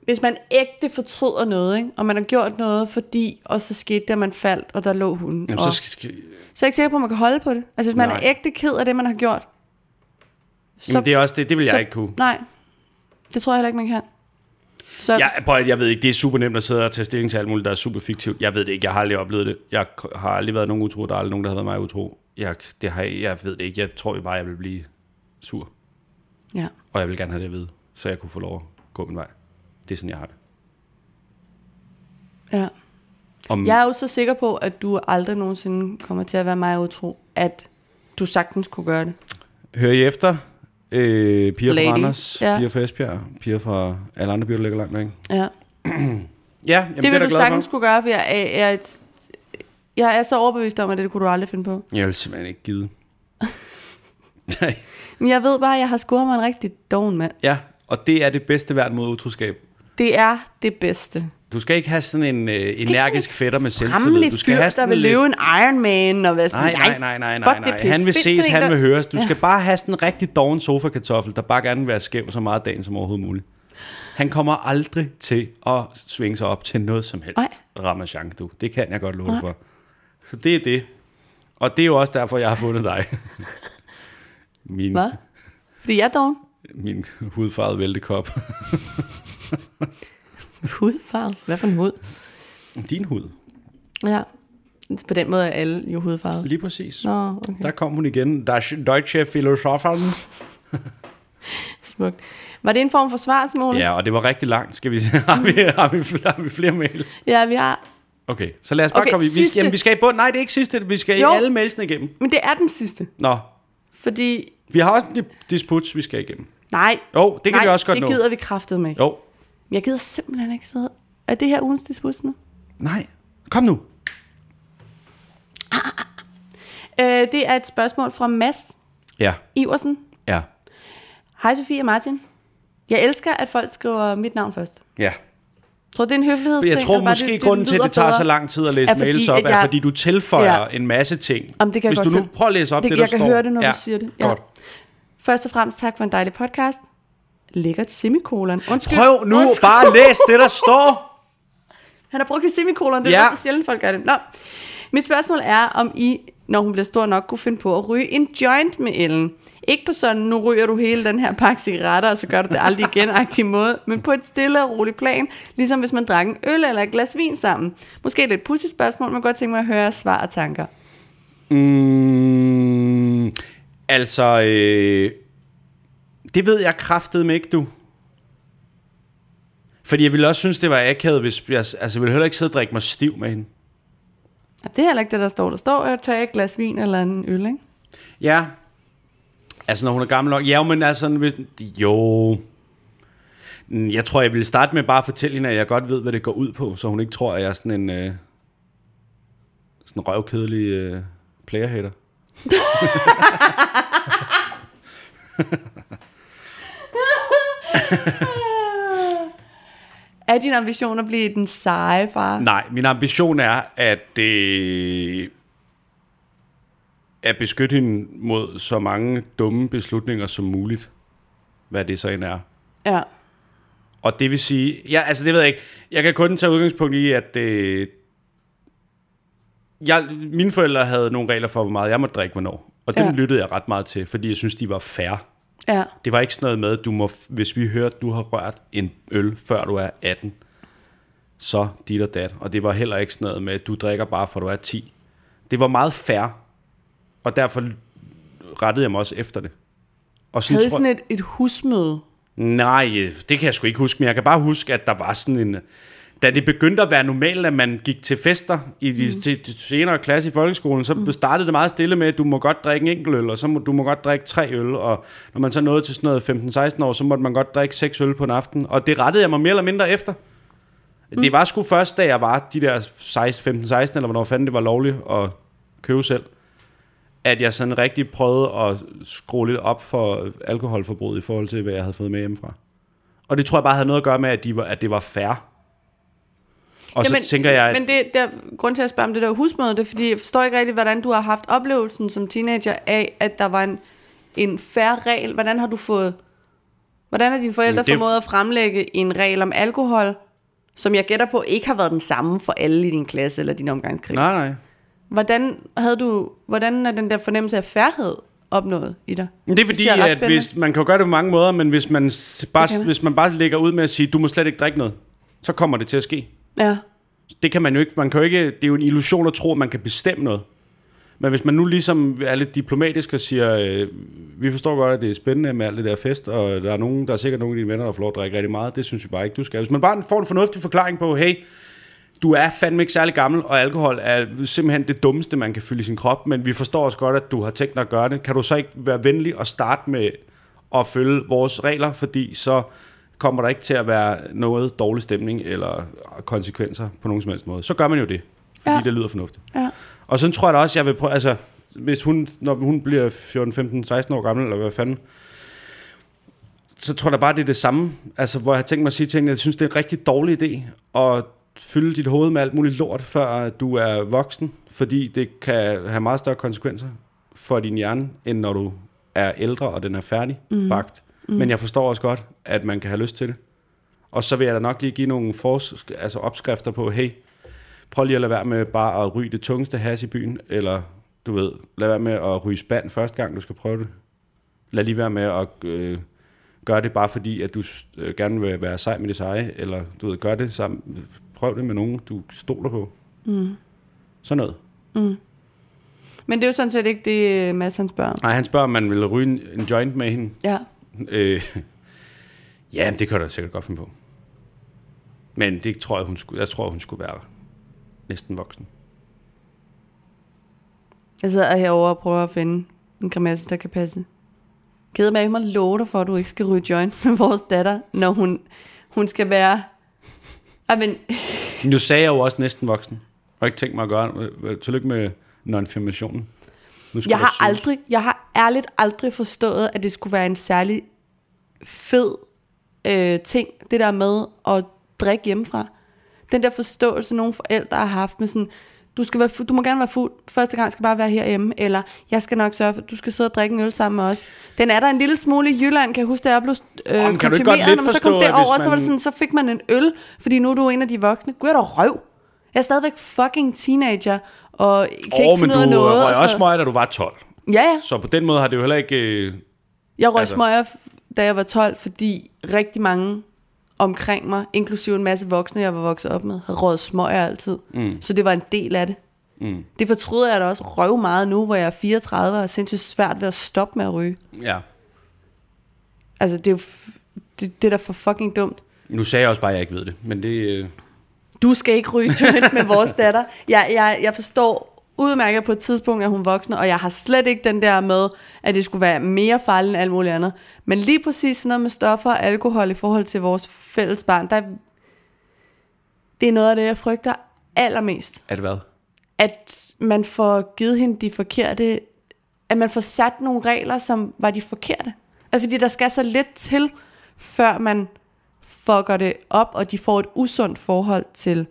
Speaker 1: hvis man ægte fortryder noget, ikke? og man har gjort noget, fordi, og så skete det, at man faldt, og der lå hunden.
Speaker 2: Jamen,
Speaker 1: og,
Speaker 2: så
Speaker 1: så,
Speaker 2: skal, skal,
Speaker 1: er jeg ikke sikker på, at man kan holde på det. Altså, hvis man
Speaker 2: Nej.
Speaker 1: Nej. er ægte ked af det, man har gjort. Så,
Speaker 2: jamen, det er også det. Det vil jeg
Speaker 1: så-
Speaker 2: ikke kunne.
Speaker 1: Nej, det tror jeg heller ikke, man kan. Så,
Speaker 2: Jeg, prøv, at- jeg ved ikke, det er super nemt at sidde og tage stilling til alt muligt, der er super fiktivt. Jeg ved det ikke, jeg har aldrig oplevet det. Jeg k- har aldrig været nogen utro, der er aldrig nogen, der har været mig utro. Jeg, det har, jeg- jeg ved det ikke, jeg tror jo bare, jeg vil blive sur.
Speaker 1: ja.
Speaker 2: Og jeg vil gerne have det at vide, så jeg kunne få lov at gå min vej. Det er sådan, jeg har det.
Speaker 1: Ja.
Speaker 2: Om,
Speaker 1: Jeg er jo så sikker på, at du aldrig nogensinde kommer til at være mig utro, at du sagtens kunne gøre det.
Speaker 2: Hører I efter? Øh, piger
Speaker 1: Ladies,
Speaker 2: fra Anders, ja.
Speaker 1: ja.
Speaker 2: piger fra Esbjerg, piger fra alle andre byer, der ligger langt væk.
Speaker 1: Ja.
Speaker 2: Ja, jamen, det,
Speaker 1: det
Speaker 2: er
Speaker 1: vil
Speaker 2: jeg
Speaker 1: du
Speaker 2: glad
Speaker 1: sagtens
Speaker 2: for.
Speaker 1: kunne gøre, for jeg er, jeg, er et, jeg er så overbevist om, at det kunne du aldrig finde på.
Speaker 2: Jeg vil simpelthen ikke gide. Nej.
Speaker 1: Men jeg ved bare, at jeg har scoret mig en rigtig doven mand.
Speaker 2: ja, og det er det bedste værn mod utroskab.
Speaker 1: Det er det bedste.
Speaker 2: Du skal ikke have sådan en øh,
Speaker 1: ikke
Speaker 2: energisk fætter med selvtillid.
Speaker 1: Rammelig
Speaker 2: Du skal
Speaker 1: fyr,
Speaker 2: have
Speaker 1: der
Speaker 2: sådan øh,
Speaker 1: vil
Speaker 2: lidt-
Speaker 1: løbe en Iron Man og være sådan,
Speaker 2: Nej, nej, nej, nej, nej,
Speaker 1: fuck det
Speaker 2: nej.
Speaker 1: pis.
Speaker 2: Han vil
Speaker 1: Find sådan
Speaker 2: ses,
Speaker 1: en,
Speaker 2: han
Speaker 1: der-
Speaker 2: vil høres. Du skal bare have sådan en rigtig doven sofa-kartoffel, der bare gerne vil være skæv så meget af dagen som overhovedet muligt. Han kommer aldrig til at svinge sig op til noget som helst.
Speaker 1: Nej.
Speaker 2: Ramachan, du. Det kan jeg godt love dig for. Så det er det. Og det er jo også derfor, jeg har fundet dig. Min,
Speaker 1: Hvad? Fordi jeg er doven.
Speaker 2: min hudfarvede væltekop.
Speaker 1: Hudfarvet. Hvad for en hud?
Speaker 2: Din hud.
Speaker 1: Ja. På den måde er alle jo hudfarvet.
Speaker 2: Lige præcis.
Speaker 1: Nå, okay.
Speaker 2: Der kom hun igen. Der er Deutsche Philosophen.
Speaker 1: Smukt. Var det en form for svar, Simone?
Speaker 2: Ja, og det var rigtig langt. Skal vi se, har vi, har vi, har vi flere mails?
Speaker 1: ja, vi har.
Speaker 2: Okay, så lad os bare okay,
Speaker 1: Okay,
Speaker 2: komme i. Vi skal,
Speaker 1: sidste.
Speaker 2: jamen, vi skal i bund. Nej, det er ikke sidste. Vi skal jo.
Speaker 1: Jo.
Speaker 2: i alle mailsene igennem.
Speaker 1: Men det er den sidste.
Speaker 2: Nå,
Speaker 1: Fordi,
Speaker 2: vi har også en di- disput, vi skal igennem.
Speaker 1: nej,
Speaker 2: Jo, det kan
Speaker 1: nej,
Speaker 2: vi også godt
Speaker 1: det
Speaker 2: nå.
Speaker 1: gider vi kraftedeme ikke.
Speaker 2: Jo,
Speaker 1: Men Jeg gider simpelthen ikke sidde. Er det her ugens disput nu?
Speaker 2: nej. Kom nu.
Speaker 1: Øh, det er et spørgsmål fra Mads
Speaker 2: Ja,
Speaker 1: Iversen.
Speaker 2: ja,
Speaker 1: Hej Sofie og Martin. Jeg elsker, at folk skriver mit navn først.
Speaker 2: ja.
Speaker 1: Tror du, det er en høflighedsting?
Speaker 2: Jeg tror
Speaker 1: og bare
Speaker 2: måske, det, grunden til, at
Speaker 1: lyder
Speaker 2: det tager
Speaker 1: bedre?
Speaker 2: så lang tid at læse
Speaker 1: er fordi,
Speaker 2: mails op,
Speaker 1: at
Speaker 2: er
Speaker 1: jeg-
Speaker 2: fordi, du tilføjer
Speaker 1: Ja.
Speaker 2: en masse ting.
Speaker 1: Jamen, det kan jeg
Speaker 2: Hvis
Speaker 1: godt
Speaker 2: du nu
Speaker 1: selv.
Speaker 2: prøver at læse op det,
Speaker 1: Det-
Speaker 2: det der
Speaker 1: jeg kan
Speaker 2: står.
Speaker 1: høre det, når du
Speaker 2: ja.
Speaker 1: siger det.
Speaker 2: Ja.
Speaker 1: Ja.
Speaker 2: Godt.
Speaker 1: Først og fremmest tak for en dejlig podcast. Lækkert semikolon. Undskyld.
Speaker 2: Prøv nu
Speaker 1: Undskyld.
Speaker 2: bare at læse det, der står.
Speaker 1: Han har brugt et semikolon, det er
Speaker 2: Ja.
Speaker 1: ja. så sjældent, folk gør det. Nå. Mit spørgsmål er, om I, når hun bliver stor nok, kunne finde på at ryge en joint med Ellen. Ikke på sådan, nu ryger du hele den her pakke cigaretter, og så gør du det aldrig igen agtig måde, men på et stille og roligt plan, ligesom hvis man drak en øl eller et glas vin sammen. Måske et lidt pudsigt spørgsmål, men jeg kunne godt tænke mig at høre jeres svar og tanker.
Speaker 2: Mm, altså, øh, det ved jeg kraftedeme ikke, du. Fordi jeg ville også synes, det var akavet, hvis jeg, altså, jeg ville heller ikke sidde og drikke mig stiv med hende.
Speaker 1: Ja, Det er heller ikke det, der står. Der står, at tage et glas vin eller en øl, ikke?
Speaker 2: Ja. Altså, når hun er gammel nok. Ja, men altså, hvis, jo. Mm, Jeg tror, jeg ville starte med bare at fortælle hende, at jeg godt ved, hvad det går ud på, så hun ikke tror, at jeg er sådan en... Øh, Sådan en røvkedelig øh, playerhater.
Speaker 1: Er din ambition at blive den seje far?
Speaker 2: Nej, min ambition er, at øh, at beskytte hende mod så mange dumme beslutninger som muligt, hvad det så end er.
Speaker 1: Ja.
Speaker 2: Og det vil sige, ja, altså det ved jeg ikke, jeg kan kun tage udgangspunkt i, at øh, jeg, mine forældre havde nogle regler for, hvor meget jeg måtte drikke, hvornår. Og dem
Speaker 1: Ja.
Speaker 2: ja. lyttede jeg ret meget til, fordi jeg synes, de var fair.
Speaker 1: Ja.
Speaker 2: Det var ikke sådan noget med, du må, hvis vi hører, at du har rørt en øl, før du er 18, så dit og dat. Og det var heller ikke sådan noget med, at du drikker bare, for du er 10. Det var meget fair, og derfor rettede jeg mig også efter det. Og
Speaker 1: Havde I
Speaker 2: tror-
Speaker 1: sådan et, et husmøde?
Speaker 2: Nej, øh, det kan jeg sgu ikke huske, men jeg kan bare huske, at der var sådan en... Da det begyndte at være normalt, at man gik til fester i de, mm. til, til senere klasse i folkeskolen, så mm. startede det meget stille med, at du må godt drikke en enkelt øl, og så må, du må godt drikke tre øl, og når man så nåede til sådan noget 15-16 år, så måtte man godt drikke seks øl på en aften, og det rettede jeg mig mere eller mindre efter. Mm. Det var sgu først, da jeg var de der 16, 15-16, eller hvornår fanden det var lovligt at købe selv, at jeg sådan rigtig prøvede at skrue lidt op for alkoholforbruget i forhold til, hvad jeg havde fået med hjemmefra. Og det tror jeg bare havde noget at gøre med, at, de var, at det var fair. Og Jamen, så tænker jeg, at
Speaker 1: Men det, der, grund til at spørge om det der husmøde, det er, fordi jeg forstår ikke rigtigt, hvordan du har haft oplevelsen som teenager af, at der var en, en færre regel. Hvordan har du fået... Hvordan har dine forældre
Speaker 2: Jamen,
Speaker 1: det...
Speaker 2: det-
Speaker 1: formået at fremlægge en regel om alkohol, som jeg gætter på ikke har været den samme for alle i din klasse eller din omgangskreds?
Speaker 2: nej, nej.
Speaker 1: Hvordan havde du... Hvordan er den der fornemmelse af færhed opnået i dig?
Speaker 2: Men det er fordi,
Speaker 1: synes jeg er ret
Speaker 2: at
Speaker 1: spændende.
Speaker 2: hvis, man kan jo gøre det på mange måder, men hvis man, s- bare,
Speaker 1: Det kan man.
Speaker 2: hvis man bare lægger ud med at sige, du må slet ikke drikke noget, så kommer det til at ske.
Speaker 1: Ja.
Speaker 2: Det kan man jo ikke. Man kan jo ikke. Det er jo en illusion at tro, at man kan bestemme noget. Men hvis man nu ligesom er lidt diplomatisk og siger, øh, vi forstår godt, at det er spændende med alt det der fest, og der er, nogen, der er sikkert nogle af dine venner, der får lov at drikke rigtig meget. Det synes vi bare ikke, du skal. Hvis man bare får en fornuftig forklaring på, hey, du er fandme ikke særlig gammel, og alkohol er simpelthen det dummeste, man kan fylde i sin krop, men vi forstår også godt, at du har tænkt dig at gøre det. Kan du så ikke være venlig og starte med at følge vores regler, fordi så kommer der ikke til at være noget dårlig stemning eller konsekvenser på nogen som helst måde. Så gør man jo det, fordi
Speaker 1: Ja.
Speaker 2: ja. det lyder fornuftigt.
Speaker 1: Ja.
Speaker 2: Og sådan tror jeg da også, jeg vil prøve, altså, hvis hun, når hun bliver 14, 15, 16 år gammel, eller hvad fanden, så tror jeg da bare, det er det samme. Altså, hvor jeg har tænkt mig at sige til hende, at jeg synes, det er en rigtig dårlig idé at fylde dit hoved med alt muligt lort, før du er voksen, fordi det kan have meget større konsekvenser for din hjerne, end når du er ældre, og den er færdig mm. bagt. Mm. Men jeg forstår også godt, at man kan have lyst til det. Og så vil jeg da nok lige give nogle fors- altså opskrifter på, hey, prøv lige at lade være med bare at ryge det tungeste has i byen, eller du ved, lad være med at ryge spand første gang, du skal prøve det. Lad lige være med at øh, gøre det bare fordi, at du øh, gerne vil være sej med det seje, eller du ved, gør det sammen. Prøv det med nogen, du stoler på. Mm. Sådan noget.
Speaker 1: Men det er jo sådan set ikke det, Mads han spørger om.
Speaker 2: Nej, han spørger, om man vil ryge en, en joint med hende.
Speaker 1: Ja.
Speaker 2: Øh, ja, men det kan jeg da sikkert godt finde på. Men det tror jeg, hun skulle, jeg tror, hun skulle være næsten voksen.
Speaker 1: Jeg sidder herovre og prøver at finde en grimasse, der kan passe. Kede med, jeg må love dig for, at du ikke skal ryge joint med vores datter, når hun, hun skal være... Ej, men
Speaker 2: Nu sagde jeg jo også næsten voksen. Jeg har ikke tænkt mig at gøre det. Tillykke med non-firmationen. Nu skal
Speaker 1: jeg
Speaker 2: der
Speaker 1: har
Speaker 2: syes.
Speaker 1: aldrig, jeg har ærligt aldrig forstået, at det skulle være en særlig fed øh, ting, det der med at drikke hjemmefra. Den der forståelse, nogle forældre har haft med sådan, du, skal være fu- du må gerne være fuld, første gang skal bare være herhjemme, eller jeg skal nok sørge for, at du skal sidde og drikke en øl sammen med os. Den er der en lille smule i Jylland, kan jeg huske, da jeg blev øh,
Speaker 2: Åh, men kan du ikke godt
Speaker 1: konfirmeret,
Speaker 2: lidt
Speaker 1: når man så
Speaker 2: forstå,
Speaker 1: kom
Speaker 2: at hvis
Speaker 1: derover, så var
Speaker 2: man-
Speaker 1: det sådan, så fik man en øl, fordi nu er du en af de voksne. Gud, jeg er da røv. Jeg er stadigvæk fucking teenager, og kan ikke
Speaker 2: Åh,
Speaker 1: finde
Speaker 2: men
Speaker 1: ud
Speaker 2: du
Speaker 1: af noget.
Speaker 2: røg
Speaker 1: og sådan
Speaker 2: også
Speaker 1: noget.
Speaker 2: smøg, da du var 12.
Speaker 1: Ja, ja.
Speaker 2: Så på den måde har det jo heller ikke... Øh,
Speaker 1: Jeg røg altså.
Speaker 2: Altså-
Speaker 1: smøger, f- da jeg var 12, fordi rigtig mange omkring mig, inklusive en masse voksne, jeg var vokset op med, havde røget smøger altid. Mm. Så det var en del af det. Mm. Det fortryder jeg da også røv meget nu, hvor jeg er 34 og er sindssygt svært ved at stoppe med at ryge.
Speaker 2: ja.
Speaker 1: Altså, det er jo f- det, det er da for fucking dumt.
Speaker 2: Nu sagde jeg også bare, at jeg ikke ved det. Men det... Øh,
Speaker 1: Du skal ikke ryge joint med vores datter. Jeg, jeg, jeg forstår udmærket på et tidspunkt, at hun er voksen, og jeg har slet ikke den der med, at det skulle være mere farligt end alt muligt andet. Men lige præcis sådan noget med stoffer og alkohol i forhold til vores fælles barn, der, det er noget af det, jeg frygter allermest.
Speaker 2: er det hvad?
Speaker 1: at man får givet hende de forkerte, at man får sat nogle regler, som var de forkerte. Altså fordi der skal så lidt til, før man fucker det op, og de får et usundt forhold til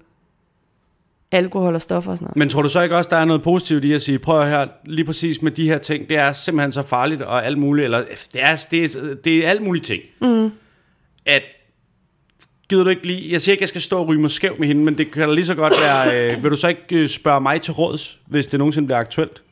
Speaker 1: alkohol og stoffer og sådan noget.
Speaker 2: Men tror du så ikke også, der er noget positivt i at sige, prøv at høre her, lige præcis med de her ting, det er simpelthen så farligt og alt muligt, eller det er, det er, det er alt mulige ting. Mm. At gider du ikke lige, jeg siger ikke, jeg skal stå og ryge mig skæv med hende, men det kan da lige så godt være, øh, vil du så ikke øh, spørge mig til råds, hvis det nogensinde bliver aktuelt?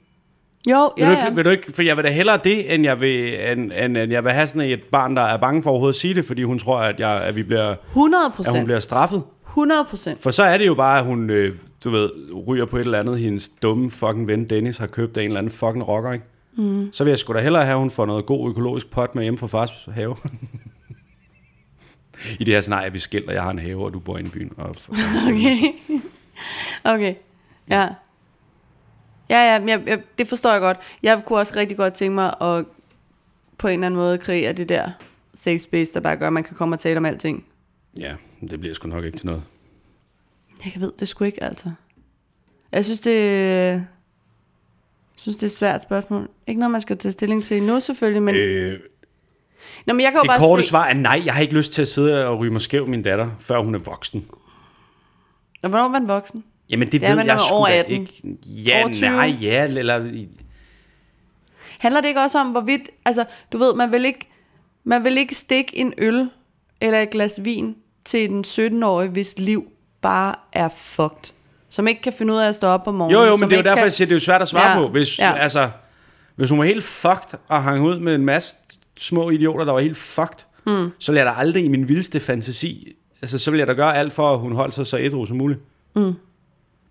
Speaker 1: Jo,
Speaker 2: Vil,
Speaker 1: ja,
Speaker 2: du ikke,
Speaker 1: ja.
Speaker 2: vil du ikke, for jeg vil da hellere det, end jeg vil, end, end, end jeg vil have sådan et barn, der er bange for overhovedet at sige det, fordi hun tror, at, jeg, at, vi bliver,
Speaker 1: 100
Speaker 2: at hun
Speaker 1: procent.
Speaker 2: bliver straffet.
Speaker 1: 100 procent.
Speaker 2: For så er det jo bare, at hun, øh, du ved, ryger på et eller andet, hendes dumme fucking ven Dennis har købt af en eller anden fucking rocker, ikke? Mm. Så vil jeg sgu da hellere have, at hun får noget god økologisk pot med hjemme fra fars have. I det her scenarie, vi skilter, jeg har en have, og du bor inde i byen. Og
Speaker 1: Okay. okay. Ja. Ja, ja, men jeg, jeg, det forstår jeg godt. Jeg kunne også rigtig godt tænke mig at på en eller anden måde kreere det der safe space, der bare gør, at man kan komme og tale om alting.
Speaker 2: Ja, men det bliver sgu nok ikke til noget.
Speaker 1: Jeg ved det sgu ikke, altså. Jeg synes, det, jeg synes, det er et svært spørgsmål. Ikke noget, man skal tage stilling til nu selvfølgelig, men, øh,
Speaker 2: Øh,
Speaker 1: Nå, men jeg kan jo
Speaker 2: det
Speaker 1: bare
Speaker 2: korte
Speaker 1: se...
Speaker 2: svar er nej, jeg har ikke lyst til at sidde og ryge mig skæv med min datter, før hun er voksen.
Speaker 1: Nå, Hvornår er man voksen?
Speaker 2: Jamen det
Speaker 1: Ja,
Speaker 2: ved
Speaker 1: men når
Speaker 2: jeg
Speaker 1: man er
Speaker 2: sgu
Speaker 1: over
Speaker 2: da
Speaker 1: 18.
Speaker 2: ikke. Ja,
Speaker 1: Over 20.
Speaker 2: nej, ja, eller...
Speaker 1: Handler det ikke også om, hvorvidt... Altså, du ved, man vil ikke, man vil ikke stikke en øl eller et glas vin til den 17-årige, hvis liv bare er fucked. Som ikke kan finde ud af at stå op om morgenen.
Speaker 2: Jo, jo, men
Speaker 1: som
Speaker 2: det er jo
Speaker 1: ikke
Speaker 2: derfor,
Speaker 1: kan...
Speaker 2: jeg siger, det er jo svært at svare
Speaker 1: Ja,
Speaker 2: ja. på. Hvis,
Speaker 1: ja.
Speaker 2: ja. altså, hvis hun var helt fucked og hang ud med en masse små idioter, der var helt fucked,
Speaker 1: Hmm.
Speaker 2: mm. så ville jeg da aldrig i min vildeste fantasi, altså så ville jeg da gøre alt for, at hun holdt sig så ædru som muligt. Mm.
Speaker 1: Hmm.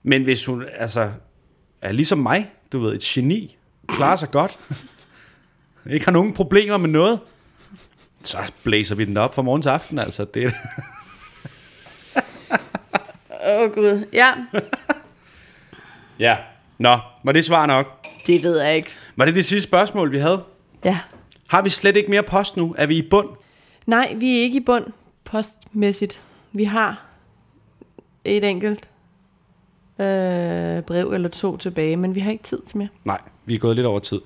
Speaker 2: Men hvis hun altså er ligesom mig, du ved, et geni, klarer sig godt, ikke har nogen problemer med noget, så blæser vi den op fra morgen til aften, altså. Det er
Speaker 1: Åh, oh, Gud. Ja,
Speaker 2: ja. Nå, var det svar nok?
Speaker 1: det ved jeg ikke.
Speaker 2: Var det det sidste spørgsmål, vi havde?
Speaker 1: Ja.
Speaker 2: Har vi slet ikke mere post nu? Er vi i bund?
Speaker 1: Nej, vi er ikke i bund postmæssigt. Vi har et enkelt øh, brev eller to tilbage, men vi har ikke tid til mere.
Speaker 2: Nej, vi er gået lidt over tid.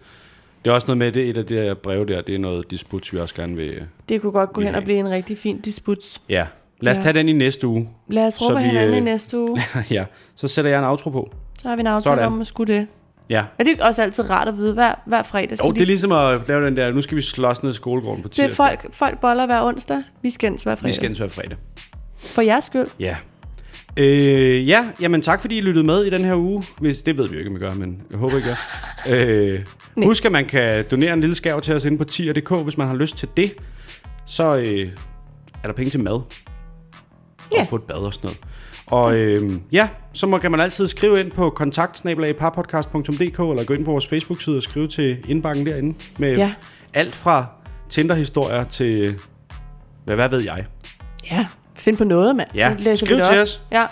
Speaker 2: Det er også noget med, det et af de her breve der, det er noget disput, vi også gerne vil...
Speaker 1: Det kunne godt gå
Speaker 2: Vi
Speaker 1: hen
Speaker 2: har
Speaker 1: og blive en rigtig fin disputs.
Speaker 2: Ja, lad os
Speaker 1: Ja.
Speaker 2: ja. tage den i næste uge.
Speaker 1: Lad os
Speaker 2: Så
Speaker 1: råbe
Speaker 2: vi,
Speaker 1: hinanden øh... i
Speaker 2: øh,
Speaker 1: næste uge.
Speaker 2: ja, så sætter jeg en outro på.
Speaker 1: Så har vi en aftale
Speaker 2: Sådan.
Speaker 1: om at skulle det.
Speaker 2: Ja.
Speaker 1: Er det ikke også altid rart at vide hver, hver fredag? Skal
Speaker 2: Jo, det er ligesom at lave den der, nu skal vi slås ned i skolegården på
Speaker 1: det
Speaker 2: tirsdag.
Speaker 1: er folk, folk boller hver onsdag. Vi skændes hver fredag.
Speaker 2: Vi skal ind til fredag.
Speaker 1: For jeres skyld.
Speaker 2: Ja. Øh, ja, jamen tak fordi I lyttede med i den her uge. Hvis, det ved vi jo ikke, om I gør, men jeg håber, I gør. øh, husk, at man kan donere en lille skærv til os inde på tier.dk, hvis man har lyst til det. Så øh, er der penge til mad.
Speaker 1: Ja.
Speaker 2: Og få et bad og sådan noget. Og øh, ja, så må, kan man altid skrive ind på kontaktsnabelagparpodcast.dk eller gå ind på vores Facebook-side og skrive til indbakken derinde med
Speaker 1: Ja.
Speaker 2: ja. alt fra Tinder-historier til, hvad, hvad ved jeg.
Speaker 1: Ja, find på noget, mand.
Speaker 2: Ja,
Speaker 1: Så læser
Speaker 2: skriv
Speaker 1: vi det
Speaker 2: til
Speaker 1: op.
Speaker 2: os.
Speaker 1: Ja,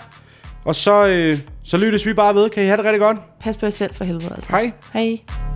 Speaker 2: Og så, øh, så lyttes vi bare ved. Kan I have det rigtig godt?
Speaker 1: pas på jer selv for helvede. Altså.
Speaker 2: Hej.
Speaker 1: Hej.